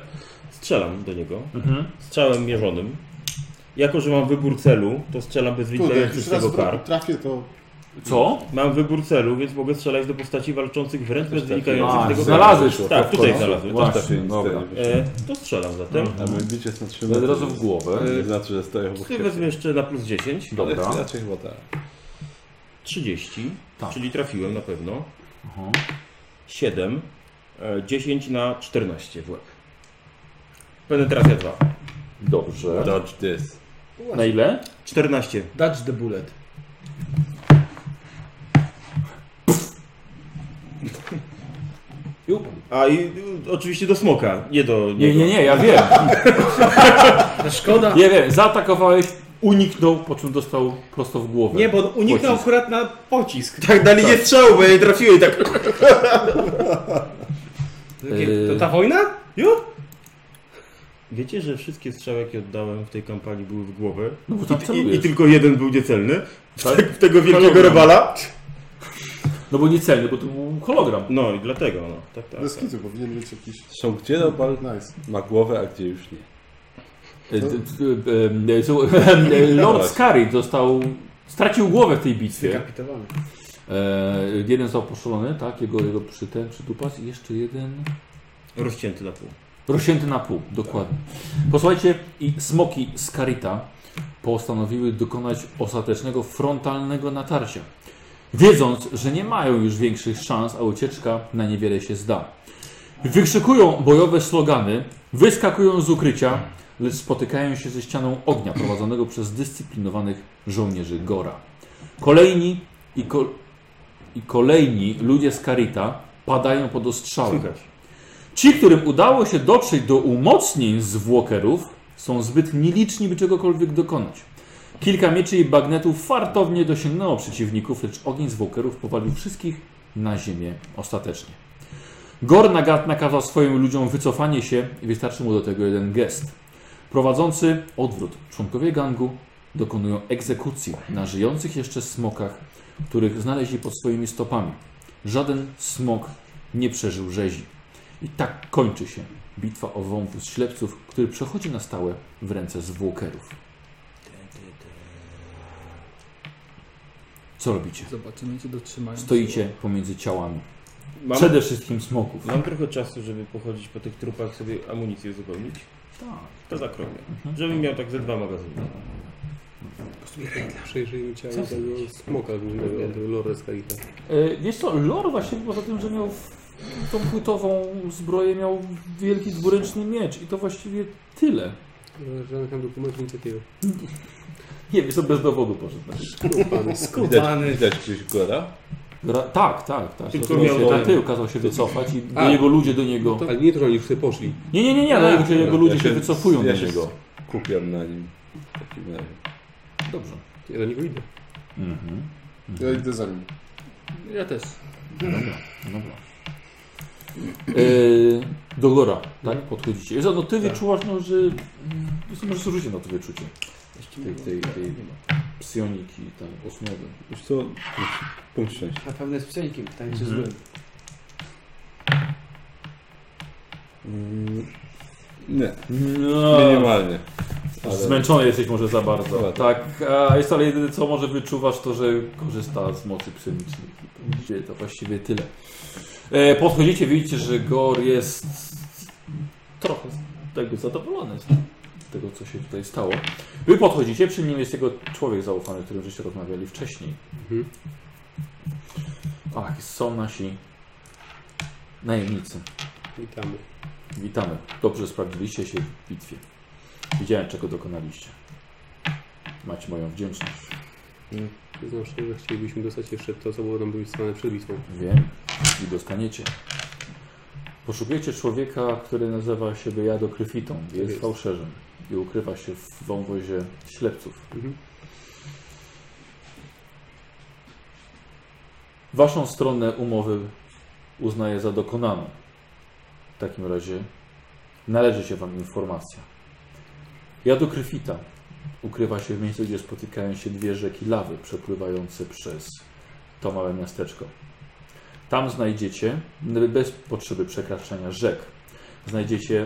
[SPEAKER 6] Strzelam do niego.
[SPEAKER 5] Mhm.
[SPEAKER 6] Strzałem mierzonym. Jako, że mam wybór celu, to strzelam bez
[SPEAKER 2] Kurde,
[SPEAKER 6] widzenia
[SPEAKER 2] jak już raz
[SPEAKER 6] czystego kar.
[SPEAKER 2] tra- trafię, to
[SPEAKER 1] Co?
[SPEAKER 6] Mam wybór celu, więc mogę strzelać do postaci walczących wręcz bez wynikających z
[SPEAKER 1] A,
[SPEAKER 6] tego
[SPEAKER 1] znalazłeś to.
[SPEAKER 6] Tak, tutaj znalazłem.
[SPEAKER 1] Właśnie,
[SPEAKER 3] Też się nic
[SPEAKER 1] dobra.
[SPEAKER 3] nie wyszło.
[SPEAKER 6] E, to strzelam zatem.
[SPEAKER 5] No,
[SPEAKER 3] A mój bić jest na 3
[SPEAKER 1] Od razu w głowę.
[SPEAKER 3] Nie znaczy, że stoję obok
[SPEAKER 6] Ty
[SPEAKER 3] siebie.
[SPEAKER 6] wezmę jeszcze na plus 10.
[SPEAKER 3] Ale
[SPEAKER 1] Dobra.
[SPEAKER 3] Raczej chyba tak.
[SPEAKER 6] 30,
[SPEAKER 1] Tak.
[SPEAKER 6] czyli trafiłem na pewno.
[SPEAKER 1] Aha.
[SPEAKER 6] 7, e, 10 na 14 w łeb. Penetracja 2.
[SPEAKER 1] Dobrze.
[SPEAKER 3] Dodge this.
[SPEAKER 1] Na ile?
[SPEAKER 6] 14.
[SPEAKER 5] Dodge the bullet.
[SPEAKER 6] A i y, oczywiście do smoka, nie do
[SPEAKER 1] Nie,
[SPEAKER 6] niego.
[SPEAKER 1] nie, nie, ja wiem.
[SPEAKER 5] Szkoda.
[SPEAKER 1] Nie wiem, zaatakowałeś, uniknął, po czym dostał prosto w głowę.
[SPEAKER 5] Nie, bo on uniknął
[SPEAKER 1] Pocisk.
[SPEAKER 5] akurat na pocisk.
[SPEAKER 6] Tak na linię strzału, bo ja nie trafiłem tak.
[SPEAKER 1] Yy.
[SPEAKER 5] To ta wojna? Ju?
[SPEAKER 6] Wiecie, że wszystkie strzały, jakie oddałem w tej kampanii były w głowę
[SPEAKER 1] No bo tam
[SPEAKER 6] i, i
[SPEAKER 1] celujesz.
[SPEAKER 6] tylko jeden był niecelny?
[SPEAKER 1] Tak?
[SPEAKER 6] W tego wielkiego
[SPEAKER 1] Panowie.
[SPEAKER 6] rywala?
[SPEAKER 1] No bo nie celny, bo to był hologram.
[SPEAKER 6] No i dlatego, no. Tak, tak.
[SPEAKER 2] Bez kitu powinien być jakiś...
[SPEAKER 3] Są gdzie Robal
[SPEAKER 2] Nice.
[SPEAKER 3] ma głowę, a gdzie już nie.
[SPEAKER 1] E, d- d- e, so- e, Lord Scary dostał, stracił głowę w tej bitwie.
[SPEAKER 5] Kapitowany.
[SPEAKER 1] E, jeden został poszolony, tak, jego, jego przyten, przytupas i jeszcze jeden
[SPEAKER 6] Rozcięty na pół.
[SPEAKER 1] rozcięty na pół, dokładnie. Posłuchajcie, i smoki z Karita postanowiły dokonać ostatecznego frontalnego natarcia, wiedząc, że nie mają już większych szans, a ucieczka na niewiele się zda. Wykrzykują bojowe slogany, wyskakują z ukrycia, lecz spotykają się ze ścianą ognia prowadzonego przez dyscyplinowanych żołnierzy Gora. Kolejni i, ko- i kolejni ludzie z Karita padają pod ostrzały.
[SPEAKER 6] Słychać.
[SPEAKER 1] Ci, którym udało się dotrzeć do umocnień zwłokerów, są zbyt nieliczni, by czegokolwiek dokonać. Kilka mieczy i bagnetów fartownie dosięgnęło przeciwników, lecz ogień zwłokerów powalił wszystkich na ziemię ostatecznie. Gor Nagat nakazał swoim ludziom wycofanie się i wystarczy mu do tego jeden gest. Prowadzący odwrót członkowie gangu dokonują egzekucji na żyjących jeszcze smokach, których znaleźli pod swoimi stopami. Żaden smok nie przeżył rzezi. I tak kończy się bitwa o wąwóz ślepców, który przechodzi na stałe w ręce zwłokerów. Co robicie?
[SPEAKER 4] Zobaczymy, czy dotrzymają.
[SPEAKER 1] Stoicie pomiędzy ciałami.
[SPEAKER 6] Mam,
[SPEAKER 1] Przede wszystkim smoków.
[SPEAKER 6] mam trochę czasu, żeby pochodzić po tych trupach, sobie amunicję uzupełnić.
[SPEAKER 1] Tak.
[SPEAKER 6] To zakroję. Żebym miał tak ze dwa magazyny.
[SPEAKER 7] Przejrzyjmy ciało tego smoka głównego od Lorda Skagita.
[SPEAKER 1] E, wiesz co, Lor właśnie poza tym, że miał w- tą płytową zbroję, miał wielki dwuręczny miecz i to właściwie tyle.
[SPEAKER 7] No, Żadnych tam dokumentów, nic takiego.
[SPEAKER 1] Nie, wiesz co, bez dowodu poszedł.
[SPEAKER 3] Widać, widać gdzieś Gora?
[SPEAKER 1] Gra... Tak, tak, tak.
[SPEAKER 6] Tylko
[SPEAKER 1] Tylko się
[SPEAKER 6] miał-
[SPEAKER 1] na tył kazał się wycofać i
[SPEAKER 7] A.
[SPEAKER 1] jego ludzie do niego...
[SPEAKER 7] Ale nie to, że oni już sobie poszli.
[SPEAKER 1] Nie, nie, nie, nie, no, jego, jego ludzie
[SPEAKER 3] Ja
[SPEAKER 1] się wycofują
[SPEAKER 3] ja
[SPEAKER 1] do
[SPEAKER 3] się
[SPEAKER 1] niego.
[SPEAKER 3] Kupiam na nim. W takim razie.
[SPEAKER 1] Dobrze.
[SPEAKER 7] Ja do niego idę.
[SPEAKER 1] Mhm.
[SPEAKER 2] Ja idę za nim.
[SPEAKER 4] Ja też.
[SPEAKER 1] No Dobra. Yy, do Gora, tak? Podchodzicie. Jezu, no ty wyczułaś, no, że... mm, Jezu, Możesz rzucić na to wyczucie. Tej, tej, tej psioniki, tam, osmowy.
[SPEAKER 3] Już co? Punkt szczęścia.
[SPEAKER 5] Na pewno jest tak psionikiem, pytanie czy
[SPEAKER 6] Mhm.
[SPEAKER 5] złym.
[SPEAKER 3] Mm, Nie,
[SPEAKER 1] No,
[SPEAKER 3] minimalnie. ale-
[SPEAKER 1] Zmęczony jesteś może za bardzo.
[SPEAKER 3] Dobra.
[SPEAKER 1] Tak, a jest ale jedyne co może wyczuwasz to, że korzysta z mocy psionicznych. I to właściwie- To właściwie tyle. E, podchodzicie, widzicie, że Gor jest trochę jakby zadowolony z tego, co się tutaj stało. Wy podchodzicie, przy nim jest jego człowiek zaufany, z którym żeście rozmawiali wcześniej.
[SPEAKER 7] Mhm.
[SPEAKER 1] Ach, są nasi najemnicy.
[SPEAKER 7] Witamy.
[SPEAKER 1] Witamy. Dobrze sprawdziliście się w bitwie. Widziałem, czego dokonaliście. Macie moją wdzięczność.
[SPEAKER 7] To Znaczy, że chcielibyśmy dostać jeszcze to, co było nam było wysłane przed bitwą.
[SPEAKER 1] Wiem i dostaniecie. Poszukujecie człowieka, który nazywa siebie Jado Kryfitą. Jest,
[SPEAKER 7] jest.
[SPEAKER 1] fałszerzem i ukrywa się w wąwozie ślepców.
[SPEAKER 7] Mhm.
[SPEAKER 1] Waszą stronę umowy uznaję za dokonaną. W takim razie należy się Wam informacja. Jado Kryfita ukrywa się w miejscu, gdzie spotykają się dwie rzeki lawy przepływające przez to małe miasteczko. Tam znajdziecie, bez potrzeby przekraczania rzek, znajdziecie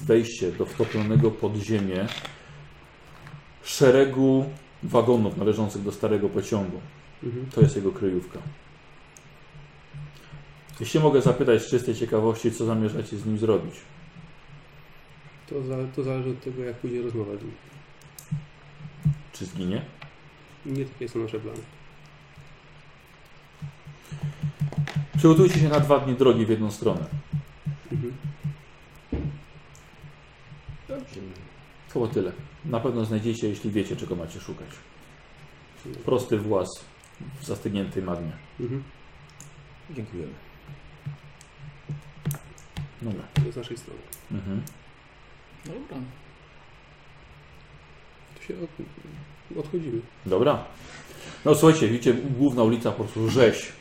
[SPEAKER 1] wejście do wtopionego pod ziemię szeregu wagonów należących do starego pociągu.
[SPEAKER 7] Mhm.
[SPEAKER 1] To jest jego kryjówka. Jeśli mogę zapytać z czystej ciekawości, co zamierzacie z nim zrobić?
[SPEAKER 7] To, za, to zależy od tego, jak pójdzie rozmowa z nim.
[SPEAKER 1] Czy zginie?
[SPEAKER 7] Nie takie są nasze plany.
[SPEAKER 1] Przygotujcie się na dwa dni drogi w jedną stronę.
[SPEAKER 7] Mhm.
[SPEAKER 1] Chyba tyle. Na pewno znajdziecie, jeśli wiecie, czego macie szukać. Prosty włas w zastygniętej magmie.
[SPEAKER 7] Mhm.
[SPEAKER 6] Dziękujemy.
[SPEAKER 1] Dobra.
[SPEAKER 7] To z naszej strony.
[SPEAKER 1] Mhm.
[SPEAKER 4] Dobra.
[SPEAKER 7] To się od... odchodzimy.
[SPEAKER 1] Dobra. No słuchajcie, widzicie, główna ulica po prostu rzeź.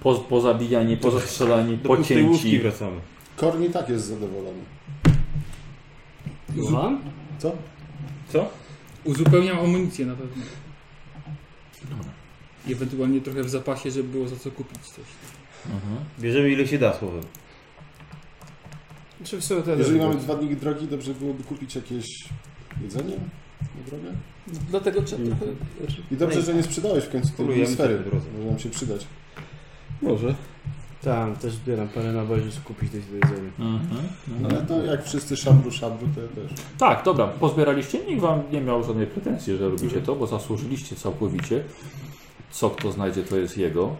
[SPEAKER 1] Po, pozabijani, pozastrzelani,
[SPEAKER 6] Do pustej łuski
[SPEAKER 1] pocięci.
[SPEAKER 6] wracamy.
[SPEAKER 2] Korni tak jest zadowolony.
[SPEAKER 5] Złam?
[SPEAKER 2] Co?
[SPEAKER 6] Co?
[SPEAKER 4] Uzupełniam amunicję na pewno. i ewentualnie trochę w zapasie, żeby było za co kupić coś.
[SPEAKER 6] Bierzemy ile się da słowem.
[SPEAKER 5] Czy w sobie to
[SPEAKER 2] Jeżeli mamy dwa dni drogi, dobrze byłoby kupić jakieś jedzenie na drogę.
[SPEAKER 4] Dlatego trzeba trochę...
[SPEAKER 2] I dobrze, że nie sprzedałeś w końcu tej
[SPEAKER 6] Królujemy
[SPEAKER 2] sfery.
[SPEAKER 6] sobie drodze.
[SPEAKER 2] Może nam się przydać.
[SPEAKER 3] Może.
[SPEAKER 5] Tam, Tak, też zbieram parę nabozi, żeby kupić coś do jedzenia.
[SPEAKER 1] Mhm. No.
[SPEAKER 2] Ale No to jak wszyscy szabru, szabru, to ja też.
[SPEAKER 1] Tak, dobra, pozbieraliście. Nikt wam nie miał żadnej pretensji, że robicie to, bo zasłużyliście całkowicie. Co kto znajdzie, to jest jego.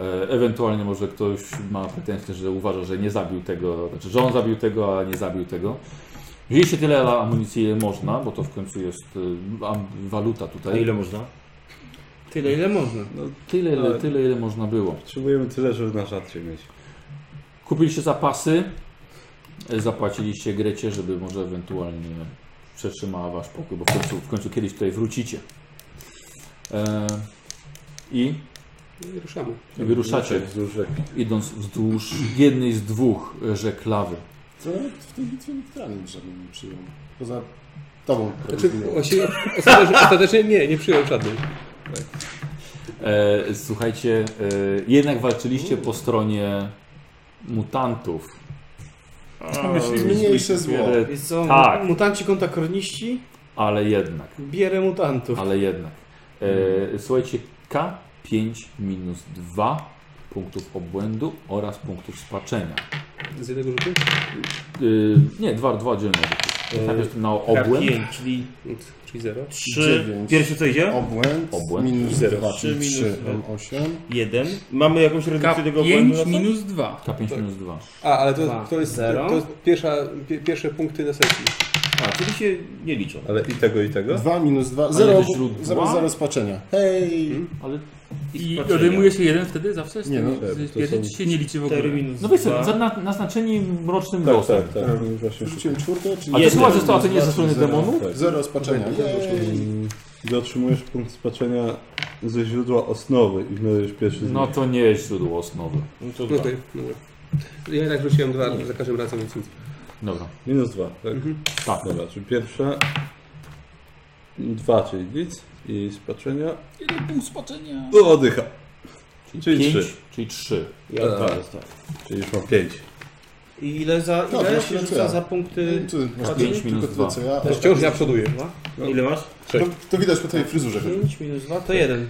[SPEAKER 1] E, Ewentualnie może ktoś ma pretensję, że uważa, że nie zabił tego, znaczy, że on zabił tego, a nie zabił tego. Wzięliście tyle amunicji, ile można, bo to w końcu jest e, am- waluta
[SPEAKER 6] A
[SPEAKER 1] tutaj. No,
[SPEAKER 6] ile można?
[SPEAKER 5] Tyle ile można. No.
[SPEAKER 1] Tyle, ile,
[SPEAKER 3] Ale-
[SPEAKER 1] tyle, ile można było.
[SPEAKER 3] Potrzebujemy tyle, żeby na żarcie mieć.
[SPEAKER 1] Kupiliście zapasy, e, zapłaciliście Grecie, żeby może ewentualnie przetrzymała wasz pokój, bo w końcu, w końcu kiedyś tutaj wrócicie. E, I
[SPEAKER 7] I ruszamy.
[SPEAKER 1] wyruszacie,
[SPEAKER 3] Wzdłuż rzeki.
[SPEAKER 1] idąc wzdłuż jednej z dwóch rzek lawy.
[SPEAKER 2] Co nawet w tej bitwie nikt rany żadnej nie przyjął. Poza tobą.
[SPEAKER 7] Znaczy,
[SPEAKER 2] Karolino.
[SPEAKER 7] właśnie ostatecznie, ostatecznie nie, nie przyjąłem żadnej.
[SPEAKER 1] E, słuchajcie, e, jednak walczyliście po stronie mutantów.
[SPEAKER 2] Mniejsze zło.
[SPEAKER 1] E,
[SPEAKER 5] Więc co,
[SPEAKER 1] Tak.
[SPEAKER 5] mutanci kontra korniści?
[SPEAKER 1] ale jednak,
[SPEAKER 5] Bierę mutantów.
[SPEAKER 1] ale jednak. E, słuchajcie, K5 minus 2 punktów obłędu oraz punktów spaczenia.
[SPEAKER 7] Z jednego rzutu?
[SPEAKER 1] Y, nie, dwa, dwa dzielne. Najpierw na obłęd.
[SPEAKER 6] K5, czyli
[SPEAKER 7] Nic, Czyli zero.
[SPEAKER 6] 3.
[SPEAKER 2] Dziewięć.
[SPEAKER 6] Pierwszy co idzie?
[SPEAKER 2] Obłęd,
[SPEAKER 1] Obłęd.
[SPEAKER 2] minus
[SPEAKER 6] Zero.
[SPEAKER 2] 2,
[SPEAKER 6] Trzy
[SPEAKER 2] czyli
[SPEAKER 6] minus
[SPEAKER 2] 3,
[SPEAKER 6] zero.
[SPEAKER 2] M8.
[SPEAKER 6] 1. Mamy jakąś redukcję tego obłędu? na
[SPEAKER 4] K5
[SPEAKER 6] to?
[SPEAKER 4] minus 2.
[SPEAKER 1] K5 minus 2.
[SPEAKER 7] A, ale
[SPEAKER 5] Dwa,
[SPEAKER 7] to, to jest,
[SPEAKER 5] zero.
[SPEAKER 7] to jest pierwsza, pie, pierwsze punkty na sesji.
[SPEAKER 6] A, czyli się nie liczą.
[SPEAKER 3] Ale i tego, i tego?
[SPEAKER 2] 2 minus 2, 0,
[SPEAKER 1] do źródła?
[SPEAKER 2] 0, 0 spaczenia. Hej!
[SPEAKER 1] Ale.
[SPEAKER 4] I
[SPEAKER 6] spaczenia.
[SPEAKER 4] odejmuje się jeden wtedy zawsze? Z
[SPEAKER 2] Nie,
[SPEAKER 4] tym-
[SPEAKER 3] no,
[SPEAKER 4] z-
[SPEAKER 3] to
[SPEAKER 4] jeden
[SPEAKER 3] są
[SPEAKER 4] ci się nie liczy w ogóle.
[SPEAKER 6] 4 minus
[SPEAKER 1] No wiesz, co,
[SPEAKER 6] 2.
[SPEAKER 1] za- na- naznaczeni mrocznym
[SPEAKER 3] Tak,
[SPEAKER 1] losem.
[SPEAKER 3] tak, tak. Właśnie
[SPEAKER 2] Rzuciłem czwórkę, czyli
[SPEAKER 1] A to
[SPEAKER 6] Jeden.
[SPEAKER 1] chyba została to nie ze strony demonu?
[SPEAKER 3] tak.
[SPEAKER 2] 0 spaczenia. Jej!
[SPEAKER 3] Mm, Gdy otrzymujesz punkt spaczenia ze źródła osnowy, ignorujesz pierwszy z
[SPEAKER 1] No
[SPEAKER 3] nich.
[SPEAKER 1] to nie jest źródło osnowy.
[SPEAKER 6] No to
[SPEAKER 7] No
[SPEAKER 6] dwa.
[SPEAKER 7] to, dobra. Ja tak rzuciłem dwa za każdym razem, więc nic.
[SPEAKER 1] Dobra.
[SPEAKER 3] Minus dwa, tak?
[SPEAKER 4] Mhm.
[SPEAKER 1] Tak.
[SPEAKER 3] Dobra, czyli pierwsza. Dwa, czyli nic. I spaczenia.
[SPEAKER 4] Jeden punkt spaczenia.
[SPEAKER 3] No oddycha. Czyli
[SPEAKER 1] Pięć,
[SPEAKER 3] trzy.
[SPEAKER 1] Czyli trzy.
[SPEAKER 6] Ja
[SPEAKER 3] Tak,
[SPEAKER 6] tak.
[SPEAKER 3] tak. Czyli już mam pięć.
[SPEAKER 5] I ile za,
[SPEAKER 2] No,
[SPEAKER 5] ile
[SPEAKER 2] to
[SPEAKER 5] się
[SPEAKER 2] znaczy
[SPEAKER 5] rzuca
[SPEAKER 2] ja.
[SPEAKER 5] za punkty?
[SPEAKER 2] Co ty masz
[SPEAKER 1] Pięć
[SPEAKER 2] pięć?
[SPEAKER 1] minus
[SPEAKER 2] Tylko
[SPEAKER 1] dwa.
[SPEAKER 2] tyle co ja.
[SPEAKER 7] To wciąż ja przoduję.
[SPEAKER 6] Ile masz?
[SPEAKER 2] To, to widać po twojej fryzurze.
[SPEAKER 5] 5 minus 2 to 1.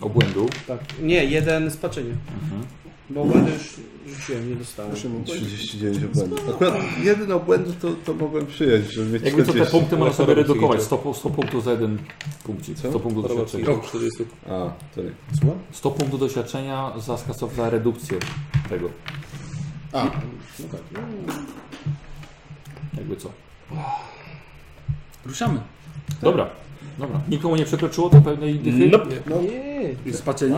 [SPEAKER 1] Obłędu.
[SPEAKER 5] Tak. Nie, 1 spaczenie.
[SPEAKER 3] Mhm.
[SPEAKER 5] Bo będę już rzuciłem, nie dostałem.
[SPEAKER 2] Musimy
[SPEAKER 3] 39 obłędów. Akurat jeden obłędu to, to mogłem przyjąć, żeby mieć
[SPEAKER 1] Jakby co te
[SPEAKER 3] 40.
[SPEAKER 1] punkty można sobie
[SPEAKER 7] Choroba
[SPEAKER 1] redukować.
[SPEAKER 7] psychiczna.
[SPEAKER 1] 100, 100 punktów za jeden punkcik. 100 punktów doświadczenia.
[SPEAKER 7] Rok 40.
[SPEAKER 3] A, to nie.
[SPEAKER 1] 100 punktów doświadczenia za skasow- za redukcję tego.
[SPEAKER 2] A,
[SPEAKER 1] Jakby co.
[SPEAKER 4] Ruszamy.
[SPEAKER 1] Dobra. Dobra. Nikomu nie przekroczyło to pewnej dychy?
[SPEAKER 6] No.
[SPEAKER 4] Spaczenie?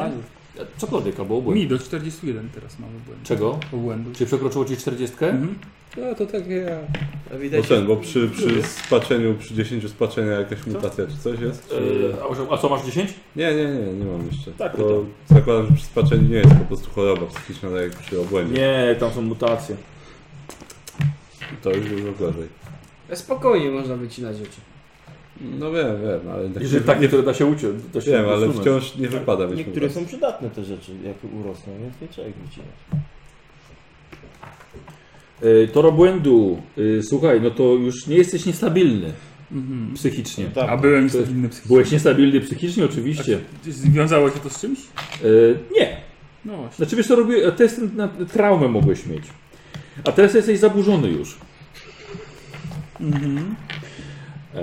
[SPEAKER 1] Cokolwiek albo obłęd.
[SPEAKER 4] Mi do 41 teraz mam obłędu.
[SPEAKER 1] Czego?
[SPEAKER 4] Obłędu.
[SPEAKER 1] Czy przekroczyło ci 40?
[SPEAKER 4] Mhm.
[SPEAKER 7] No to tak ja.
[SPEAKER 5] A
[SPEAKER 3] Bo
[SPEAKER 5] widać,
[SPEAKER 3] No ten, bo przy, przy spaczeniu, przy 10 spaczenia jakaś mutacja czy coś jest? Czy...
[SPEAKER 1] E, a- a co masz 10?
[SPEAKER 3] Nie, nie, nie, nie mam jeszcze.
[SPEAKER 1] Tak,
[SPEAKER 3] bo zakładam, że przy spaczeniu nie jest po prostu choroba psychiczna, tak jak przy obłędzie.
[SPEAKER 1] Nie, tam są mutacje.
[SPEAKER 3] To już dużo gorzej.
[SPEAKER 5] E, spokojnie można wycinać rzeczy.
[SPEAKER 3] No wiem, wiem, ale tak
[SPEAKER 1] Jeżeli tak nie, to da się uciec. Da się
[SPEAKER 3] wiem, ale
[SPEAKER 1] usunąć.
[SPEAKER 3] wciąż nie wypada być
[SPEAKER 6] Niektóre
[SPEAKER 3] mutacją.
[SPEAKER 6] są przydatne te rzeczy, jak urosną, więc nie trzeba ich wycinać.
[SPEAKER 1] E, Tor obłędu, e, słuchaj, no to już nie jesteś niestabilny
[SPEAKER 4] Mhm.
[SPEAKER 1] psychicznie.
[SPEAKER 6] Tak.
[SPEAKER 4] A byłem
[SPEAKER 1] To jest-
[SPEAKER 4] inny psychicznie.
[SPEAKER 1] Byłeś niestabilny psychicznie oczywiście.
[SPEAKER 4] Związało się to z czymś?
[SPEAKER 1] E, nie.
[SPEAKER 4] No właśnie.
[SPEAKER 1] Znaczy wiesz co robię, test na traumę mogłeś mieć. A teraz jesteś zaburzony już.
[SPEAKER 4] Mhm.
[SPEAKER 1] E,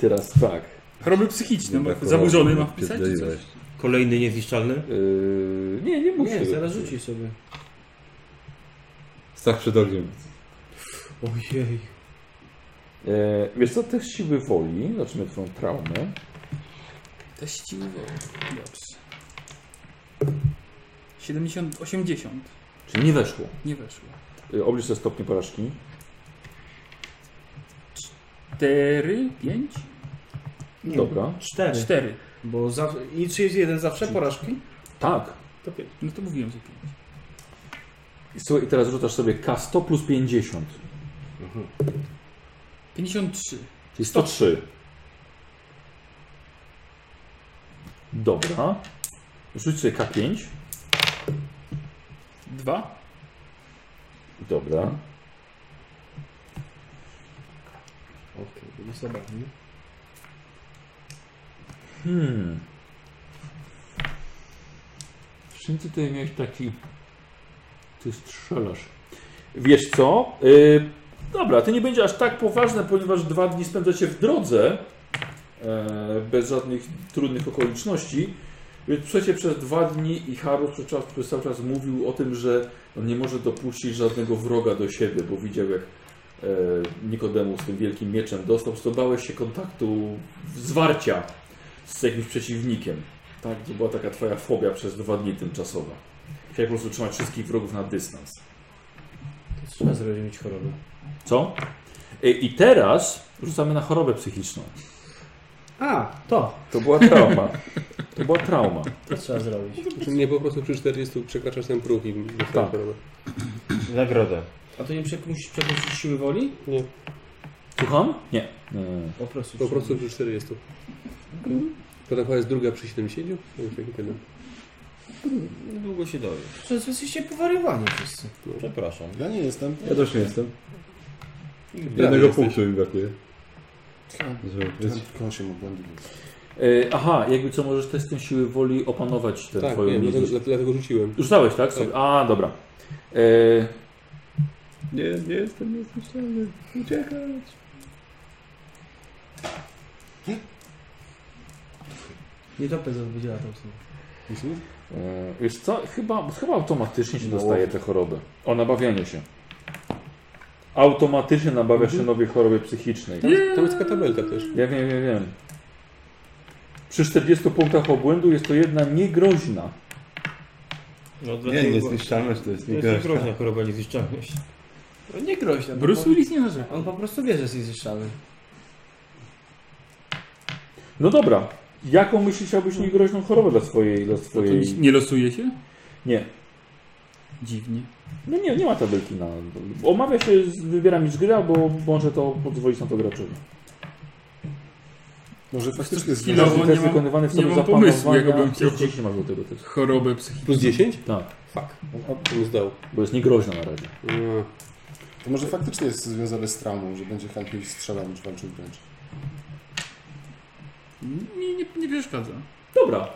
[SPEAKER 1] teraz tak.
[SPEAKER 4] Choroby psychiczne.
[SPEAKER 3] Nie
[SPEAKER 4] ma-
[SPEAKER 3] brakowało
[SPEAKER 4] Zaburzony ma
[SPEAKER 3] mi
[SPEAKER 4] wpisać czy coś?
[SPEAKER 3] pierdoliwości.
[SPEAKER 6] Kolejny niezniszczalny?
[SPEAKER 1] E, nie,
[SPEAKER 3] No
[SPEAKER 1] nie musisz.
[SPEAKER 5] Nie, zaraz rzuci sobie.
[SPEAKER 3] Strach przed ogniem.
[SPEAKER 5] Ojej.
[SPEAKER 1] E, wiesz co, też siły woli, zobaczymy twoją traumę.
[SPEAKER 4] Teściło. Dobrze. 70, 80.
[SPEAKER 1] Czyli nie weszło.
[SPEAKER 4] Nie weszło.
[SPEAKER 1] E, oblicz te stopnie porażki.
[SPEAKER 4] 4, 5,
[SPEAKER 5] Nie,
[SPEAKER 1] Dobra.
[SPEAKER 5] Cztery.
[SPEAKER 4] 4.
[SPEAKER 5] Bo za, i czy jest jeden zawsze porażki?
[SPEAKER 1] Tak.
[SPEAKER 5] To pięć.
[SPEAKER 4] No to mówiłem, że 5.
[SPEAKER 1] I Słuchaj, i teraz rzucasz sobie K100 plus 50.
[SPEAKER 4] 53.
[SPEAKER 1] Czyli 103. Dobra. Rzuć sobie K5.
[SPEAKER 4] Dwa?
[SPEAKER 1] Dobra. Hmm. Czym ty tutaj miałeś taki... Ty strzelasz. Wiesz co? Y, dobra, to nie będzie aż tak poważne, ponieważ dwa dni spędzacie w drodze e, bez żadnych trudnych okoliczności. Więc słuchajcie, przez dwa dni i Harus przez czas- przez cały czas mówił o tym, że on nie może dopuścić żadnego wroga do siebie, bo widział jak e, Nikodemus tym wielkim mieczem dostał, to bałeś się kontaktu, zwarcia z jakimś przeciwnikiem. Tak, to była taka twoja fobia przez dwa dni tymczasowa. Chciałeś po prostu trzymać wszystkich wrogów na dystans.
[SPEAKER 5] Trzeba zrozumieć chorobę.
[SPEAKER 1] Co? Y, I teraz rzucamy na chorobę psychiczną.
[SPEAKER 5] A, to.
[SPEAKER 1] To była trauma. To była trauma.
[SPEAKER 5] To trzeba zrobić.
[SPEAKER 7] Nie Znaczy, po prostu przy 40 przekraczasz ten próg i
[SPEAKER 1] Tak.
[SPEAKER 7] tak.
[SPEAKER 6] Nagrodę.
[SPEAKER 5] A to nie przek- musisz przekroczyć siły woli?
[SPEAKER 7] Nie,
[SPEAKER 1] Słucham? Nie. Nie, nie, nie.
[SPEAKER 5] Po prostu.
[SPEAKER 7] po prostu przy 40. Potem chyba jest druga przy 70? To już taki tyle.
[SPEAKER 6] Niedługo się dowie.
[SPEAKER 5] Przecież jesteście powariowani wszyscy.
[SPEAKER 6] Przepraszam.
[SPEAKER 2] Ja nie jestem.
[SPEAKER 3] Ja też nie jestem.
[SPEAKER 7] Prawie
[SPEAKER 3] Jednego
[SPEAKER 7] jesteś.
[SPEAKER 3] punktu mi brakuje. Więc
[SPEAKER 2] Tylko się mogłem
[SPEAKER 1] Y, Aha, jakby co możesz testem siły woli opanować tę
[SPEAKER 7] Tak,
[SPEAKER 1] twoją
[SPEAKER 7] wiem, dlatego,
[SPEAKER 1] niezłą-
[SPEAKER 7] dlatego- dlatego rzuciłem.
[SPEAKER 1] Rzucałeś, tak? Sobie? A, dobra. Y,
[SPEAKER 3] nie, nie jestem, nie jestem szczelny. Uciekać.
[SPEAKER 5] Nie topę zapowiedziała tą sumę.
[SPEAKER 1] y, Wiesz co? Chyba, chyba automatycznie się dostaje tę chorobę. O nabawianie się. Automatycznie nabawia się nowej choroby psychicznej.
[SPEAKER 7] Tam Mhm. jest katabelka też.
[SPEAKER 1] Ja wiem, wiem, wiem. Przy 40 punktach obłędu jest to jedna niegroźna.
[SPEAKER 6] No,
[SPEAKER 3] Nie, niezniszczalność to jest
[SPEAKER 6] To jest niegroźna
[SPEAKER 3] niegroźne.
[SPEAKER 6] choroba, niezniszczalność.
[SPEAKER 5] No nie groźna. bo
[SPEAKER 4] Bruce
[SPEAKER 5] po-
[SPEAKER 4] Willis nie narzeka.
[SPEAKER 5] On po prostu wie, że jest zniszczalny.
[SPEAKER 1] No dobra. Jaką myślisz, chciałbyś niegroźną chorobę dla swojej,
[SPEAKER 7] No
[SPEAKER 1] dla
[SPEAKER 4] To
[SPEAKER 1] swojej...
[SPEAKER 4] Nie losuje się?
[SPEAKER 1] Nie.
[SPEAKER 4] Dziwnie.
[SPEAKER 1] No nie, nie ma tabelki na... Omawia się z wybierami z gry, bo może to pozwolić na to graczowi.
[SPEAKER 2] Może faktycznie jest
[SPEAKER 4] Chwilowo
[SPEAKER 1] Każdy
[SPEAKER 4] nie
[SPEAKER 1] test
[SPEAKER 4] mam-
[SPEAKER 1] wykonywany w
[SPEAKER 4] nie
[SPEAKER 1] sobie
[SPEAKER 4] mam pomysłu,
[SPEAKER 1] zapanowania...
[SPEAKER 4] jaką bym chciał.
[SPEAKER 1] 10 masz do tego testu.
[SPEAKER 4] Chorobę psychiczną.
[SPEAKER 7] Plus 10?
[SPEAKER 1] Tak,
[SPEAKER 7] Fuck. To mi zdał.
[SPEAKER 1] bo jest niegroźna na razie.
[SPEAKER 7] Mm.
[SPEAKER 2] To może faktycznie jest związane z traumą, że będzie chętniej strzelał niż walczył wręcz.
[SPEAKER 4] Nie, nie, nie przeszkadza.
[SPEAKER 1] Dobra.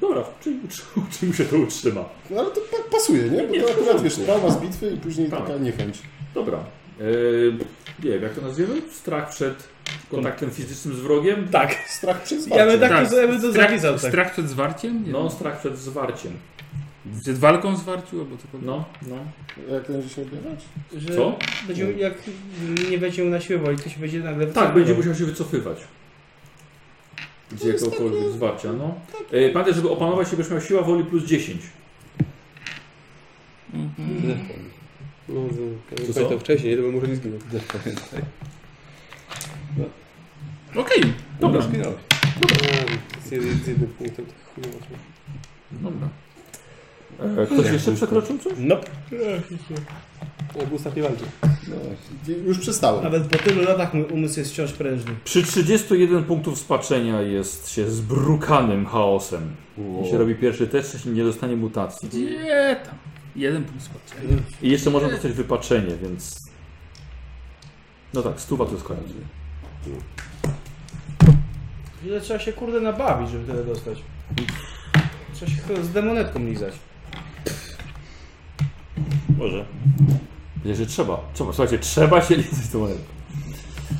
[SPEAKER 1] Dobra, czyli utrzyma- czym się to utrzyma?
[SPEAKER 2] No ale to pa- pasuje, nie?
[SPEAKER 1] Nie,
[SPEAKER 2] Bo
[SPEAKER 1] w
[SPEAKER 2] to akurat wiesz,
[SPEAKER 1] porządku.
[SPEAKER 2] trauma z bitwy i później
[SPEAKER 1] Tak.
[SPEAKER 2] taka niechęć.
[SPEAKER 1] Dobra. Eee, nie wiem, jak to nazwiemy? Strach przed kontaktem fizycznym z wrogiem? Tak.
[SPEAKER 2] Strach przed
[SPEAKER 5] Ja bym
[SPEAKER 2] zwarciem.
[SPEAKER 5] tak,
[SPEAKER 4] Tak,
[SPEAKER 5] to, ja bym to zapisał. Tak.
[SPEAKER 4] Strach przed zwarciem? Nie
[SPEAKER 1] No,
[SPEAKER 4] wiem.
[SPEAKER 1] strach przed zwarciem.
[SPEAKER 4] Przed walką zwarciu albo cokolwiek.
[SPEAKER 1] No, no.
[SPEAKER 2] Jak to będzie się odbywać?
[SPEAKER 5] Że
[SPEAKER 1] Co?
[SPEAKER 5] Będzie, jak nie będzie mu na siłę woli, to się będzie nagle
[SPEAKER 1] Tak, będzie musiał się wycofywać. Z jakiegokolwiek zwarcia, no. Eee, pamiętaj, żeby opanować się, byś miał siła woli plus 10.
[SPEAKER 7] No, no,
[SPEAKER 1] To
[SPEAKER 7] to,
[SPEAKER 1] co?
[SPEAKER 7] to wcześniej, to bym może nie zginął.
[SPEAKER 4] Okej, dobra.
[SPEAKER 7] A, Z jednym, no, z jednym punktem, to no, chujowo.
[SPEAKER 1] Dobra. Eee, ktoś jeszcze przekroczył coś?
[SPEAKER 6] No,
[SPEAKER 7] Jak Gustaw nie walczy.
[SPEAKER 2] Już przestałem.
[SPEAKER 5] Nawet po tylu latach mój umysł jest wciąż prężny.
[SPEAKER 1] Przy 31 punktów spaczenia jest się zbrukanym chaosem. Jeśli robi pierwszy test, jeśli nie dostanie mutacji.
[SPEAKER 4] Gdzie tam? Jeden punkt spadł.
[SPEAKER 1] I jeszcze można dostać wypaczenie, więc... No tak, stuwa to jest koniec.
[SPEAKER 5] Ile trzeba się kurde nabawić, żeby tyle dostać? Trzeba się chyba z demonetką lizać.
[SPEAKER 6] może.
[SPEAKER 1] Wiesz, że trzeba. Trzeba, słuchajcie, trzeba się liczyć tą monetą.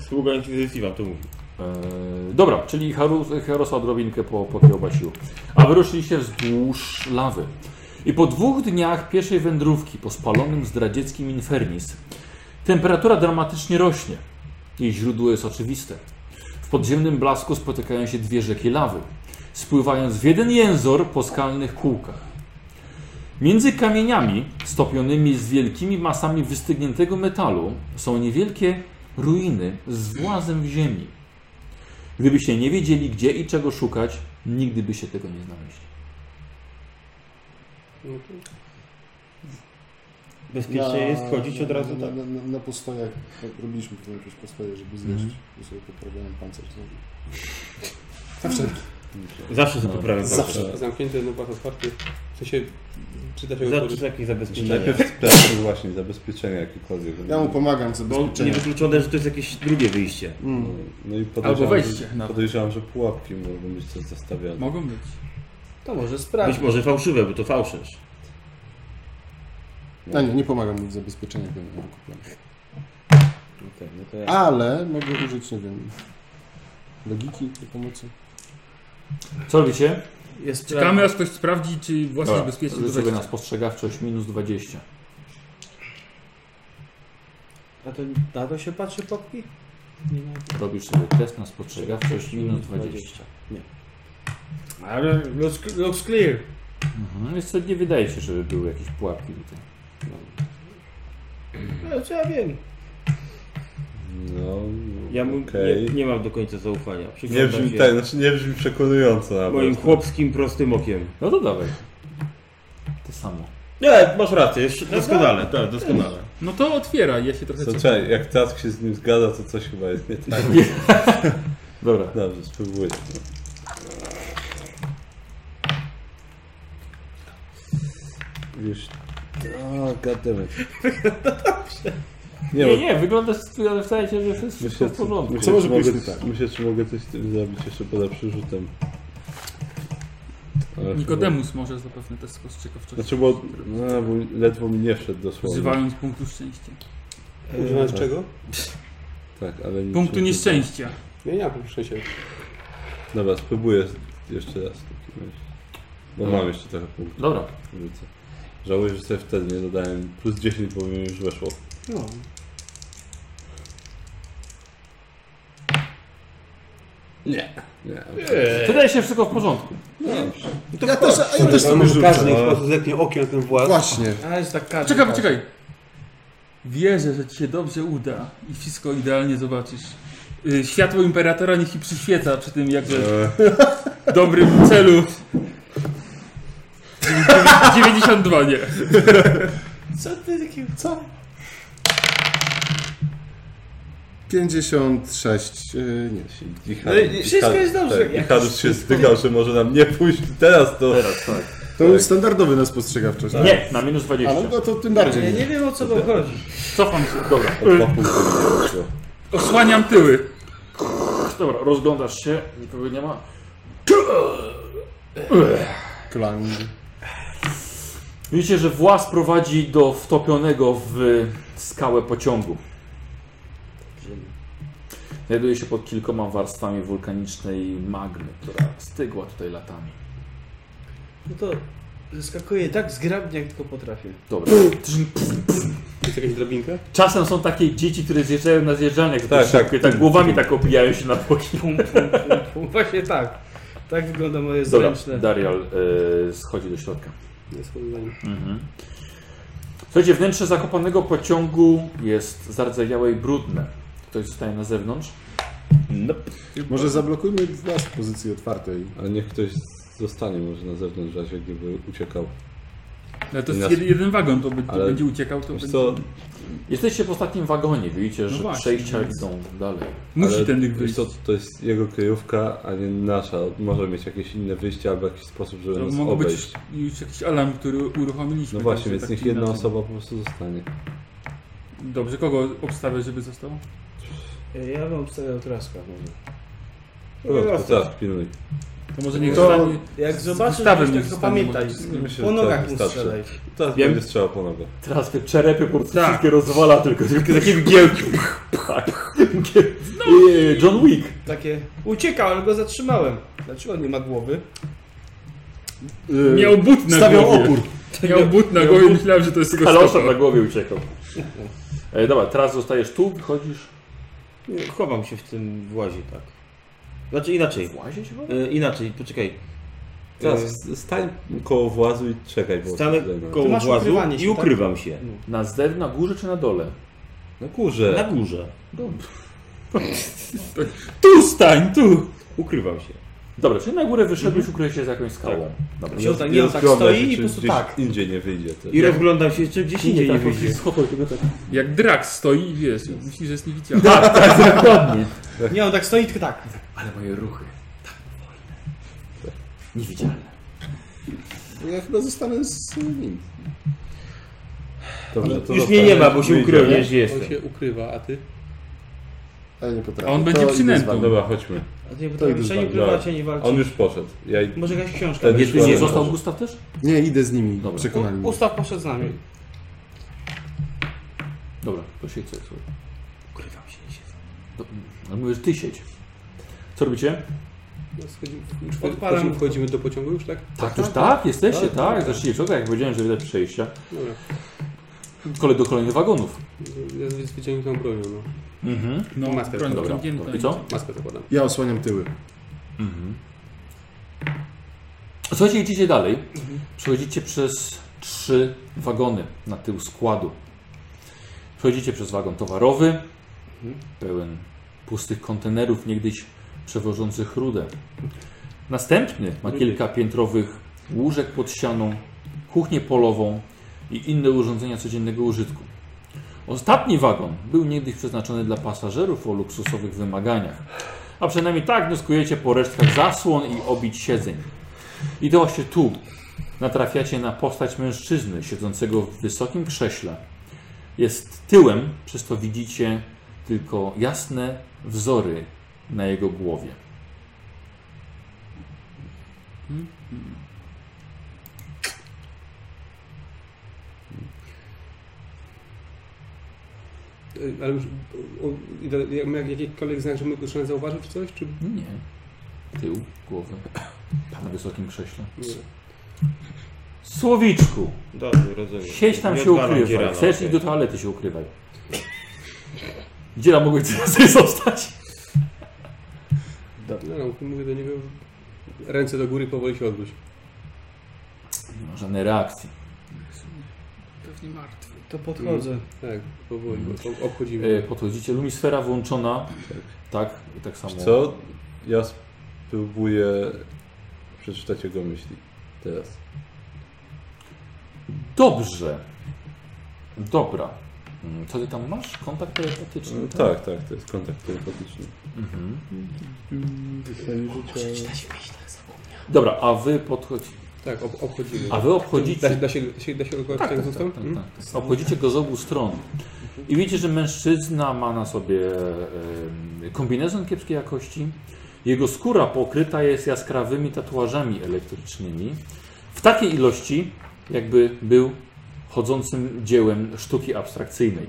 [SPEAKER 6] Sługa inkwizycji wam to mówi.
[SPEAKER 1] Eee, dobra, czyli Harus, Harosa odrobinkę po, pokiełba sił. A wyruszyliście wzdłuż lawy. I po dwóch dniach pieszej wędrówki po spalonym zdradzieckim Infernis temperatura dramatycznie rośnie. Jej źródło jest oczywiste. W podziemnym blasku spotykają się dwie rzeki lawy, spływając w jeden jęzor po skalnych kółkach. Między kamieniami stopionymi z wielkimi masami wystygniętego metalu są niewielkie ruiny z włazem w ziemi. Gdybyście nie wiedzieli gdzie i czego szukać, nigdy byście tego nie znaleźli.
[SPEAKER 7] No to-
[SPEAKER 6] Bezpiecznie jest wchodzić od razu
[SPEAKER 2] na,
[SPEAKER 6] tak.
[SPEAKER 2] na, na, na postojach, tak robiliśmy
[SPEAKER 6] Mhm.
[SPEAKER 2] potem jakieś postoje, żeby zjeść, mm. sobie poprawiałem pancerz znowu. Na wszelki.
[SPEAKER 6] Zawsze to poprawiam.
[SPEAKER 2] Zawsze.
[SPEAKER 6] cały czas.
[SPEAKER 7] Zamknięty, no pas otwarty. W sensie czyta się
[SPEAKER 6] Zawsze są jakieś zabezpieczenia.
[SPEAKER 3] Najpierw sprawdźmy właśnie zabezpieczenia jakiekolwiek.
[SPEAKER 2] Ja mu pomagam z
[SPEAKER 6] Bo
[SPEAKER 2] zabezpieczeniem.
[SPEAKER 6] niewykluczone, że to jest jakieś drugie wyjście.
[SPEAKER 2] Mm.
[SPEAKER 3] No i
[SPEAKER 4] Albo
[SPEAKER 3] podejrzewam,
[SPEAKER 4] wejście
[SPEAKER 3] że,
[SPEAKER 4] nawet.
[SPEAKER 3] podejrzewam, że pułapki mogą być coś zastawiane.
[SPEAKER 4] Mogą być.
[SPEAKER 5] To może
[SPEAKER 6] Być
[SPEAKER 5] sprawdź.
[SPEAKER 6] może fałszywe, bo to fałszerz.
[SPEAKER 2] No nie, nie pomagam mu w zabezpieczeniu, bo nie kupiłem.
[SPEAKER 6] Okej, no to ja.
[SPEAKER 2] Ale mogę użyć, nie wiem, logiki do pomocy.
[SPEAKER 1] Co robicie?
[SPEAKER 5] Ja sprawdzę.
[SPEAKER 4] Czekamy, aż ktoś sprawdzi, czy własność
[SPEAKER 1] Dobra,
[SPEAKER 4] bezpieczna do
[SPEAKER 1] rzuć sobie
[SPEAKER 4] wejścia.
[SPEAKER 1] na spostrzegawczość minus 20.
[SPEAKER 5] A to na to się patrzy popki? Nie na
[SPEAKER 1] Robisz sobie test na spostrzegawczość minus 20.
[SPEAKER 5] Ale looks, looks clear.
[SPEAKER 1] Mhm. Więc to nie wydaje się, żeby były jakieś pułapki tutaj.
[SPEAKER 5] No co ja wiem.
[SPEAKER 3] No,
[SPEAKER 6] Ja mu
[SPEAKER 3] okej.
[SPEAKER 6] nie, nie mam do końca zaufania.
[SPEAKER 3] Nie,
[SPEAKER 6] Przyglądam
[SPEAKER 3] brzmi
[SPEAKER 6] się
[SPEAKER 3] tak, znaczy nie brzmi przekonująco nawet.
[SPEAKER 6] Moim chłopskim, prostym okiem.
[SPEAKER 1] No to dawaj. To samo.
[SPEAKER 6] Nie, masz rację, jest doskonale, tak, doskonale.
[SPEAKER 4] No to otwieraj, ja się trochę
[SPEAKER 3] Co,
[SPEAKER 4] cieszę.
[SPEAKER 3] czekaj, jak Task się z nim zgadza, to coś chyba jest nie tak.
[SPEAKER 1] Dobra.
[SPEAKER 3] Dobrze, spróbuję. Wiesz... O, goddammit. Nie,
[SPEAKER 1] Nie,
[SPEAKER 3] bo
[SPEAKER 1] nie, wygląda, ale wydaje się, że to jest wszystko
[SPEAKER 3] myślę,
[SPEAKER 1] w porządku.
[SPEAKER 3] myślę,
[SPEAKER 2] Co może
[SPEAKER 3] czy mogę,
[SPEAKER 2] być nie tak?
[SPEAKER 3] myślę, czy mogę coś z tym zrobić jeszcze poza przerzutem. Ale
[SPEAKER 4] Nikodemus może zapewne też spostrzegawczość.
[SPEAKER 3] chyba- Znaczy, bo, no, bo ledwo mi nie wszedł dosłownie.
[SPEAKER 4] Używając punktu szczęścia.
[SPEAKER 7] Używając czego?
[SPEAKER 3] Tak, ale mi
[SPEAKER 4] Punktu
[SPEAKER 3] wszedł.
[SPEAKER 4] nieszczęścia.
[SPEAKER 7] Ja nie mam punktu szczęścia.
[SPEAKER 3] Dobra, spróbuję jeszcze raz. w takim razie. Bo mam jeszcze trochę punktów.
[SPEAKER 1] Dobra.
[SPEAKER 3] Widzę. Żałuję, że sobie wtedy nie dodałem. Plus 10, bo mi już weszło.
[SPEAKER 7] No.
[SPEAKER 3] Nie,
[SPEAKER 1] Wydaje się wszystko w porządku.
[SPEAKER 2] Ja też, a ja też
[SPEAKER 7] Ale
[SPEAKER 2] sobie
[SPEAKER 7] może każdy
[SPEAKER 2] rzucę.
[SPEAKER 7] ich po prostu zerknie okiem na ten włas.
[SPEAKER 2] Właśnie.
[SPEAKER 5] A jest tak każdy.
[SPEAKER 4] Czekaj, poczekaj. Wierzę, że ci się dobrze uda i wszystko idealnie zobaczysz. Y, Światło imperatora niech ci przyświeca przy tym jakże
[SPEAKER 3] E.
[SPEAKER 4] dobrym celu. 92, nie.
[SPEAKER 5] Co ty taki, co?
[SPEAKER 2] 56, yy, nie.
[SPEAKER 5] No i- i wszystko jest dobrze.
[SPEAKER 3] tak, I
[SPEAKER 5] Jakoś
[SPEAKER 3] Hadus się zdygał, że może nam nie pójść. Teraz to... Teraz, tak.
[SPEAKER 2] To był standardowy na spostrzegawczość. Nie.
[SPEAKER 1] tak. Na minus
[SPEAKER 2] Ale
[SPEAKER 1] 20.
[SPEAKER 2] no to tym
[SPEAKER 5] Ja
[SPEAKER 2] bardziej.
[SPEAKER 5] nie wiem o co wam chodzi.
[SPEAKER 4] Cofam się. Dobra.
[SPEAKER 3] Punkty,
[SPEAKER 4] Osłaniam tyły.
[SPEAKER 1] Dobra, rozglądasz się, nikogo nie ma.
[SPEAKER 2] Klang.
[SPEAKER 1] Widzicie, że włas prowadzi do wtopionego w skałę pociągu. Znajduje się pod kilkoma warstwami wulkanicznej magmy, która stygła tutaj latami.
[SPEAKER 5] No to zeskakuję tak zgrabnie jak tylko potrafię.
[SPEAKER 1] Dobra.
[SPEAKER 7] Jest jakaś drabinka?
[SPEAKER 1] Czasem są takie dzieci, które zjeżdżają na zjeżdżalniach tak,
[SPEAKER 3] Tak,
[SPEAKER 1] tak, szybko i tak
[SPEAKER 3] tak.
[SPEAKER 1] głowami tak opijają się na boki.
[SPEAKER 5] Pum, pum, pum, pum. Właśnie tak. Tak wygląda moje
[SPEAKER 1] Dobra,
[SPEAKER 5] zręczne.
[SPEAKER 1] Darial y, schodzi do środka. Mhm.
[SPEAKER 7] Nie schodzę za nim.
[SPEAKER 1] Słuchajcie, wnętrze zakopanego pociągu jest zardzewiałe i brudne. Ktoś zostaje na zewnątrz.
[SPEAKER 2] Może zablokujmy nas w pozycji otwartej.
[SPEAKER 3] Ale niech ktoś zostanie może na zewnątrz, w razie gdyby uciekał.
[SPEAKER 4] Ale No to
[SPEAKER 3] Nas-
[SPEAKER 4] jest jeden, jeden wagon, to, by, to
[SPEAKER 3] Ale-
[SPEAKER 4] będzie uciekał, to
[SPEAKER 3] Wiesz
[SPEAKER 4] będzie...
[SPEAKER 3] co,
[SPEAKER 1] Jesteście w ostatnim wagonie, widzicie, że
[SPEAKER 4] No właśnie,
[SPEAKER 1] przejścia
[SPEAKER 4] więc-
[SPEAKER 1] idą dalej.
[SPEAKER 4] Musi
[SPEAKER 3] ale
[SPEAKER 4] ten ryk
[SPEAKER 3] wiesz
[SPEAKER 4] wyjść.
[SPEAKER 3] co, to jest jego kryjówka, a nie nasza. Może mieć jakieś inne wyjście albo jakiś sposób, żeby
[SPEAKER 4] To
[SPEAKER 3] nas
[SPEAKER 4] mógł być
[SPEAKER 3] obejść.
[SPEAKER 4] już, już jakiś alarm, który uruchomiliśmy.
[SPEAKER 3] No właśnie,
[SPEAKER 4] także
[SPEAKER 3] więc
[SPEAKER 4] tak
[SPEAKER 3] niech
[SPEAKER 4] czy
[SPEAKER 3] jedna
[SPEAKER 4] inaczej.
[SPEAKER 3] osoba po prostu zostanie.
[SPEAKER 4] Dobrze, kogo obstawiasz, żeby został?
[SPEAKER 5] Ja bym obstawiał traska może.
[SPEAKER 3] No, teraz pilnuj.
[SPEAKER 4] To może niech
[SPEAKER 2] To-
[SPEAKER 4] zostanie...
[SPEAKER 5] Jak zobaczysz,
[SPEAKER 4] wystawem
[SPEAKER 5] to
[SPEAKER 4] niech
[SPEAKER 5] tylko
[SPEAKER 4] wstanie,
[SPEAKER 5] pamiętaj.
[SPEAKER 3] Myślę,
[SPEAKER 5] Po
[SPEAKER 3] że
[SPEAKER 5] nogach
[SPEAKER 3] tak,
[SPEAKER 5] mu
[SPEAKER 3] wystarczy.
[SPEAKER 5] strzelaj.
[SPEAKER 3] Teraz
[SPEAKER 1] Ja-
[SPEAKER 3] będzie strzał po nogę.
[SPEAKER 1] Teraz te czerepy po prostu
[SPEAKER 4] Tak.
[SPEAKER 1] wszystkie rozwala, tylko, tylko takie mgiełki. Eee, John Wick.
[SPEAKER 5] Takie, uciekał, ale go zatrzymałem. Dlaczego on nie ma głowy?
[SPEAKER 2] Yy,
[SPEAKER 4] Miał but na
[SPEAKER 2] Stawiał
[SPEAKER 4] głowie.
[SPEAKER 2] opór.
[SPEAKER 4] Miał but na głowie, myślałem, że to jest jego
[SPEAKER 1] Ale
[SPEAKER 4] stopa.
[SPEAKER 1] oszczep na głowie uciekał. E, dobra, teraz zostajesz tu, wychodzisz.
[SPEAKER 6] Chowam się w tym włazie, tak. Znaczy inaczej.
[SPEAKER 1] Włazić chyba?
[SPEAKER 6] E, inaczej, poczekaj.
[SPEAKER 3] Teraz stań koło włazu i czekaj. Bo
[SPEAKER 6] Stanę
[SPEAKER 5] Ty
[SPEAKER 6] koło
[SPEAKER 5] masz
[SPEAKER 6] włazu
[SPEAKER 5] ukrywanie się,
[SPEAKER 6] i
[SPEAKER 5] tak?
[SPEAKER 6] ukrywam się.
[SPEAKER 1] Na zewnątrz, na górze czy na dole?
[SPEAKER 3] Na
[SPEAKER 6] Na
[SPEAKER 3] górze.
[SPEAKER 6] górze.
[SPEAKER 4] Tu stań, tu! Mhm.
[SPEAKER 6] Ukrywam się.
[SPEAKER 1] Dobra, czyli na górę wyszedłeś, ukryłeś się za jakąś skałą. Dobra.
[SPEAKER 5] Wziął tak, nie, on tak stoi i po prostu tak.
[SPEAKER 3] Indziej nie wyjdzie też.
[SPEAKER 6] I rozglądam się jeszcze gdzieś indziej nie
[SPEAKER 1] tak, po
[SPEAKER 6] wyjdzie.
[SPEAKER 1] prostu schowaj tego tak.
[SPEAKER 4] Jak Drax stoi i wiesz, myśli, że jest niewidzialny.
[SPEAKER 5] Nie, on tak stoi tylko tak.
[SPEAKER 1] Ale moje ruchy. Niewidzialne.
[SPEAKER 2] Ja
[SPEAKER 3] No,
[SPEAKER 2] chyba zostanę z nim.
[SPEAKER 3] Dobrze, to
[SPEAKER 6] Już
[SPEAKER 3] dobra,
[SPEAKER 6] mnie nie ma, bo się
[SPEAKER 3] my
[SPEAKER 6] ukryłem,
[SPEAKER 3] idziemy.
[SPEAKER 6] nie, że
[SPEAKER 7] On
[SPEAKER 6] jestem.
[SPEAKER 7] się ukrywa, a ty?
[SPEAKER 2] Ale nie potrafię.
[SPEAKER 4] A on
[SPEAKER 2] To
[SPEAKER 4] będzie
[SPEAKER 2] idę z
[SPEAKER 4] przynętą.
[SPEAKER 2] wami.
[SPEAKER 3] Dobra, chodźmy.
[SPEAKER 6] A ty
[SPEAKER 2] To
[SPEAKER 6] bo
[SPEAKER 2] idę
[SPEAKER 6] tam
[SPEAKER 2] z
[SPEAKER 6] nie
[SPEAKER 2] wami,
[SPEAKER 6] ukrywacie, nie
[SPEAKER 3] A tak. On
[SPEAKER 6] walczy.
[SPEAKER 3] już poszedł. Ja i-
[SPEAKER 6] Może jakaś książka.
[SPEAKER 3] Ten
[SPEAKER 6] będzie.
[SPEAKER 3] już
[SPEAKER 1] Nie, nie
[SPEAKER 3] Dobra,
[SPEAKER 1] został
[SPEAKER 3] dobrze.
[SPEAKER 1] Gustaw też?
[SPEAKER 2] Nie, idę z nimi.
[SPEAKER 1] Dobra.
[SPEAKER 2] Przekonali mnie.
[SPEAKER 7] Ustaw poszedł z nami.
[SPEAKER 1] Dobra, to siedź sobie. słuchaj.
[SPEAKER 6] Ukrywam się, nie siedzę.
[SPEAKER 1] To- No mówisz, ty siedź. Co robicie?
[SPEAKER 7] No, Schodzimy,
[SPEAKER 6] Odpalam.
[SPEAKER 7] wchodzimy, wchodzimy do pociągu już, tak?
[SPEAKER 1] Tak, już tak? Jesteście, tak? Zaczniecie czekać, jak powiedziałem, że widać przejścia.
[SPEAKER 7] Dobra.
[SPEAKER 1] Kolej do kolejnych wagonów.
[SPEAKER 7] Ja z wyciągniętą bronią, no.
[SPEAKER 1] Mhm.
[SPEAKER 4] No,
[SPEAKER 7] Master,
[SPEAKER 4] broń
[SPEAKER 1] Dobra.
[SPEAKER 4] wyciągnięta
[SPEAKER 3] No
[SPEAKER 1] I co?
[SPEAKER 7] Maskę zakładam.
[SPEAKER 2] Ja osłaniam tyły.
[SPEAKER 1] Słuchajcie, idziecie dalej. Przechodzicie przez trzy wagony na tył składu. Przechodzicie przez wagon towarowy, pełen pustych kontenerów, niegdyś przewożących rudę. Następny ma kilka piętrowych łóżek pod ścianą, kuchnię polową i inne urządzenia codziennego użytku. Ostatni wagon był niegdyś przeznaczony dla pasażerów o luksusowych wymaganiach, a przynajmniej tak wnioskujecie po resztkach zasłon i obić siedzeń. I to właśnie tu natrafiacie na postać mężczyzny siedzącego w wysokim krześle. Jest tyłem, przez to widzicie tylko jasne wzory na jego głowie.
[SPEAKER 7] Y, Ale już, o, i da- jak- jak jakikolwiek znak, że my go trzeba zauważył czy coś, czy...
[SPEAKER 1] Nie. Tył głowy na wysokim krześle.
[SPEAKER 7] Nie.
[SPEAKER 1] Słowiczku,
[SPEAKER 6] Dobrze, rozumiem.
[SPEAKER 1] siedź tam
[SPEAKER 6] Nie
[SPEAKER 1] się
[SPEAKER 6] odwalam cię
[SPEAKER 1] ukrywaj.
[SPEAKER 6] rano,
[SPEAKER 1] Chcesz
[SPEAKER 6] okej.
[SPEAKER 1] iść do toalety się ukrywaj. Dziela mogłeś sobie zostać.
[SPEAKER 7] No, no, mówię do niego, ręce do góry, powoli się odwróć.
[SPEAKER 1] Nie ma żadnej reakcji.
[SPEAKER 4] Pewnie martwy.
[SPEAKER 5] To podchodzę.
[SPEAKER 7] Tak, powoli, bo to obchodzimy.
[SPEAKER 1] E, Podchodzicie, lumisfera włączona. Tak, i tak samo.
[SPEAKER 3] Co? Ja spróbuję przeczytać jego myśli. Teraz.
[SPEAKER 1] Dobrze. Dobra. Mm, Co ty tam masz? Kontakt telepatyczny?
[SPEAKER 3] No, tak, tak, to jest kontakt telepatyczny. Mhm.
[SPEAKER 1] Dobra, a wy podchodzi...
[SPEAKER 7] Tak, ob, obchodzimy.
[SPEAKER 1] A wy
[SPEAKER 7] da,
[SPEAKER 1] obchodzicie...
[SPEAKER 7] da, się, da, się, da się go
[SPEAKER 1] Tak, tak,
[SPEAKER 7] tak,
[SPEAKER 1] tak, tak, tak, tak. Obchodzicie go z obu stron. I widzicie, że mężczyzna ma na sobie em, kombinezon kiepskiej jakości. Jego skóra pokryta jest jaskrawymi tatuażami elektrycznymi. W takiej ilości, jakby był chodzącym dziełem sztuki abstrakcyjnej.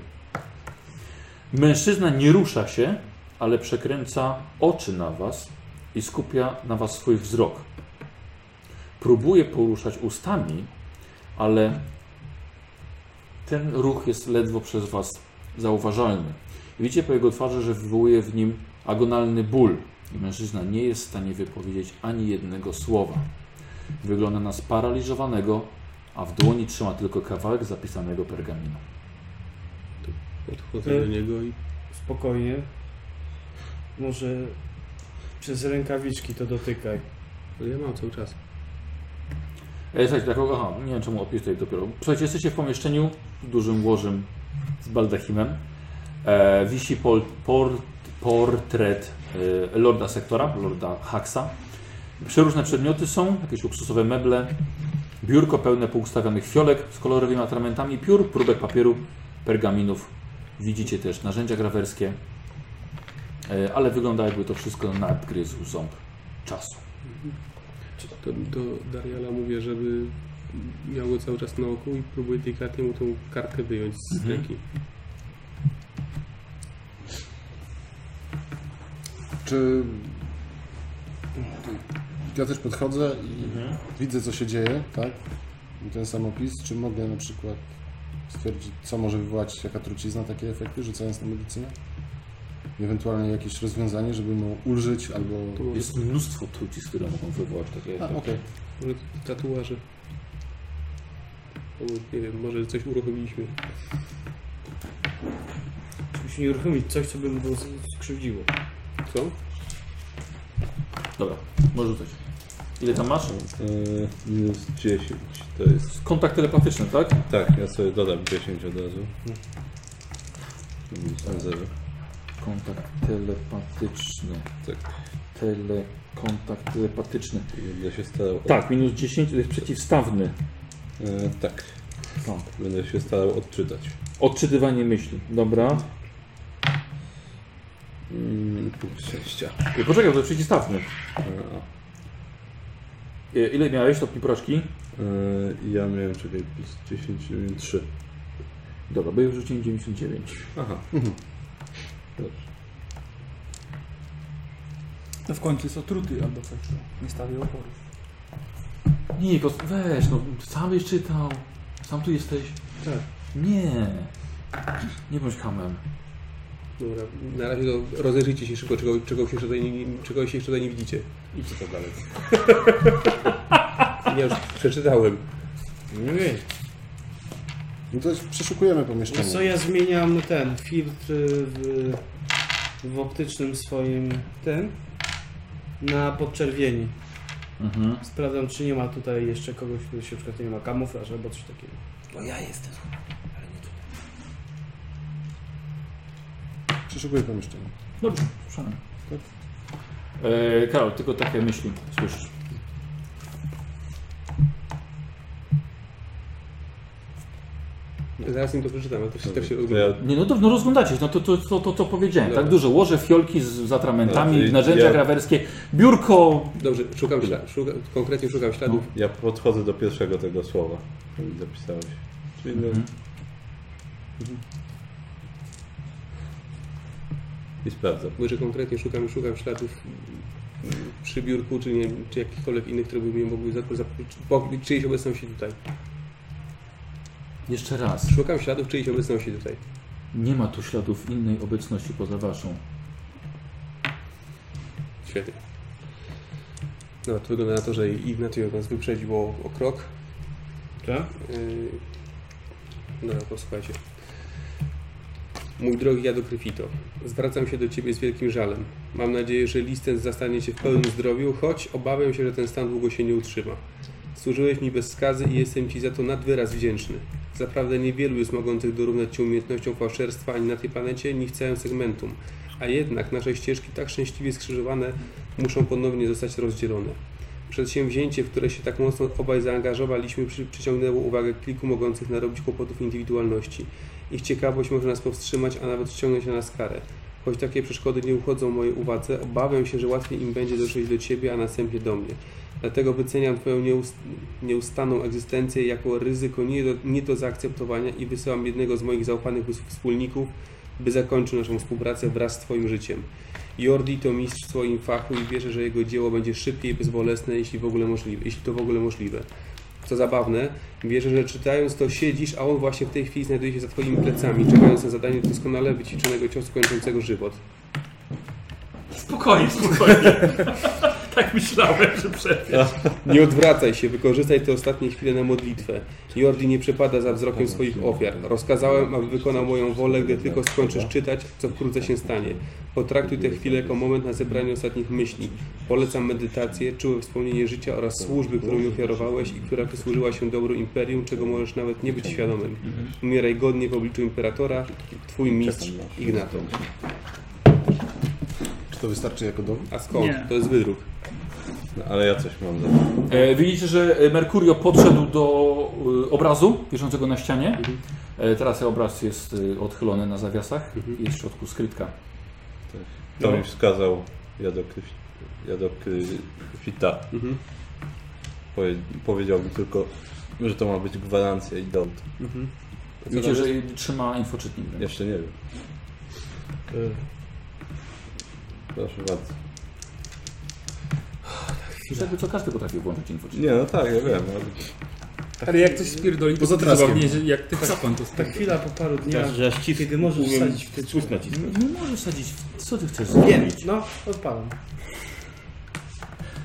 [SPEAKER 1] Mężczyzna nie rusza się, ale przekręca oczy na was i skupia na was swój wzrok. Próbuje poruszać ustami, ale ten ruch jest ledwo przez was zauważalny. Widzicie po jego twarzy, że wywołuje w nim agonalny ból. I Mężczyzna nie jest w stanie wypowiedzieć ani jednego słowa. Wygląda na sparaliżowanego, a w dłoni trzyma tylko kawałek zapisanego pergaminu.
[SPEAKER 7] Podchodzę do niego i...
[SPEAKER 5] Spokojnie. Może przez rękawiczki to dotykaj.
[SPEAKER 7] Ale ja mam cały czas.
[SPEAKER 1] E, Słuchajcie, tak, aha, nie wiem czemu opis tutaj dopiero. Słuchajcie, jesteście w pomieszczeniu z dużym łożem z baldachimem. E, wisi pol, por, portret e, lorda sektora, lorda Haxa. Przeróżne przedmioty są, jakieś luksusowe meble, biurko pełne poustawionych fiolek z kolorowymi atramentami, piór, próbek papieru, pergaminów. Widzicie też narzędzia grawerskie, e, ale wygląda jakby to wszystko nadgryzł ząb czasu.
[SPEAKER 7] To do Dariala mówię, żeby miał go cały czas na oku i próbuję delikatnie mu tą kartkę wyjąć z
[SPEAKER 1] Mhm.
[SPEAKER 7] ręki.
[SPEAKER 2] Czy... Ja też podchodzę i
[SPEAKER 1] Mhm.
[SPEAKER 2] widzę, co się dzieje, tak? I Ten sam opis. Czy mogę na przykład stwierdzić, co może wywołać jaka trucizna takie efekty, rzucając na medycynę? I Ewentualnie jakieś rozwiązanie, żeby mu ulżyć albo...
[SPEAKER 7] To może,
[SPEAKER 1] Jest mnóstwo trucizn, które mogą wywołać takie
[SPEAKER 2] A, okej.
[SPEAKER 7] może tatuaże. Albo, Nie wiem, może coś uruchomiliśmy.
[SPEAKER 5] Musi nie uruchomić coś, co by mu skrzywdziło.
[SPEAKER 7] Co?
[SPEAKER 1] Dobra, może rzucać. Ile tam masz?
[SPEAKER 3] e, Minus 10 to jest.
[SPEAKER 1] Kontakt telepatyczny, tak?
[SPEAKER 3] Tak, ja sobie dodam 10 od razu. Hmm. Minus 0.
[SPEAKER 1] Kontakt telepatyczny.
[SPEAKER 3] Tak.
[SPEAKER 1] Telekontakt telepatyczny.
[SPEAKER 3] Będę się starał. Od...
[SPEAKER 1] Tak, minus 10 to jest przeciwstawny.
[SPEAKER 3] E, tak.
[SPEAKER 1] Tak.
[SPEAKER 3] Będę się starał odczytać.
[SPEAKER 1] Odczytywanie myśli. Dobra.
[SPEAKER 3] Mm, punkt szczęścia.
[SPEAKER 1] I E, poczekaj, to jest przeciwstawny.
[SPEAKER 3] E,
[SPEAKER 1] Y, Ile miałeś stopni porażki?
[SPEAKER 3] e, ja miałem czekaj plus 10, miałem 3.
[SPEAKER 1] Dobra, bo już rzuciłem 99.
[SPEAKER 3] Aha. Dobrze.
[SPEAKER 4] To w końcu jest otruty albo coś. Nie stawia oporu.
[SPEAKER 1] Nie, to weź, no sam byś czytał. Sam tu jesteś.
[SPEAKER 7] Tak.
[SPEAKER 1] Nie. Nie bądź hamem.
[SPEAKER 7] Dobra, na razie to rozejrzyjcie się szybko, czego, czego, się, tutaj nie, czego się jeszcze tutaj nie widzicie.
[SPEAKER 5] I co to dalej?
[SPEAKER 7] Ja już przeczytałem.
[SPEAKER 5] Nie wiem.
[SPEAKER 2] No to jest- przeszukujemy
[SPEAKER 5] No
[SPEAKER 2] pomieszczenie.
[SPEAKER 5] co ja zmieniam ten filtr w, w optycznym swoim tym na podczerwieni.
[SPEAKER 1] Mhm.
[SPEAKER 5] Sprawdzam, czy nie ma tutaj jeszcze kogoś, kto się na przykład nie ma kamuflaż albo coś takiego. Tak
[SPEAKER 2] Przeszukuję pomieszczenie.
[SPEAKER 1] Dobrze, przepraszam. E, Karol, tylko takie myśli słyszysz.
[SPEAKER 7] Zaraz im to przeczytam, ale to się, też się
[SPEAKER 3] To
[SPEAKER 7] odgrywa.
[SPEAKER 3] ja,
[SPEAKER 1] Nie, no to no rozglądacie się, no to, to, to, to, to powiedziałem.
[SPEAKER 7] Dobra.
[SPEAKER 1] Tak dużo, łoże, fiolki z z atramentami,
[SPEAKER 3] Dobra, i
[SPEAKER 1] narzędzia
[SPEAKER 3] ja-
[SPEAKER 1] grawerskie, biurko.
[SPEAKER 7] Dobrze, szukam śladów, szuka, konkretnie szukam śladów.
[SPEAKER 3] ja podchodzę do pierwszego tego słowa, który zapisałeś. Czyli no,
[SPEAKER 1] Mhm.
[SPEAKER 3] i sprawdzam.
[SPEAKER 7] Mówię, że konkretnie szukam, szukam śladów mm, przy biurku, czy, nie, czy jakichkolwiek innych, które by mnie mogły za- za- po- czyjejś obecności tutaj.
[SPEAKER 1] Jeszcze raz.
[SPEAKER 7] Szukam śladów czyjejś obecności tutaj.
[SPEAKER 1] Nie ma tu śladów innej obecności poza waszą.
[SPEAKER 7] Świetnie. No, to wygląda na to, że Ignacio nas wyprzedził o, o krok.
[SPEAKER 5] Tak?
[SPEAKER 7] Yy, No, posłuchajcie. Mój drogi Jado Kryfito, zwracam się do Ciebie z wielkim żalem. Mam nadzieję, że listens zastanie się w pełnym zdrowiu, choć obawiam się, że ten stan długo się nie utrzyma. Służyłeś mi bez skazy i jestem Ci za to nad wyraz wdzięczny. Zaprawdę niewielu jest mogących dorównać Ci umiejętnością fałszerstwa ani na tej planecie, ani w całym segmentum. A jednak nasze ścieżki tak szczęśliwie skrzyżowane muszą ponownie zostać rozdzielone. Przedsięwzięcie, w które się tak mocno obaj zaangażowaliśmy, przy, przyciągnęło uwagę kilku mogących narobić kłopotów indywidualności. Ich ciekawość może nas powstrzymać, a nawet ściągnąć na nas karę. Choć takie przeszkody nie uchodzą mojej uwadze, obawiam się, że łatwiej im będzie dotrzeć do Ciebie, a następnie do mnie. Dlatego wyceniam Twoją nieust nieustanną egzystencję jako ryzyko nie do, nie do zaakceptowania i wysyłam jednego z moich zaufanych wspólników, by zakończył naszą współpracę wraz z Twoim życiem. Jordi to mistrz w swoim fachu i wierzę, że jego dzieło będzie szybkie i bezbolesne, jeśli, w ogóle możliwe, jeśli to w ogóle możliwe. Co zabawne, wierzę, że czytając to siedzisz, a on właśnie w tej chwili znajduje się za twoimi plecami, czekając na zadanie doskonale wyćwiczonego ciosu kończącego żywot.
[SPEAKER 4] Spokojnie, spokojnie. tak myślałem, że przed.
[SPEAKER 7] Nie odwracaj się, wykorzystaj te ostatnie chwile na modlitwę. Jordi nie przepada za wzrokiem swoich ofiar. Rozkazałem, aby wykonał moją wolę, gdy tylko skończysz czytać, co wkrótce się stanie. Potraktuj tę chwilę jako moment na zebranie ostatnich myśli. Polecam medytację, czułe wspomnienie życia oraz służby, którą mi ofiarowałeś i która przysłużyła się dobru imperium, czego możesz nawet nie być świadomym. Umieraj godnie w obliczu imperatora, twój mistrz Ignato.
[SPEAKER 2] Czy to wystarczy jako dowód?
[SPEAKER 7] A skąd?
[SPEAKER 4] Nie.
[SPEAKER 7] To jest wydruk.
[SPEAKER 3] No, ale ja coś mam za
[SPEAKER 1] E, widzicie, że e, Mercurio podszedł do e, obrazu wiszącego na ścianie. E, teraz obraz jest e, odchylony na zawiasach. Jest w środku skrytka.
[SPEAKER 3] To
[SPEAKER 1] No.
[SPEAKER 3] mi wskazał Jadokryfita. Jadokryfita.
[SPEAKER 7] Mhm.
[SPEAKER 3] Powie, powiedział mi tylko, że to ma być gwarancja i dowód.
[SPEAKER 7] Co
[SPEAKER 1] Widzicie,
[SPEAKER 7] tam
[SPEAKER 1] że
[SPEAKER 7] jest?
[SPEAKER 1] trzyma infoczytnik. w ręku.
[SPEAKER 3] Jeszcze nie wiem. Proszę bardzo.
[SPEAKER 1] Wiesz, jakby co każdy potrafi włączyć infoczytnik.
[SPEAKER 3] Nie, no tak, ja wiem. ale-
[SPEAKER 4] Ale jak coś spierdoli, to
[SPEAKER 2] Poza
[SPEAKER 4] będzie
[SPEAKER 2] traskiem.
[SPEAKER 4] zabawnie, że jak ty kapłan to
[SPEAKER 5] Ta
[SPEAKER 4] tak.
[SPEAKER 5] chwila po paru dniach,
[SPEAKER 6] Teraz, że aż cis,
[SPEAKER 5] kiedy możesz
[SPEAKER 6] umiem
[SPEAKER 5] wsadzić w te
[SPEAKER 6] spust naciskać.
[SPEAKER 1] Nie możesz sadzić. w- Co ty chcesz
[SPEAKER 5] Nie,
[SPEAKER 1] zrobić?
[SPEAKER 5] no, odpalam.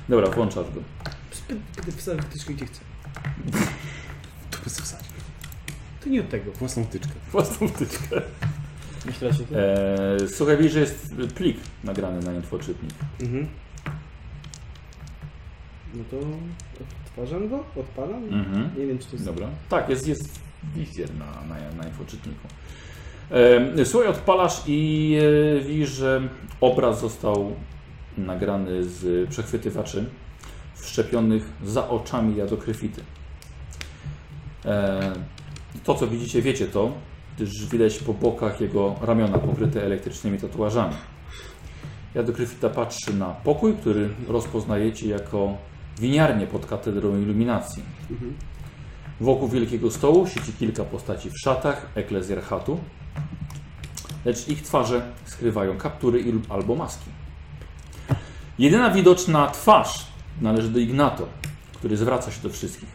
[SPEAKER 1] Dobra, włączasz go.
[SPEAKER 5] Spy- Kiedy wsadzę wtyczkę, gdzie chcę.
[SPEAKER 2] Tu bez wsadzi.
[SPEAKER 5] To nie od tego.
[SPEAKER 2] Własną tyczkę.
[SPEAKER 1] Własną wtyczkę.
[SPEAKER 5] Myślę, że to...
[SPEAKER 1] Eee, słuchaj, widzisz, że jest plik nagrany na infoczytnik.
[SPEAKER 5] Mhm. No to odtwarzam go, odpalam.
[SPEAKER 1] Mhm.
[SPEAKER 5] Nie wiem, czy to jest...
[SPEAKER 1] Dobra. Tak, jest, jest wizjer na, na, na infoczytniku. Em, Słuchaj, odpalasz i e, widzisz, że obraz został nagrany z przechwytywaczy wszczepionych za oczami jadokryfity. E, to, co widzicie, wiecie to, gdyż widać po bokach jego ramiona pokryte elektrycznymi tatuażami. Jadokryfita patrzy na pokój, który rozpoznajecie jako winiarnię pod katedrą iluminacji. Wokół wielkiego stołu siedzi kilka postaci w szatach eklezjarchatu, lecz ich twarze skrywają kaptury i- albo maski. Jedyna widoczna twarz należy do Ignato, który zwraca się do wszystkich.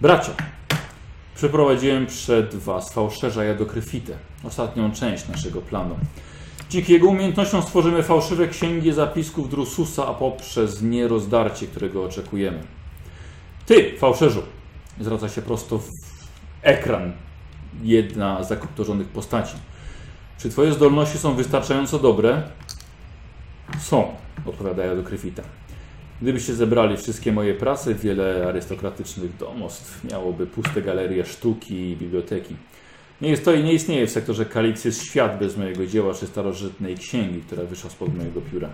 [SPEAKER 1] Bracia, przeprowadziłem przed Was fałszerza jadokryfitę, ostatnią część naszego planu. Dzięki jego umiejętnościom stworzymy fałszywe księgi zapisków Drususa, a poprzez nie rozdarcie, którego oczekujemy. Ty, fałszerzu, zwraca się prosto w ekran jedna z zakoptorzonych postaci. Czy twoje zdolności są wystarczająco dobre? Są, odpowiadają do Kryfita. Gdybyście zebrali wszystkie moje prace, wiele arystokratycznych domostw miałoby puste galerie sztuki i biblioteki. Nie, jest to, nie istnieje w sektorze Kalipsys świat bez mojego dzieła czy starożytnej księgi, która wyszła spod mojego pióra.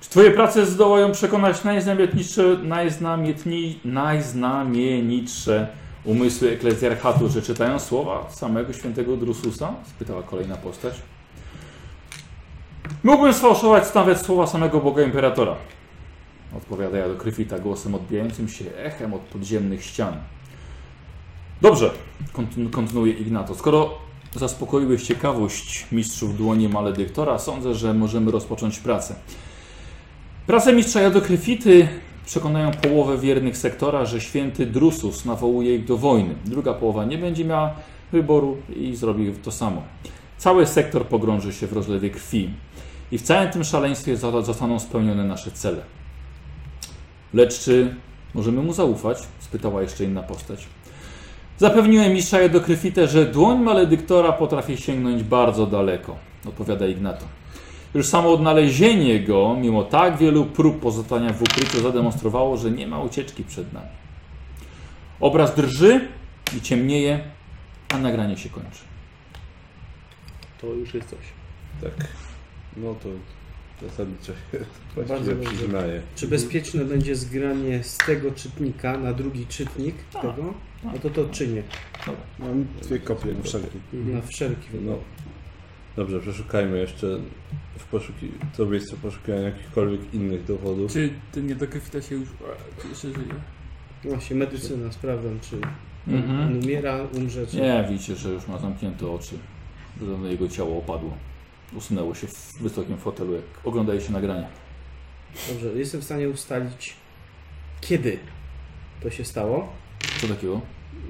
[SPEAKER 1] Czy twoje prace zdołają przekonać najznamienitsze, najznamietni, najznamienitsze umysły eklezjarchatu, że czytają słowa samego świętego Drususa? Spytała kolejna postać. Mógłbym sfałszować nawet słowa samego Boga Imperatora. Odpowiada ja do Kryfita głosem odbijającym się echem od podziemnych ścian. Dobrze, kontynu- kontynuuje Ignato. Skoro zaspokoiłeś ciekawość mistrzów dłoni maledyktora, sądzę, że możemy rozpocząć pracę. Prace mistrza Jadokryfity przekonają połowę wiernych sektora, że święty Drusus nawołuje ich do wojny. Druga połowa nie będzie miała wyboru i zrobi to samo. Cały sektor pogrąży się w rozlewie krwi i w całym tym szaleństwie za- zostaną spełnione nasze cele. Lecz czy możemy mu zaufać? spytała jeszcze inna postać. Zapewniłem mistrza Jadokryfitę, że dłoń maledyktora potrafi sięgnąć bardzo daleko, odpowiada Ignato. Już samo odnalezienie go, mimo tak wielu prób pozostania w ukryciu, zademonstrowało, że nie ma ucieczki przed nami. Obraz drży i ciemnieje, a nagranie się kończy.
[SPEAKER 7] To już jest coś.
[SPEAKER 3] Tak. No to zasadniczo się właściwie
[SPEAKER 5] dobrze.
[SPEAKER 3] przyznaję.
[SPEAKER 5] Czy
[SPEAKER 1] Mhm.
[SPEAKER 5] bezpieczne będzie zgranie z tego czytnika na drugi czytnik tego? No to to czynię.
[SPEAKER 2] Mam dwie kopie na wszelki.
[SPEAKER 1] Mhm.
[SPEAKER 5] Na wszelki
[SPEAKER 3] No. Dobrze, przeszukajmy jeszcze w poszuki... to miejsce poszukiwania jakichkolwiek innych dowodów.
[SPEAKER 4] Czy ten niedokrwita się już a, czy jeszcze żyje?
[SPEAKER 5] Właśnie medycyna, sprawdzam czy
[SPEAKER 1] No. Mhm.
[SPEAKER 5] on umiera, umrze czy...
[SPEAKER 1] Nie, widzicie, że już ma zamknięte oczy. Podobno jego ciało opadło. Usunęło się w wysokim fotelu, jak oglądaje się nagranie.
[SPEAKER 5] Dobrze, jestem w stanie ustalić kiedy to się stało.
[SPEAKER 1] Co takiego?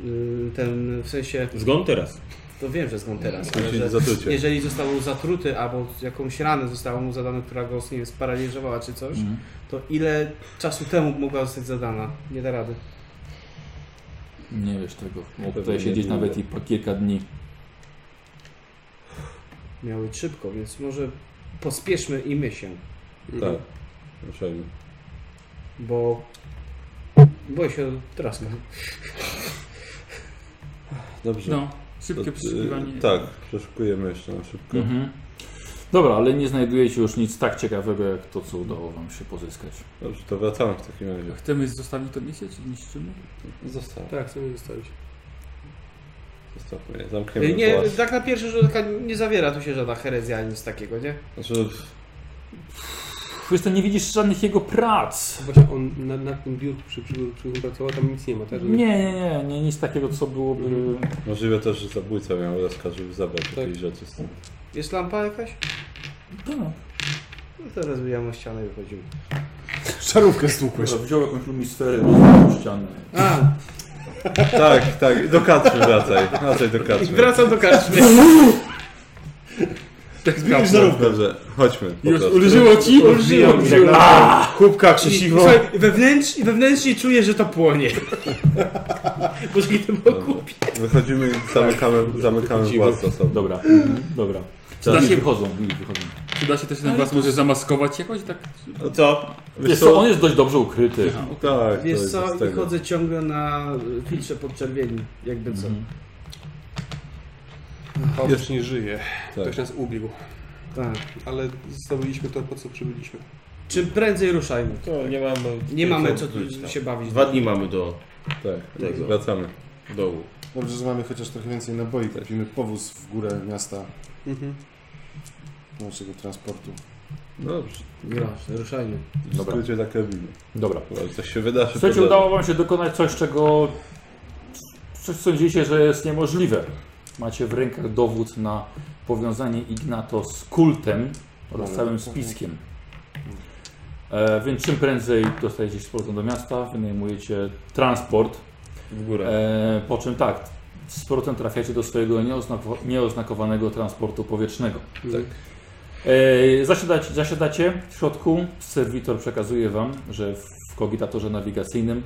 [SPEAKER 5] Yy, Ten w sensie,
[SPEAKER 6] Zgon teraz.
[SPEAKER 5] to wiem, że skąd teraz, ale
[SPEAKER 3] Jeśli
[SPEAKER 5] że
[SPEAKER 3] zatrucie.
[SPEAKER 5] jeżeli został zatruty albo jakąś ranę została mu zadana, która go nie wiem, sparaliżowała czy coś,
[SPEAKER 1] Mhm.
[SPEAKER 5] to ile czasu temu mogła zostać zadana? Nie da rady.
[SPEAKER 1] Nie wiesz tego. Mógł
[SPEAKER 3] Pewnie
[SPEAKER 1] tutaj
[SPEAKER 3] nie
[SPEAKER 1] siedzieć
[SPEAKER 3] długo.
[SPEAKER 1] nawet i po kilka dni.
[SPEAKER 5] Miały być szybko, więc może pospieszmy i my się,
[SPEAKER 3] Tak. Ruszajmy.
[SPEAKER 5] bo boję się E, teraz.
[SPEAKER 3] Mhm. Dobrze.
[SPEAKER 4] No,
[SPEAKER 3] To,
[SPEAKER 4] szybkie
[SPEAKER 3] y,
[SPEAKER 4] przeszukiwanie.
[SPEAKER 3] tak, przeszukujemy jeszcze na szybko.
[SPEAKER 1] Mhm. Dobra, ale nie znajdujecie już nic tak ciekawego, jak to, co udało wam się pozyskać.
[SPEAKER 3] Dobrze, to wracamy w takim razie.
[SPEAKER 4] Chcemy zostawić to miejsce, czy niszczymy?
[SPEAKER 3] Zostaw,
[SPEAKER 7] Tak, chcemy zostawić.
[SPEAKER 3] zostawmy je. Zamkniemy
[SPEAKER 5] Nie,
[SPEAKER 3] głaz.
[SPEAKER 5] tak na pierwszy rzut oka nie zawiera tu się żadna herezja ani nic takiego, nie?
[SPEAKER 3] Znaczy,
[SPEAKER 1] Wiesz, to nie widzisz żadnych jego prac.
[SPEAKER 7] Właśnie on na, na tym biurku, przy, przy, przy którym pracował, tam nic nie ma, tak?
[SPEAKER 1] Nie, nie, nie, nie, nic takiego, co byłoby...
[SPEAKER 3] możliwe też, że zabójca miał rozkaz, żeby zabrać
[SPEAKER 7] Tak.
[SPEAKER 3] jakieś rzeczy stąd.
[SPEAKER 5] Jest lampa jakaś? Tak.
[SPEAKER 1] No,
[SPEAKER 5] No to rozbijamy o ścianę i wychodzimy.
[SPEAKER 2] Szarówkę stłukłeś.
[SPEAKER 1] wziął jakąś lumisferę, rozwalił ścianę.
[SPEAKER 5] A,
[SPEAKER 3] Tak, tak, do katry wracaj. Wracaj do katry.
[SPEAKER 5] i wracam do karczmy.
[SPEAKER 4] Tak, zbieram.
[SPEAKER 3] Dobrze, chodźmy. po
[SPEAKER 4] Już
[SPEAKER 3] prostu.
[SPEAKER 4] ulżyło ci? Ulżyło, ulżyło.
[SPEAKER 5] Kubka krzesiwo. Słuchaj, wewnętrz, i wewnętrznie czuję, że to płonie. Może to było
[SPEAKER 3] Dobra.
[SPEAKER 5] kupić.
[SPEAKER 3] Wychodzimy i zamykamy, zamykamy
[SPEAKER 1] Wychodzimy.
[SPEAKER 3] władzę sobie.
[SPEAKER 1] No Dobra, dobra.
[SPEAKER 4] da
[SPEAKER 1] Mhm. Teraz
[SPEAKER 4] się-
[SPEAKER 1] wychodzą, i wychodzą.
[SPEAKER 4] Czy da się też ten was może zamaskować jakoś tak?
[SPEAKER 6] Co?
[SPEAKER 1] Wiesz co, on jest dość dobrze ukryty.
[SPEAKER 3] Tak, to
[SPEAKER 5] Wiesz
[SPEAKER 3] jest
[SPEAKER 5] co,
[SPEAKER 3] z
[SPEAKER 5] i
[SPEAKER 3] tego.
[SPEAKER 5] chodzę ciągle na y, filtrze podczerwieni, jakby co.
[SPEAKER 7] Fałsz nie żyje.
[SPEAKER 3] Tak.
[SPEAKER 7] Ktoś nas ubił. Tak, ale zrobiliśmy to, po co przybyliśmy.
[SPEAKER 5] Czym prędzej ruszajmy.
[SPEAKER 6] To nie mamy...
[SPEAKER 5] Nie mamy co
[SPEAKER 6] wrócić
[SPEAKER 5] tu
[SPEAKER 6] tam.
[SPEAKER 5] się bawić.
[SPEAKER 6] Dwa dni mamy do
[SPEAKER 3] Tak,
[SPEAKER 6] Tego.
[SPEAKER 3] wracamy.
[SPEAKER 6] dołu.
[SPEAKER 2] Dobrze, że mamy chociaż trochę więcej naboi.
[SPEAKER 1] Tak.
[SPEAKER 2] Kupimy powóz w górę miasta
[SPEAKER 7] Mhm.
[SPEAKER 2] naszego transportu.
[SPEAKER 3] No dobrze,
[SPEAKER 5] Grosz, ruszajmy.
[SPEAKER 3] w
[SPEAKER 1] Dobra.
[SPEAKER 3] skrócie tak robimy.
[SPEAKER 1] Dobra.
[SPEAKER 3] Chyba coś się wydarzy.
[SPEAKER 1] Słuchajcie,
[SPEAKER 3] po drodze.
[SPEAKER 1] udało wam się dokonać coś, czego coś sądzicie, że jest niemożliwe. Macie w rękach dowód na powiązanie Ignato z kultem
[SPEAKER 6] Mhm.
[SPEAKER 1] oraz całym spiskiem. E, więc czym prędzej dostajecie się z powrotem do miasta, wynajmujecie transport,
[SPEAKER 6] W górę.
[SPEAKER 1] e, po czym tak, z powrotem trafiacie do swojego nieoznako- nieoznakowanego transportu powietrznego.
[SPEAKER 7] Tak.
[SPEAKER 1] E, Zasiadacie, zasiadacie w środku. Serwitor przekazuje wam, że w kogitatorze nawigacyjnym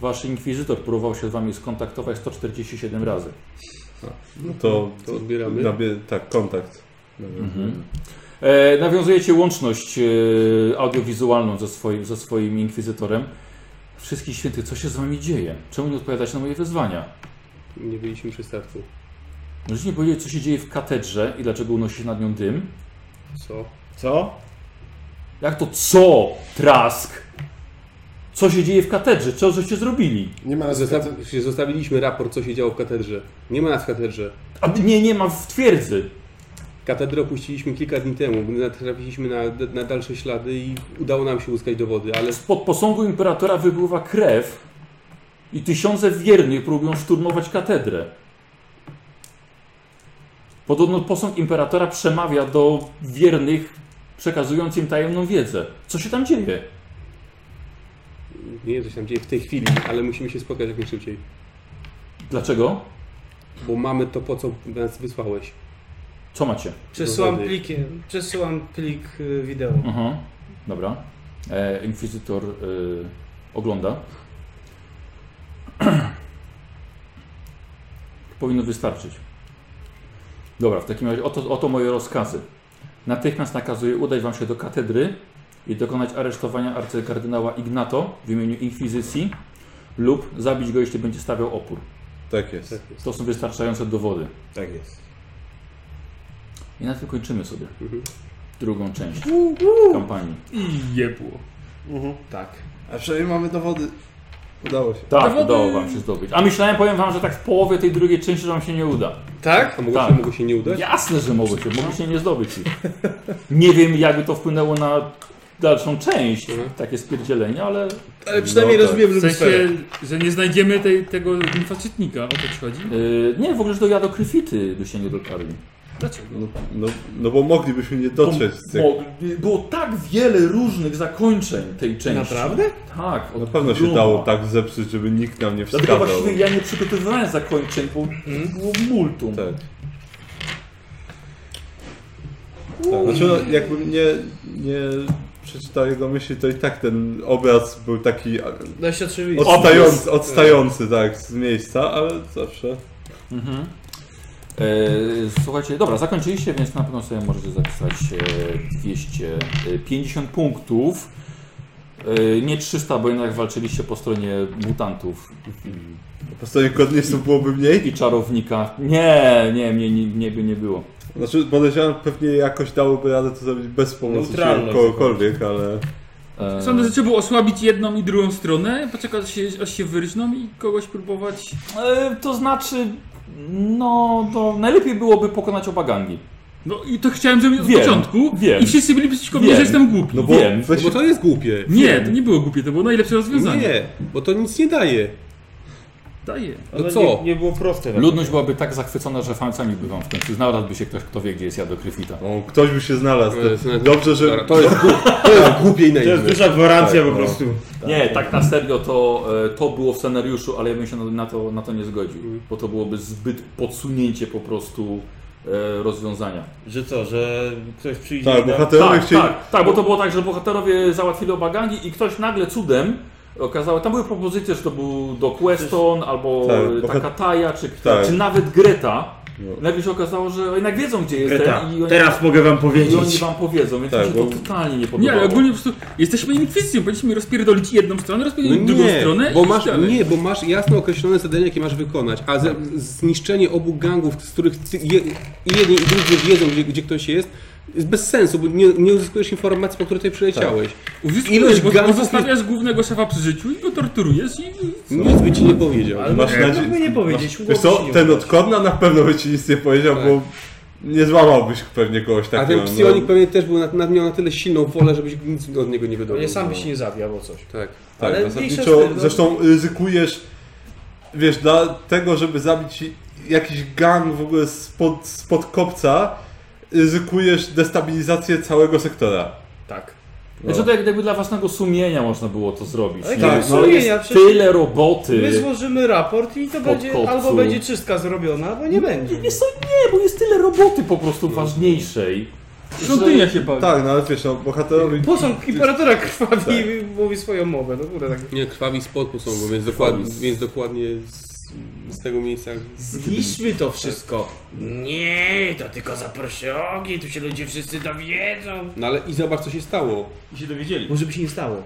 [SPEAKER 1] wasz inkwizytor próbował się z wami skontaktować 147 razy.
[SPEAKER 3] No to, to
[SPEAKER 7] Odbieramy.
[SPEAKER 3] nabie- tak, kontakt.
[SPEAKER 1] Mhm. E, nawiązujecie łączność e, audiowizualną ze swoim, ze swoim inkwizytorem. Wszystkich świętych, co się z wami dzieje? Czemu nie odpowiadacie na moje wyzwania?
[SPEAKER 7] Nie byliśmy przy startu.
[SPEAKER 1] Możecie mi powiedzieć, co się dzieje w katedrze i dlaczego unosi się nad nią dym?
[SPEAKER 7] Co?
[SPEAKER 6] Co?
[SPEAKER 1] Jak to co, trask? Co się dzieje w katedrze? Co żeście zrobili?
[SPEAKER 2] Nie ma tak- nas
[SPEAKER 7] Zosta
[SPEAKER 2] Zosta-
[SPEAKER 7] zostawiliśmy raport, co się działo w katedrze. Nie ma nas w katedrze.
[SPEAKER 1] A nie, nie ma w twierdzy.
[SPEAKER 7] Katedrę opuściliśmy kilka dni temu, gdy natrafiliśmy na, na dalsze ślady i udało nam się uzyskać dowody, ale
[SPEAKER 1] Spod posągu imperatora wypływa krew i tysiące wiernych próbują szturmować katedrę. Podobno posąg imperatora przemawia do wiernych, przekazując im tajemną wiedzę. Co się tam dzieje?
[SPEAKER 7] nie wiem, co się tam dzieje w tej chwili, ale musimy się spotkać jak najszybciej,
[SPEAKER 1] Dlaczego?
[SPEAKER 7] bo mamy to, po co nas wysłałeś.
[SPEAKER 1] Co macie?
[SPEAKER 5] Przesyłam
[SPEAKER 7] Dowody.
[SPEAKER 5] plikiem, przesyłam plik y, wideo.
[SPEAKER 1] Aha, Mhm. dobra. E, Inkwizytor y, ogląda. Powinno wystarczyć. Dobra, w takim razie oto, oto moje rozkazy. Natychmiast nakazuję udać wam się do katedry i dokonać aresztowania arcykardynała Ignato w imieniu Inkwizycji lub zabić go, jeśli będzie stawiał opór.
[SPEAKER 3] Tak jest.
[SPEAKER 1] To są wystarczające dowody.
[SPEAKER 6] Tak jest.
[SPEAKER 1] I na tym kończymy sobie
[SPEAKER 6] Mhm.
[SPEAKER 1] drugą część kampanii.
[SPEAKER 4] I jebło.
[SPEAKER 5] Tak.
[SPEAKER 3] A przynajmniej mamy dowody. Udało się.
[SPEAKER 1] Tak, udało wam się zdobyć. A myślałem, powiem wam, że tak w połowie tej drugiej części wam się nie uda.
[SPEAKER 7] Tak? A mogło,
[SPEAKER 1] Tak.
[SPEAKER 7] Się, mogło się nie udać?
[SPEAKER 1] Jasne, że mogły się, mogły się nie zdobyć ich. Nie wiem, jakby to wpłynęło na dalszą część,
[SPEAKER 7] Mhm.
[SPEAKER 1] takie spierdzielenie, ale
[SPEAKER 5] Ale przynajmniej
[SPEAKER 3] No tak.
[SPEAKER 5] rozumiem,
[SPEAKER 4] W
[SPEAKER 5] że
[SPEAKER 4] sensie, że nie znajdziemy tej, tego infacytnika, o to ci chodzi?
[SPEAKER 1] yy, nie, w ogóle, że to ja do kryfity by się nie dotarli.
[SPEAKER 4] Dlaczego?
[SPEAKER 3] No, no, no bo moglibyśmy nie dotrzeć z tych.
[SPEAKER 1] Bo- było tak wiele różnych zakończeń tej części.
[SPEAKER 5] Naprawdę?
[SPEAKER 1] Tak. od
[SPEAKER 3] Na pewno się
[SPEAKER 1] groma.
[SPEAKER 3] dało tak zepsuć, żeby nikt nam nie
[SPEAKER 1] Dlatego
[SPEAKER 3] wskazał.
[SPEAKER 1] właściwie ja nie przygotowywałem zakończeń, bo było multum.
[SPEAKER 3] Mhm. Tak. tak. Znaczy, no, jakbym nie, nie przeczytał jego myśli, to i tak ten obraz był taki a,
[SPEAKER 5] Dość oczywiste.
[SPEAKER 3] odstający, odstający tak, z miejsca, ale zawsze.
[SPEAKER 1] Mhm. E, słuchajcie, dobra, zakończyliście, więc na pewno sobie możecie zapisać e, 250 punktów. E, nie 300, bo jednak walczyliście po stronie mutantów
[SPEAKER 3] Po stronie kodnisu byłoby mniej.
[SPEAKER 1] i czarownika. Nie, nie, nie, nie, nie by nie było.
[SPEAKER 3] Znaczy, podejrzewam, pewnie jakoś dałoby radę to zrobić bez pomocy
[SPEAKER 6] Neutralność.
[SPEAKER 3] kogokolwiek, ale
[SPEAKER 1] E,
[SPEAKER 4] Sądzę, że trzeba było osłabić jedną i drugą stronę, poczekać aż się, aż się wyryżną i kogoś próbować...
[SPEAKER 1] e, to znaczy, no to najlepiej byłoby pokonać oba gangi.
[SPEAKER 4] No i to chciałem zrobić od
[SPEAKER 1] Wiem,
[SPEAKER 4] początku
[SPEAKER 1] wiem.
[SPEAKER 4] i wszyscy byli przeciwko mnie,
[SPEAKER 1] Wiem.
[SPEAKER 4] że jestem głupi.
[SPEAKER 3] no bo
[SPEAKER 1] Wiem,
[SPEAKER 3] weź,
[SPEAKER 7] Bo to jest głupie.
[SPEAKER 4] nie, to nie było głupie, to było najlepsze rozwiązanie.
[SPEAKER 7] Nie, bo to nic nie daje.
[SPEAKER 4] Daję.
[SPEAKER 7] No
[SPEAKER 6] Ale
[SPEAKER 7] co?
[SPEAKER 6] Nie, nie było proste. na-
[SPEAKER 1] Ludność byłaby tak zachwycona, że fancami by wam w końcu znalazłby się ktoś, kto wie, gdzie jest Jadokryfita.
[SPEAKER 3] no, ktoś by się znalazł.
[SPEAKER 7] To jest-
[SPEAKER 3] Dobrze, że
[SPEAKER 7] To jest, gu- to jest głupie i
[SPEAKER 6] To jest
[SPEAKER 7] naiwne.
[SPEAKER 6] duża gwarancja
[SPEAKER 3] Tak,
[SPEAKER 6] po
[SPEAKER 3] no.
[SPEAKER 6] prostu.
[SPEAKER 1] Nie, tak na serio to, e, to było w scenariuszu, ale ja bym się na- na to, na to nie zgodził, bo to byłoby zbyt podsunięcie po prostu e, rozwiązania.
[SPEAKER 6] Że co, że ktoś przyjdzie
[SPEAKER 3] tak,
[SPEAKER 6] i da-
[SPEAKER 3] bohaterowie
[SPEAKER 1] tak,
[SPEAKER 3] chcieli.
[SPEAKER 1] tak, tak, bo to było tak, że bohaterowie załatwili oba gangi i ktoś nagle cudem okazało, tam były propozycje, że to był Doc Weston albo
[SPEAKER 3] Tak,
[SPEAKER 1] e,
[SPEAKER 3] bohat-
[SPEAKER 1] Takataja, czy,
[SPEAKER 3] Tak.
[SPEAKER 1] czy nawet Greta.
[SPEAKER 3] No.
[SPEAKER 1] Nagle się okazało, że jednak wiedzą gdzie jest
[SPEAKER 6] Greta,
[SPEAKER 1] ten i oni,
[SPEAKER 6] teraz mogę wam
[SPEAKER 1] i oni
[SPEAKER 6] powiedzieć.
[SPEAKER 1] wam powiedzą, więc
[SPEAKER 3] Tak,
[SPEAKER 1] mi się
[SPEAKER 3] bo-
[SPEAKER 1] to totalnie nie podobało.
[SPEAKER 4] Nie, ale ogólnie po prostu jesteśmy inkwizycją, powinniśmy rozpierdolić jedną stronę,
[SPEAKER 7] No
[SPEAKER 4] rozpierdolić drugą
[SPEAKER 7] nie,
[SPEAKER 4] stronę
[SPEAKER 7] bo
[SPEAKER 4] i
[SPEAKER 7] masz,
[SPEAKER 4] dalej.
[SPEAKER 7] nie, bo masz jasno określone zadanie, jakie masz wykonać, a ze, zniszczenie obu gangów, z których ty, je, i jedni i drudzy wiedzą, gdzie, gdzie ktoś jest, Jest bez sensu, bo nie, nie uzyskujesz informacji, po której tutaj przyleciałeś.
[SPEAKER 4] Tak.
[SPEAKER 7] Ilość
[SPEAKER 4] Uzyskujesz, bo, bo
[SPEAKER 7] ganków
[SPEAKER 4] zostawiasz głównego szefa przy życiu i go torturujesz i...
[SPEAKER 7] Nic by ci nie powiedział.
[SPEAKER 3] Ale masz nadzieję.
[SPEAKER 5] Mógłby nie powiedzieć.
[SPEAKER 3] Wiesz co, ten od Kodna na pewno by ci nic nie powiedział,
[SPEAKER 7] Tak.
[SPEAKER 3] bo nie złamałbyś pewnie kogoś
[SPEAKER 4] Tak,
[SPEAKER 7] A
[SPEAKER 4] no,
[SPEAKER 3] takiego. no.
[SPEAKER 7] ten psionik pewnie też był na, na, miał na tyle silną wolę, żebyś nic od niego nie wydobył. No.
[SPEAKER 5] Nie sam by się nie zabił o coś.
[SPEAKER 7] Tak.
[SPEAKER 3] Tak,
[SPEAKER 5] Ale
[SPEAKER 3] zasadniczo
[SPEAKER 5] mniejsza z tym, no.
[SPEAKER 3] zresztą ryzykujesz, wiesz, dla tego, żeby zabić jakiś gang w ogóle spod, spod kopca, ryzykujesz destabilizację całego sektora.
[SPEAKER 5] Tak.
[SPEAKER 3] No.
[SPEAKER 1] Znaczy to jak gdyby dla własnego sumienia można było to zrobić.
[SPEAKER 5] Ale
[SPEAKER 1] nie?
[SPEAKER 5] tak,
[SPEAKER 1] no,
[SPEAKER 5] sumienia,
[SPEAKER 1] jest
[SPEAKER 5] przecież-
[SPEAKER 1] tyle roboty.
[SPEAKER 5] My złożymy raport i to
[SPEAKER 1] Pod
[SPEAKER 5] będzie
[SPEAKER 1] kopcu.
[SPEAKER 5] albo będzie czystka zrobiona, albo nie będzie.
[SPEAKER 1] Wiesz co, nie, bo jest tyle roboty po
[SPEAKER 3] No.
[SPEAKER 1] prostu ważniejszej.
[SPEAKER 4] Świątynia się bawi.
[SPEAKER 3] Tak, no ale wiesz, no, bohaterowi...
[SPEAKER 5] Posąg imperatora krwawi i mówi swoją mowę. No kurde, tak.
[SPEAKER 7] Nie, krwawi spod posągu, więc dokładnie, więc dokładnie z, z tego miejsca...
[SPEAKER 5] Zniszczmy to wszystko. Nie, to tylko zaproszę ogień, tu się ludzie wszyscy dowiedzą.
[SPEAKER 7] No ale i zobacz, co się stało.
[SPEAKER 6] I się dowiedzieli.
[SPEAKER 5] Może by się nie stało.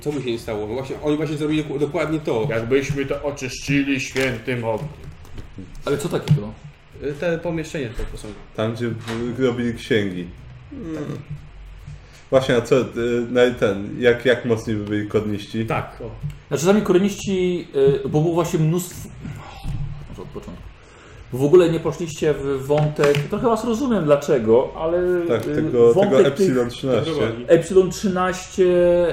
[SPEAKER 7] Co by się nie stało? No Właśnie, oni właśnie zrobili doku- dokładnie to.
[SPEAKER 5] Jakbyśmy to oczyszczyli świętym ogniem.
[SPEAKER 1] Ale co takiego?
[SPEAKER 5] Y, Te pomieszczenie tego posągu.
[SPEAKER 3] Tam, gdzie robili księgi. Tak. Właśnie, a co, y, no i ten, jak, jak mocni by byli kodniści?
[SPEAKER 5] Tak, o.
[SPEAKER 1] Znaczy sami koroniści, y, bo było właśnie mnóstwo... Może od początku. W ogóle nie poszliście w wątek, trochę was rozumiem dlaczego, ale
[SPEAKER 3] Tak,
[SPEAKER 1] y,
[SPEAKER 3] tego, tego
[SPEAKER 1] wątek tych
[SPEAKER 3] Epsilon 13.
[SPEAKER 1] Epsilon 13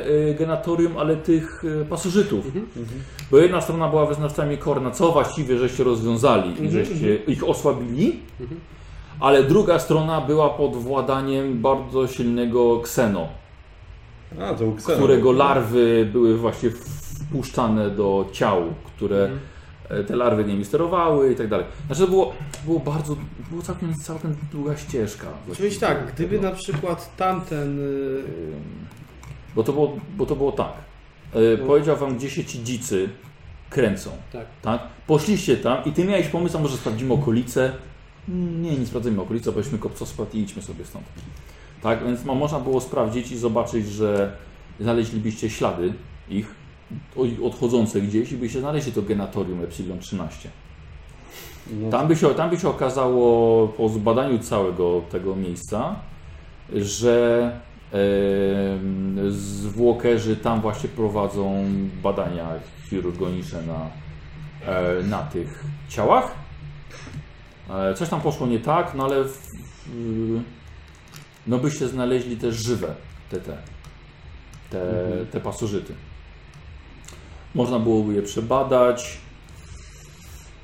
[SPEAKER 1] y, genatorium, ale tych y, pasożytów.
[SPEAKER 5] Mhm.
[SPEAKER 1] Mhm. Bo jedna strona była wyznawcami Korna, co właściwie żeście rozwiązali,
[SPEAKER 5] Mhm,
[SPEAKER 1] żeście ich osłabili, ale druga strona była pod władaniem bardzo silnego kseno,
[SPEAKER 3] A, to był Xenon.
[SPEAKER 1] którego larwy były właśnie wpuszczane do ciał, które
[SPEAKER 5] Mhm.
[SPEAKER 1] e, te larwy nimi sterowały i tak dalej. Znaczy to było, było bardzo, było całkiem, całkiem długa ścieżka.
[SPEAKER 5] Oczywiście tak, gdyby
[SPEAKER 1] tego.
[SPEAKER 5] na przykład tamten... y,
[SPEAKER 1] Bo to było, bo to było tak. E, Powiedział wam, gdzie się ci dzicy kręcą.
[SPEAKER 7] Tak.
[SPEAKER 1] Poszliście tam i ty miałeś pomysł, a może sprawdzimy okolice. Mm, Nie, nie sprawdzajmy okolic, obejrzmy kopco spadł i idźmy sobie stąd. Tak, więc mo- można było sprawdzić i zobaczyć, że znaleźlibyście ślady ich o- odchodzące gdzieś i byście znaleźli to genatorium Epsilon 13. Tam, by się, tam by się okazało po zbadaniu całego tego miejsca, że Em, Zwłokerzy tam właśnie prowadzą badania chirurgoniczne na, e, na tych ciałach. E, Coś tam poszło nie tak, no ale w, w- no byście znaleźli też żywe te te, te, te pasożyty. Można byłoby je przebadać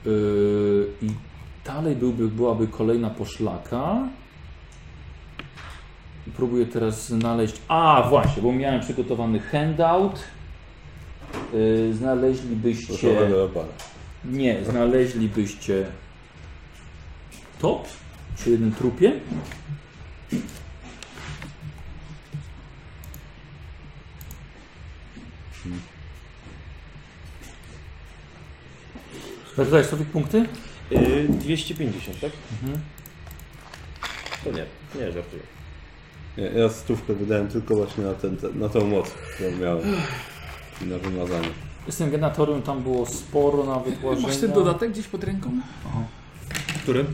[SPEAKER 1] Yy, i dalej byłby, byłaby kolejna poszlaka. Próbuję teraz znaleźć. A właśnie, bo miałem przygotowany handout. Yy, znaleźlibyście.
[SPEAKER 3] Proszę, Robert.
[SPEAKER 1] Nie, znaleźlibyście top przy jednym trupie. Sprawdzałeś sobie punkty?
[SPEAKER 6] Yy, 250, tak?
[SPEAKER 1] Mhm.
[SPEAKER 6] To nie, nie żartuję.
[SPEAKER 3] Nie, ja stówkę wydałem tylko właśnie na, ten, na tą moc, którą miałem. I na wymazanie.
[SPEAKER 1] Z tym genatorium tam było sporo na wypłaszczenie.
[SPEAKER 4] Masz ten dodatek gdzieś pod ręką?
[SPEAKER 6] Który?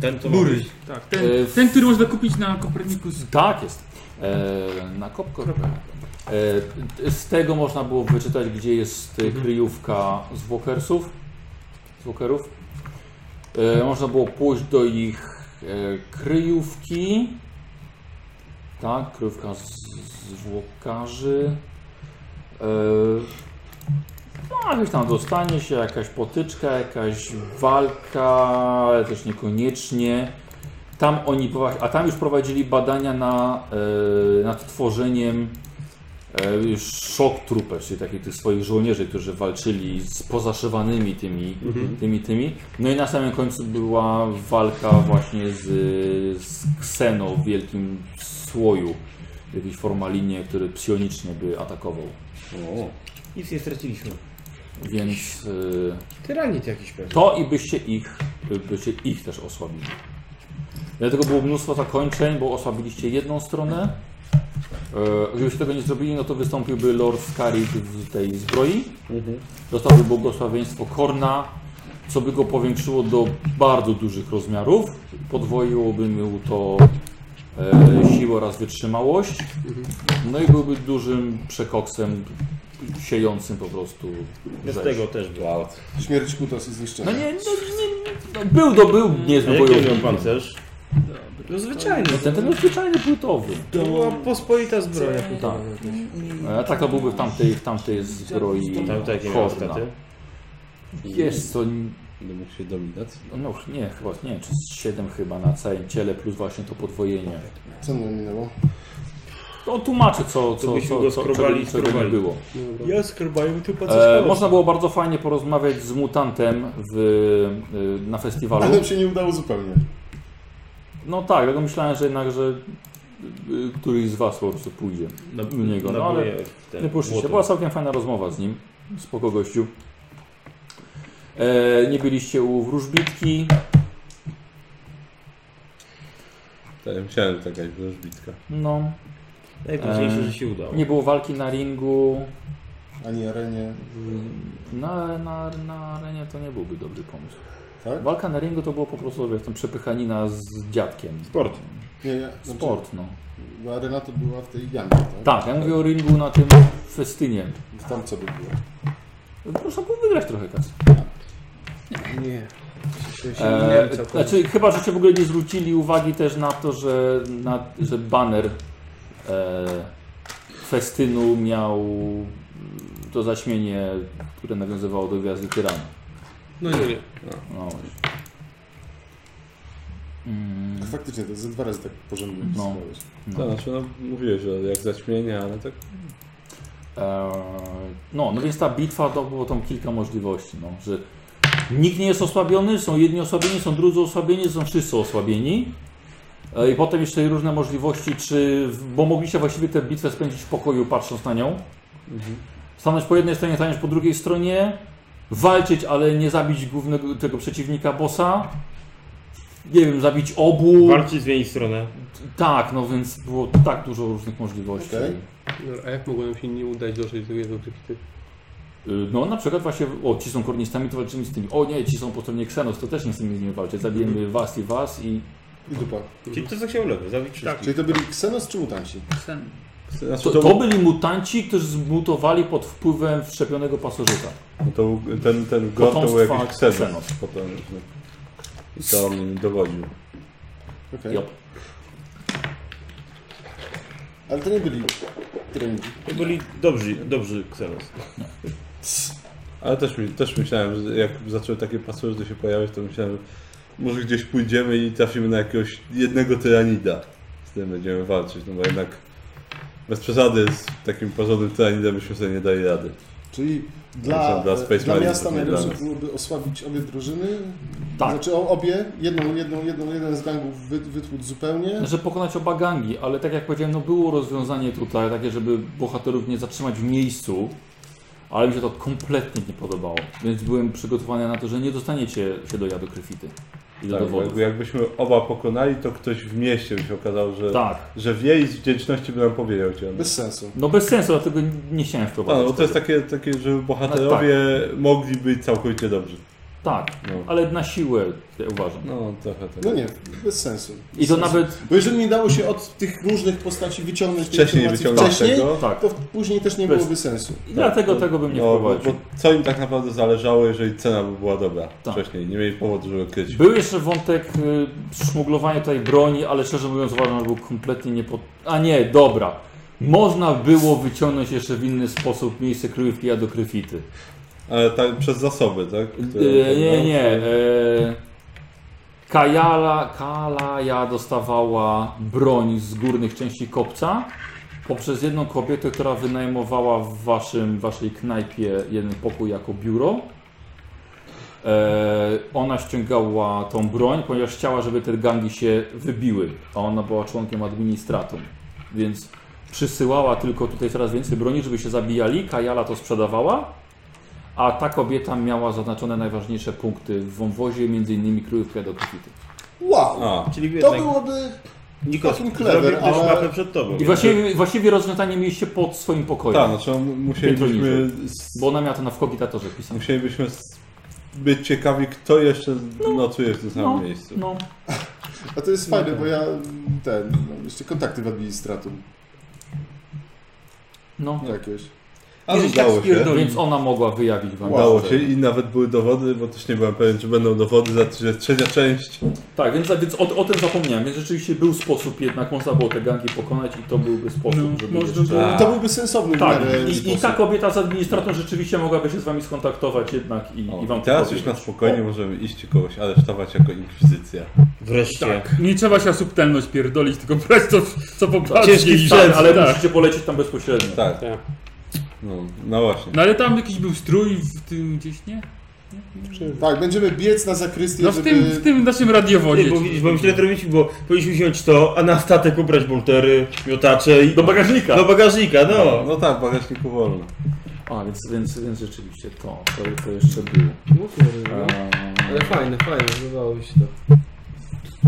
[SPEAKER 6] Ten to
[SPEAKER 4] Bury. Tak, ten,
[SPEAKER 1] E, w-
[SPEAKER 4] ten, który można kupić na Kopernikus.
[SPEAKER 1] Tak jest. E, na kopko. E, z tego można było wyczytać, gdzie jest e,
[SPEAKER 4] Mhm.
[SPEAKER 1] kryjówka zwłokersów. Zwłokerów. E, można było pójść do ich e, kryjówki. Tak, kryjówka z, zwłokarzy. E, no, jakieś tam dostanie się, jakaś potyczka, jakaś walka, ale też niekoniecznie. Tam oni, prowa- a tam już prowadzili badania na, e, nad tworzeniem e, shock troopers, czyli takich tych swoich żołnierzy, którzy walczyli z pozaszywanymi tymi, tymi, tymi. No i na samym końcu była walka właśnie z, z Xeno w wielkim słoju, w jakiejś formalinie, który psionicznie by atakował.
[SPEAKER 3] O,
[SPEAKER 6] Nic nie straciliśmy.
[SPEAKER 1] Więc e,
[SPEAKER 5] Tyranit jakiś pewnie.
[SPEAKER 1] to i byście ich, byście ich też osłabili. Dlatego było mnóstwo zakończeń, bo osłabiliście jedną stronę. E, Gdybyście tego nie zrobili, no to wystąpiłby Lord Scarik w tej zbroi. Dostałby błogosławieństwo Korna, co by go powiększyło do bardzo dużych rozmiarów. Podwoiłoby mu to e, sił oraz wytrzymałość. No i byłby dużym przekoksem siejącym po prostu
[SPEAKER 6] Z
[SPEAKER 1] rzeź.
[SPEAKER 6] tego też był.
[SPEAKER 2] Śmierć kutas i
[SPEAKER 1] No
[SPEAKER 2] zniszczenie.
[SPEAKER 1] nie, no, nie, no, był do był
[SPEAKER 6] A
[SPEAKER 1] niezły
[SPEAKER 6] jaki miał
[SPEAKER 1] bojownik.
[SPEAKER 6] pancerz?
[SPEAKER 5] No zwyczajnie.
[SPEAKER 1] No ten, ten był zwyczajny płytowy.
[SPEAKER 5] To była pospolita zbroja.
[SPEAKER 1] Tak. E, Tak to byłby w tamtej, w tamtej zbroi
[SPEAKER 6] Tam takie miał
[SPEAKER 1] Horna.
[SPEAKER 6] staty.
[SPEAKER 1] Wiesz co,
[SPEAKER 3] Będę mógł się dominacji.
[SPEAKER 1] no nie, chyba nie, czy z 7 chyba na całym ciele plus właśnie to podwojenie. No,
[SPEAKER 2] Co mnie minęło?
[SPEAKER 1] On tłumaczy co, co,
[SPEAKER 6] byśmy
[SPEAKER 1] co,
[SPEAKER 6] go
[SPEAKER 1] co,
[SPEAKER 6] skrobali
[SPEAKER 1] czego,
[SPEAKER 6] i
[SPEAKER 1] czego nie
[SPEAKER 6] skrobali.
[SPEAKER 1] było.
[SPEAKER 5] Ja skrobałem tu
[SPEAKER 1] E, można było bardzo fajnie porozmawiać z mutantem w, y, na festiwalu.
[SPEAKER 2] Ale nam się nie udało zupełnie.
[SPEAKER 1] No tak, dlatego myślałem, że jednak, że y, któryś z was po prostu pójdzie.
[SPEAKER 6] Na,
[SPEAKER 1] U niego, no ale-
[SPEAKER 6] buje- ten,
[SPEAKER 1] Nie puszczycie.
[SPEAKER 6] młotem.
[SPEAKER 1] Była całkiem fajna rozmowa z nim. Spoko gościu. E, nie byliście u wróżbitki.
[SPEAKER 3] Tak, ja myślałem, że taka jest wróżbitka.
[SPEAKER 1] No.
[SPEAKER 6] Najważniejsze,
[SPEAKER 1] Eee,
[SPEAKER 6] że się udało.
[SPEAKER 1] Nie było walki na ringu.
[SPEAKER 2] Ani arenie.
[SPEAKER 1] Na, na, na arenie to nie byłby dobry pomysł.
[SPEAKER 2] Tak?
[SPEAKER 1] Walka na ringu to było po prostu jak tam przepychanina z dziadkiem.
[SPEAKER 3] Sport.
[SPEAKER 2] Nie, ja, znaczy,
[SPEAKER 1] Sport, no.
[SPEAKER 2] bo arena to była w tej jamie, tak?
[SPEAKER 1] Tak, ja mówię o ringu na tym festynie.
[SPEAKER 2] Tam co by było?
[SPEAKER 1] Można było wygrać trochę kasy.
[SPEAKER 5] Nie. Się, się
[SPEAKER 1] E,
[SPEAKER 5] nie, całkowicie.
[SPEAKER 1] znaczy, chyba, że się w ogóle nie zwrócili uwagi też na to, że, na, że baner e, festynu miał mm, to zaćmienie, które nawiązywało do gwiazdy tyrana.
[SPEAKER 7] No nie wiem.
[SPEAKER 1] No. właśnie. Mm,
[SPEAKER 2] Faktycznie, to ze dwa razy tak porządnie
[SPEAKER 1] No.
[SPEAKER 2] no.
[SPEAKER 1] No.
[SPEAKER 3] No. Tak, znaczy, no mówiłeś, że jak zaćmienie, ale tak
[SPEAKER 1] e, no, no więc ta bitwa to było tam kilka możliwości, no, że nikt nie jest osłabiony, są jedni osłabieni, są drudzy osłabieni, są wszyscy osłabieni. E, I potem jeszcze różne możliwości, czy, bo mogliście właściwie tę bitwę spędzić w pokoju patrząc na nią. Stanąć po jednej stronie, stanąć po drugiej stronie, walczyć, ale nie zabić głównego tego przeciwnika bossa. Nie wiem, zabić obu.
[SPEAKER 6] Walczyć, zmienić stronę.
[SPEAKER 1] tak, no więc było tak dużo różnych możliwości.
[SPEAKER 2] Okej.
[SPEAKER 7] Dobra, a jak mogłem się nie udać dotrzeć do jego krypty?
[SPEAKER 1] Y, No na przykład właśnie, o ci są kornistami, to walczymy z tymi. O nie, ci są po stronie Xenos, to też nie chcemy z nimi walczyć.
[SPEAKER 3] Mhm.
[SPEAKER 1] Zabijemy was i was i...
[SPEAKER 2] I dupa.
[SPEAKER 6] Czyli to co chciał lewy, zabić tak. wszystkich.
[SPEAKER 2] Czyli to byli Xenos czy mutanci?
[SPEAKER 4] Sen.
[SPEAKER 3] Znaczy,
[SPEAKER 1] To,
[SPEAKER 3] to,
[SPEAKER 1] to byli mutanci, którzy zmutowali pod wpływem wszczepionego pasożyta.
[SPEAKER 3] no to był- ten, ten god to był
[SPEAKER 1] Potomstwa
[SPEAKER 3] jakiś ksenos.
[SPEAKER 1] Xenos.
[SPEAKER 3] Potem, no. I to on im dowodził.
[SPEAKER 2] Okej.
[SPEAKER 1] Jop.
[SPEAKER 2] Ale to nie byli treningi.
[SPEAKER 6] To byli dobrzy, dobrzy ksenos.
[SPEAKER 3] Ale też, mi- też myślałem, że jak zaczęły takie pasożyty się pojawiać, to myślałem, że może gdzieś pójdziemy i trafimy na jakiegoś jednego tyranida. Z tym będziemy walczyć, no bo jednak bez przesady z takim porządnym tyranidem byśmy sobie nie dali rady.
[SPEAKER 2] Czyli
[SPEAKER 3] Znaczy,
[SPEAKER 2] dla,
[SPEAKER 3] dla
[SPEAKER 2] dla,
[SPEAKER 3] Space
[SPEAKER 2] dla
[SPEAKER 3] Marine
[SPEAKER 2] miasta
[SPEAKER 3] to nie dla
[SPEAKER 2] najlepsze
[SPEAKER 3] nas.
[SPEAKER 2] byłoby osłabić obie drużyny.
[SPEAKER 1] Tak.
[SPEAKER 2] Znaczy o- obie, jedną, jedną, jedną, jeden z gangów wy, wytłuc zupełnie.
[SPEAKER 1] Że Znaczy pokonać oba gangi, ale tak jak powiedziałem, no było rozwiązanie tutaj takie, żeby bohaterów nie zatrzymać w miejscu, ale mi się to kompletnie nie podobało. Więc byłem przygotowany na to, że nie dostaniecie się do jadu kryfity i do
[SPEAKER 3] Tak, bo
[SPEAKER 1] dowodów.
[SPEAKER 3] jakby, jakbyśmy oba pokonali, to ktoś w mieście by się okazał, że,
[SPEAKER 1] Tak.
[SPEAKER 3] że wie i z wdzięczności by nam powiedział gdzie on
[SPEAKER 2] Bez sensu.
[SPEAKER 1] No bez sensu, dlatego nie chciałem
[SPEAKER 3] A,
[SPEAKER 1] wprowadzać.
[SPEAKER 3] no bo to jest
[SPEAKER 1] tego.
[SPEAKER 3] takie, takie żeby bohaterowie mogli być całkowicie dobrzy.
[SPEAKER 1] tak,
[SPEAKER 3] No,
[SPEAKER 1] ale na siłę ja uważam.
[SPEAKER 3] no trochę tak.
[SPEAKER 2] No nie, bez sensu.
[SPEAKER 1] I to nawet
[SPEAKER 2] Bo jeżeli nie dało się od tych różnych postaci wyciągnąć tej
[SPEAKER 3] Wcześniej
[SPEAKER 2] informacji
[SPEAKER 3] wyciągnąć
[SPEAKER 2] wcześniej,
[SPEAKER 3] tego.
[SPEAKER 1] Tak.
[SPEAKER 2] to później też nie
[SPEAKER 1] Bez-
[SPEAKER 2] byłoby sensu.
[SPEAKER 1] I dlatego
[SPEAKER 3] to-
[SPEAKER 1] tego bym nie
[SPEAKER 3] No, bo,
[SPEAKER 1] wprowadził.
[SPEAKER 3] bo co im tak naprawdę zależało, jeżeli cena by była dobra
[SPEAKER 1] Tak.
[SPEAKER 3] wcześniej. Nie mieli powodu, żeby kryć.
[SPEAKER 1] Był jeszcze wątek y, szmuglowania tej broni, ale szczerze mówiąc uważam, że był kompletnie nie pod... A nie, dobra. Można było wyciągnąć jeszcze w inny sposób miejsce kryjówki jadokryfity.
[SPEAKER 3] Ale tak, przez zasoby, tak? Które-
[SPEAKER 1] E, nie, nie. E, Kajala, Kalaja dostawała broń z górnych części kopca poprzez jedną kobietę, która wynajmowała w waszym, waszej knajpie jeden pokój jako biuro. E, ona ściągała tą broń, ponieważ chciała, żeby te gangi się wybiły, a ona była członkiem administratum. Więc przysyłała tylko tutaj coraz więcej broni, żeby się zabijali. Kajala to sprzedawała. A ta kobieta miała zaznaczone najważniejsze punkty w wąwozie, m.in. kryjówkę do kobiety.
[SPEAKER 2] Wow!
[SPEAKER 3] A,
[SPEAKER 6] Czyli
[SPEAKER 2] To
[SPEAKER 6] jednak
[SPEAKER 2] byłoby
[SPEAKER 6] Nikos,
[SPEAKER 2] fucking clever,
[SPEAKER 6] zrobił ktoś
[SPEAKER 2] ale-
[SPEAKER 6] mapę przed tobą.
[SPEAKER 1] I właściwie, właściwie rozwiązanie mieliście pod swoim pokojem,
[SPEAKER 3] tak, znaczy on- musielibyśmy,
[SPEAKER 1] bo ona miała to na w kogitatorze pisane.
[SPEAKER 3] musielibyśmy s- być ciekawi, kto jeszcze nocuje w tym samym
[SPEAKER 1] No.
[SPEAKER 3] miejscu.
[SPEAKER 1] No,
[SPEAKER 2] A to jest fajne, bo ja ten, no, jeszcze kontakty w administratum
[SPEAKER 1] No,
[SPEAKER 2] jakieś.
[SPEAKER 3] Ale
[SPEAKER 4] Jeżeli tak
[SPEAKER 3] udało się.
[SPEAKER 4] spierdoli.
[SPEAKER 1] więc ona mogła wyjawić wam.
[SPEAKER 3] Udało się i nawet były dowody, bo też nie byłem pewien, czy będą dowody za że trzecia część.
[SPEAKER 1] Tak, więc, więc o, o tym zapomniałem. Więc rzeczywiście był sposób jednak, można było te gangi pokonać i to byłby sposób,
[SPEAKER 4] No,
[SPEAKER 1] żeby
[SPEAKER 4] można
[SPEAKER 1] jeszcze...
[SPEAKER 4] było.
[SPEAKER 2] To byłby sensowny
[SPEAKER 1] Tak,
[SPEAKER 2] w miarę
[SPEAKER 1] i, i
[SPEAKER 2] sposób.
[SPEAKER 1] ta kobieta z administratą rzeczywiście mogłaby się z wami skontaktować jednak i, i wam
[SPEAKER 3] teraz już
[SPEAKER 1] powiedzieć.
[SPEAKER 3] na spokojnie możemy iść kogoś aresztować jako inkwizycja.
[SPEAKER 6] Wreszcie.
[SPEAKER 5] Tak,
[SPEAKER 4] Nie trzeba się na subtelność pierdolić, tylko brać to, co popadnie.
[SPEAKER 6] Ciężki
[SPEAKER 4] i-
[SPEAKER 6] sprzęt,
[SPEAKER 1] Ale
[SPEAKER 4] tak.
[SPEAKER 1] musicie polecieć tam bezpośrednio.
[SPEAKER 3] Tak,
[SPEAKER 7] Tak.
[SPEAKER 3] no, no właśnie.
[SPEAKER 4] No ale tam jakiś był strój w tym gdzieś, nie?
[SPEAKER 2] Tak, będziemy biec na zakrystię,
[SPEAKER 4] No w
[SPEAKER 2] żeby...
[SPEAKER 4] tym, w tym naszym radiowodzie.
[SPEAKER 6] Ty, bo widzisz, bo źle to robić, bo powinniśmy wziąć to, a na statek ubrać boltery, miotacze i
[SPEAKER 1] Do bagażnika.
[SPEAKER 6] do bagażnika, no.
[SPEAKER 3] No tak, w bagażniku wolno.
[SPEAKER 1] A, więc, więc, więc rzeczywiście to, to, to jeszcze było.
[SPEAKER 5] No kurde, no.
[SPEAKER 1] Eee,
[SPEAKER 5] Ale fajne, fajne, zdawało się to.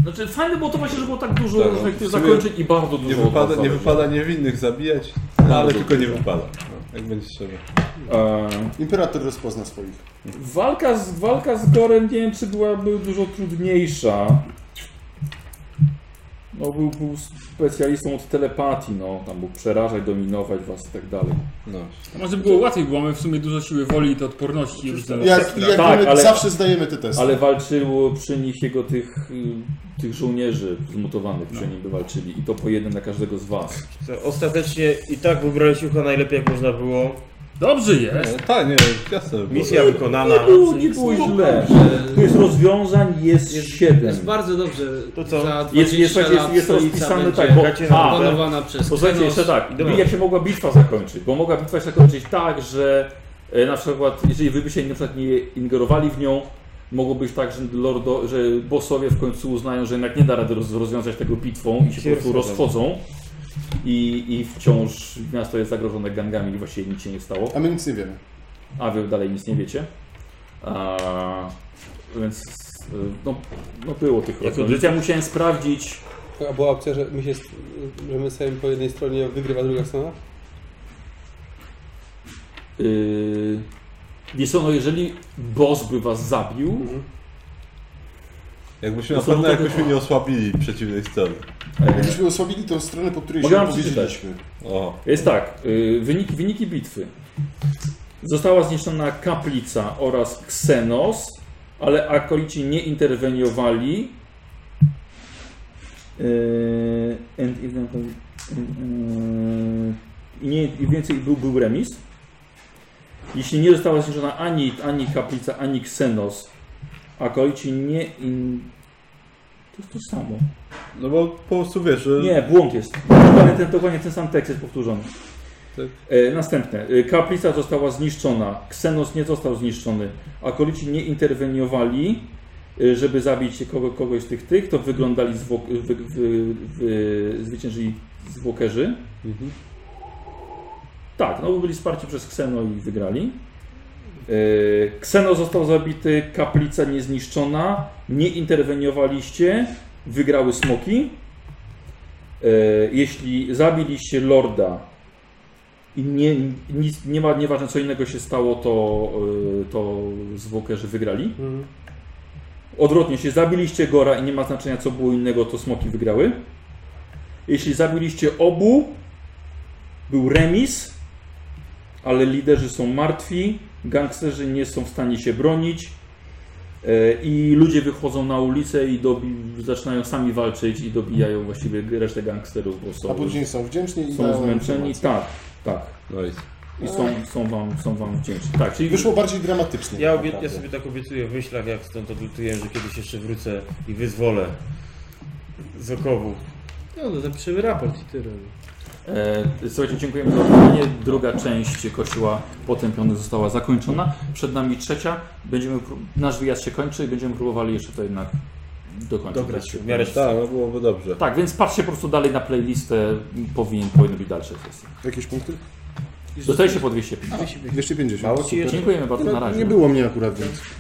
[SPEAKER 1] Znaczy fajne było to właśnie, że było tak dużo
[SPEAKER 3] Tak, no,
[SPEAKER 1] różnych
[SPEAKER 3] w
[SPEAKER 1] tych
[SPEAKER 3] sumie
[SPEAKER 1] zakończeń i bardzo dużo
[SPEAKER 3] Nie wypada, nie
[SPEAKER 1] odwrotnych.
[SPEAKER 3] wypada niewinnych zabijać, no, ale
[SPEAKER 1] Bardzo
[SPEAKER 3] tylko nie
[SPEAKER 1] dużo.
[SPEAKER 3] wypada. No, jak będzie trzeba.
[SPEAKER 1] Eee,
[SPEAKER 2] Imperator rozpozna swoich.
[SPEAKER 1] Walka z, walka z Gorem nie wiem, czy byłaby dużo trudniejsza. No był, był specjalistą od telepatii, no. Tam był przerażać, dominować was i tak dalej.
[SPEAKER 3] No.
[SPEAKER 4] Może by było łatwiej, bo mamy w sumie dużo siły woli i to odporności. różne.
[SPEAKER 2] Jak, jak
[SPEAKER 1] Tak,
[SPEAKER 2] my
[SPEAKER 1] ale-
[SPEAKER 2] zawsze zdajemy te testy.
[SPEAKER 1] Ale walczyło przy nich jego tych, y, tych żołnierzy zmutowanych,
[SPEAKER 3] No.
[SPEAKER 1] przy nim by walczyli. I to po jeden na każdego z was.
[SPEAKER 6] To Ostatecznie i tak wybrałeś ucha najlepiej jak można było.
[SPEAKER 4] Dobrze jest.
[SPEAKER 3] No, tak, nie, jasne. było.
[SPEAKER 6] Misja wykonana.
[SPEAKER 1] Nie było, nie było źle. Tu jest rozwiązań, jest,
[SPEAKER 5] Jest-
[SPEAKER 1] siedem.
[SPEAKER 5] Jest bardzo dobrze.
[SPEAKER 6] To co?
[SPEAKER 5] Za 20
[SPEAKER 1] Jest, jest,
[SPEAKER 5] lat
[SPEAKER 1] jest, jest
[SPEAKER 5] stolica
[SPEAKER 1] rozpisane
[SPEAKER 5] będzie
[SPEAKER 1] tak, bo... A,
[SPEAKER 5] opanowana przez
[SPEAKER 1] Posłuchajcie
[SPEAKER 5] Kenos.
[SPEAKER 1] jeszcze tak,
[SPEAKER 6] Dobra.
[SPEAKER 1] jak się mogła bitwa zakończyć, bo mogła bitwa się zakończyć tak, że e, na przykład, jeżeli wy byście na przykład nie ingerowali w nią, mogło być tak, że, lordo, że bossowie w końcu uznają, że jednak nie da rady roz, rozwiązać tego bitwą i się
[SPEAKER 6] Się
[SPEAKER 1] po prostu
[SPEAKER 6] rozchodzą.
[SPEAKER 1] rozchodzą i, i wciąż miasto jest zagrożone gangami i właściwie nic się nie stało,
[SPEAKER 2] A my nic nie wiemy.
[SPEAKER 1] a wy dalej nic nie wiecie. A, więc e, no, no było tych rozwiązań. Więc Ja musiałem sprawdzić,
[SPEAKER 7] A była opcja, że my, się, st- że my stajemy po jednej stronie, a wygrywa druga strona?
[SPEAKER 1] Yy, Wiesz co, no jeżeli boss by was zabił,
[SPEAKER 3] Jakbyśmy
[SPEAKER 1] To
[SPEAKER 3] na
[SPEAKER 1] są
[SPEAKER 3] pewno
[SPEAKER 1] tylko-
[SPEAKER 3] jakbyśmy nie osłabili przeciwnej strony.
[SPEAKER 2] Jakbyśmy osłabili tą stronę, po której
[SPEAKER 1] Mogę
[SPEAKER 2] się
[SPEAKER 1] wam przeczytać.
[SPEAKER 2] powiedzieliśmy.
[SPEAKER 3] O,
[SPEAKER 1] jest tak, yy, wyniki, wyniki bitwy. Została zniszczona kaplica oraz ksenos, ale akolici nie interweniowali. Yy, and if not- yy, I nie, i więcej był, był remis. Jeśli nie została zniszczona ani, ani kaplica, ani ksenos, akolici nie... In... To jest to samo.
[SPEAKER 3] no bo po prostu wiesz, że...
[SPEAKER 1] Nie, błąd jest. Dokładnie ten, dokładnie ten sam tekst jest powtórzony.
[SPEAKER 3] Tak.
[SPEAKER 1] E, następne. E, Kaplica została zniszczona. Ksenos nie został zniszczony. Akolici nie interweniowali, e, żeby zabić kogo, kogoś z tych tych, to wyglądali zwłok, wy, wy, wy, zwyciężyli zwłokerzy.
[SPEAKER 3] Mhm.
[SPEAKER 1] Tak, no bo byli wsparci przez Kseno i wygrali. E, Kseno został zabity, kaplica niezniszczona, nie interweniowaliście, wygrały smoki. E, jeśli zabiliście lorda i nie, nic, nie ma, nieważne co innego się stało, to, y, to zwłokerzy wygrali.
[SPEAKER 2] Mhm.
[SPEAKER 1] Odwrotnie, jeśli zabiliście Gora i nie ma znaczenia co było innego, to smoki wygrały. Jeśli zabiliście obu, był remis, ale liderzy są martwi, gangsterzy nie są w stanie się bronić e, i ludzie wychodzą na ulicę i dobi, zaczynają sami walczyć i dobijają właściwie resztę gangsterów, bo
[SPEAKER 2] A
[SPEAKER 1] są,
[SPEAKER 2] później są wdzięczni i
[SPEAKER 1] są
[SPEAKER 2] dają
[SPEAKER 1] zmęczeni.
[SPEAKER 2] informacje.
[SPEAKER 1] Tak, tak.
[SPEAKER 3] No i
[SPEAKER 1] I są, są, wam, są wam wdzięczni. Tak, czyli
[SPEAKER 2] Wyszło bardziej dramatycznie.
[SPEAKER 6] Ja, obie, ja sobie tak obiecuję w myślach, jak stąd odlutuję, że kiedyś jeszcze wrócę i wyzwolę z okowu.
[SPEAKER 1] tak.
[SPEAKER 5] No, to zapiszemy raport i tyle.
[SPEAKER 1] E, słuchajcie, dziękujemy za oglądanie. Druga część Kościoła Potępiony została zakończona. Przed nami trzecia. Będziemy, pró- nasz wyjazd się kończy i będziemy próbowali jeszcze to jednak dokończyć.
[SPEAKER 6] Dograć w miarę
[SPEAKER 3] tak, no byłoby dobrze.
[SPEAKER 1] Tak, więc patrzcie po prostu dalej na playlistę. Powinien, powinny być dalsze sesje.
[SPEAKER 2] Jakieś punkty?
[SPEAKER 1] Dostaliście po 250.
[SPEAKER 2] 250.
[SPEAKER 1] Dziękujemy bardzo, na razie.
[SPEAKER 2] Nie było mnie akurat, więc...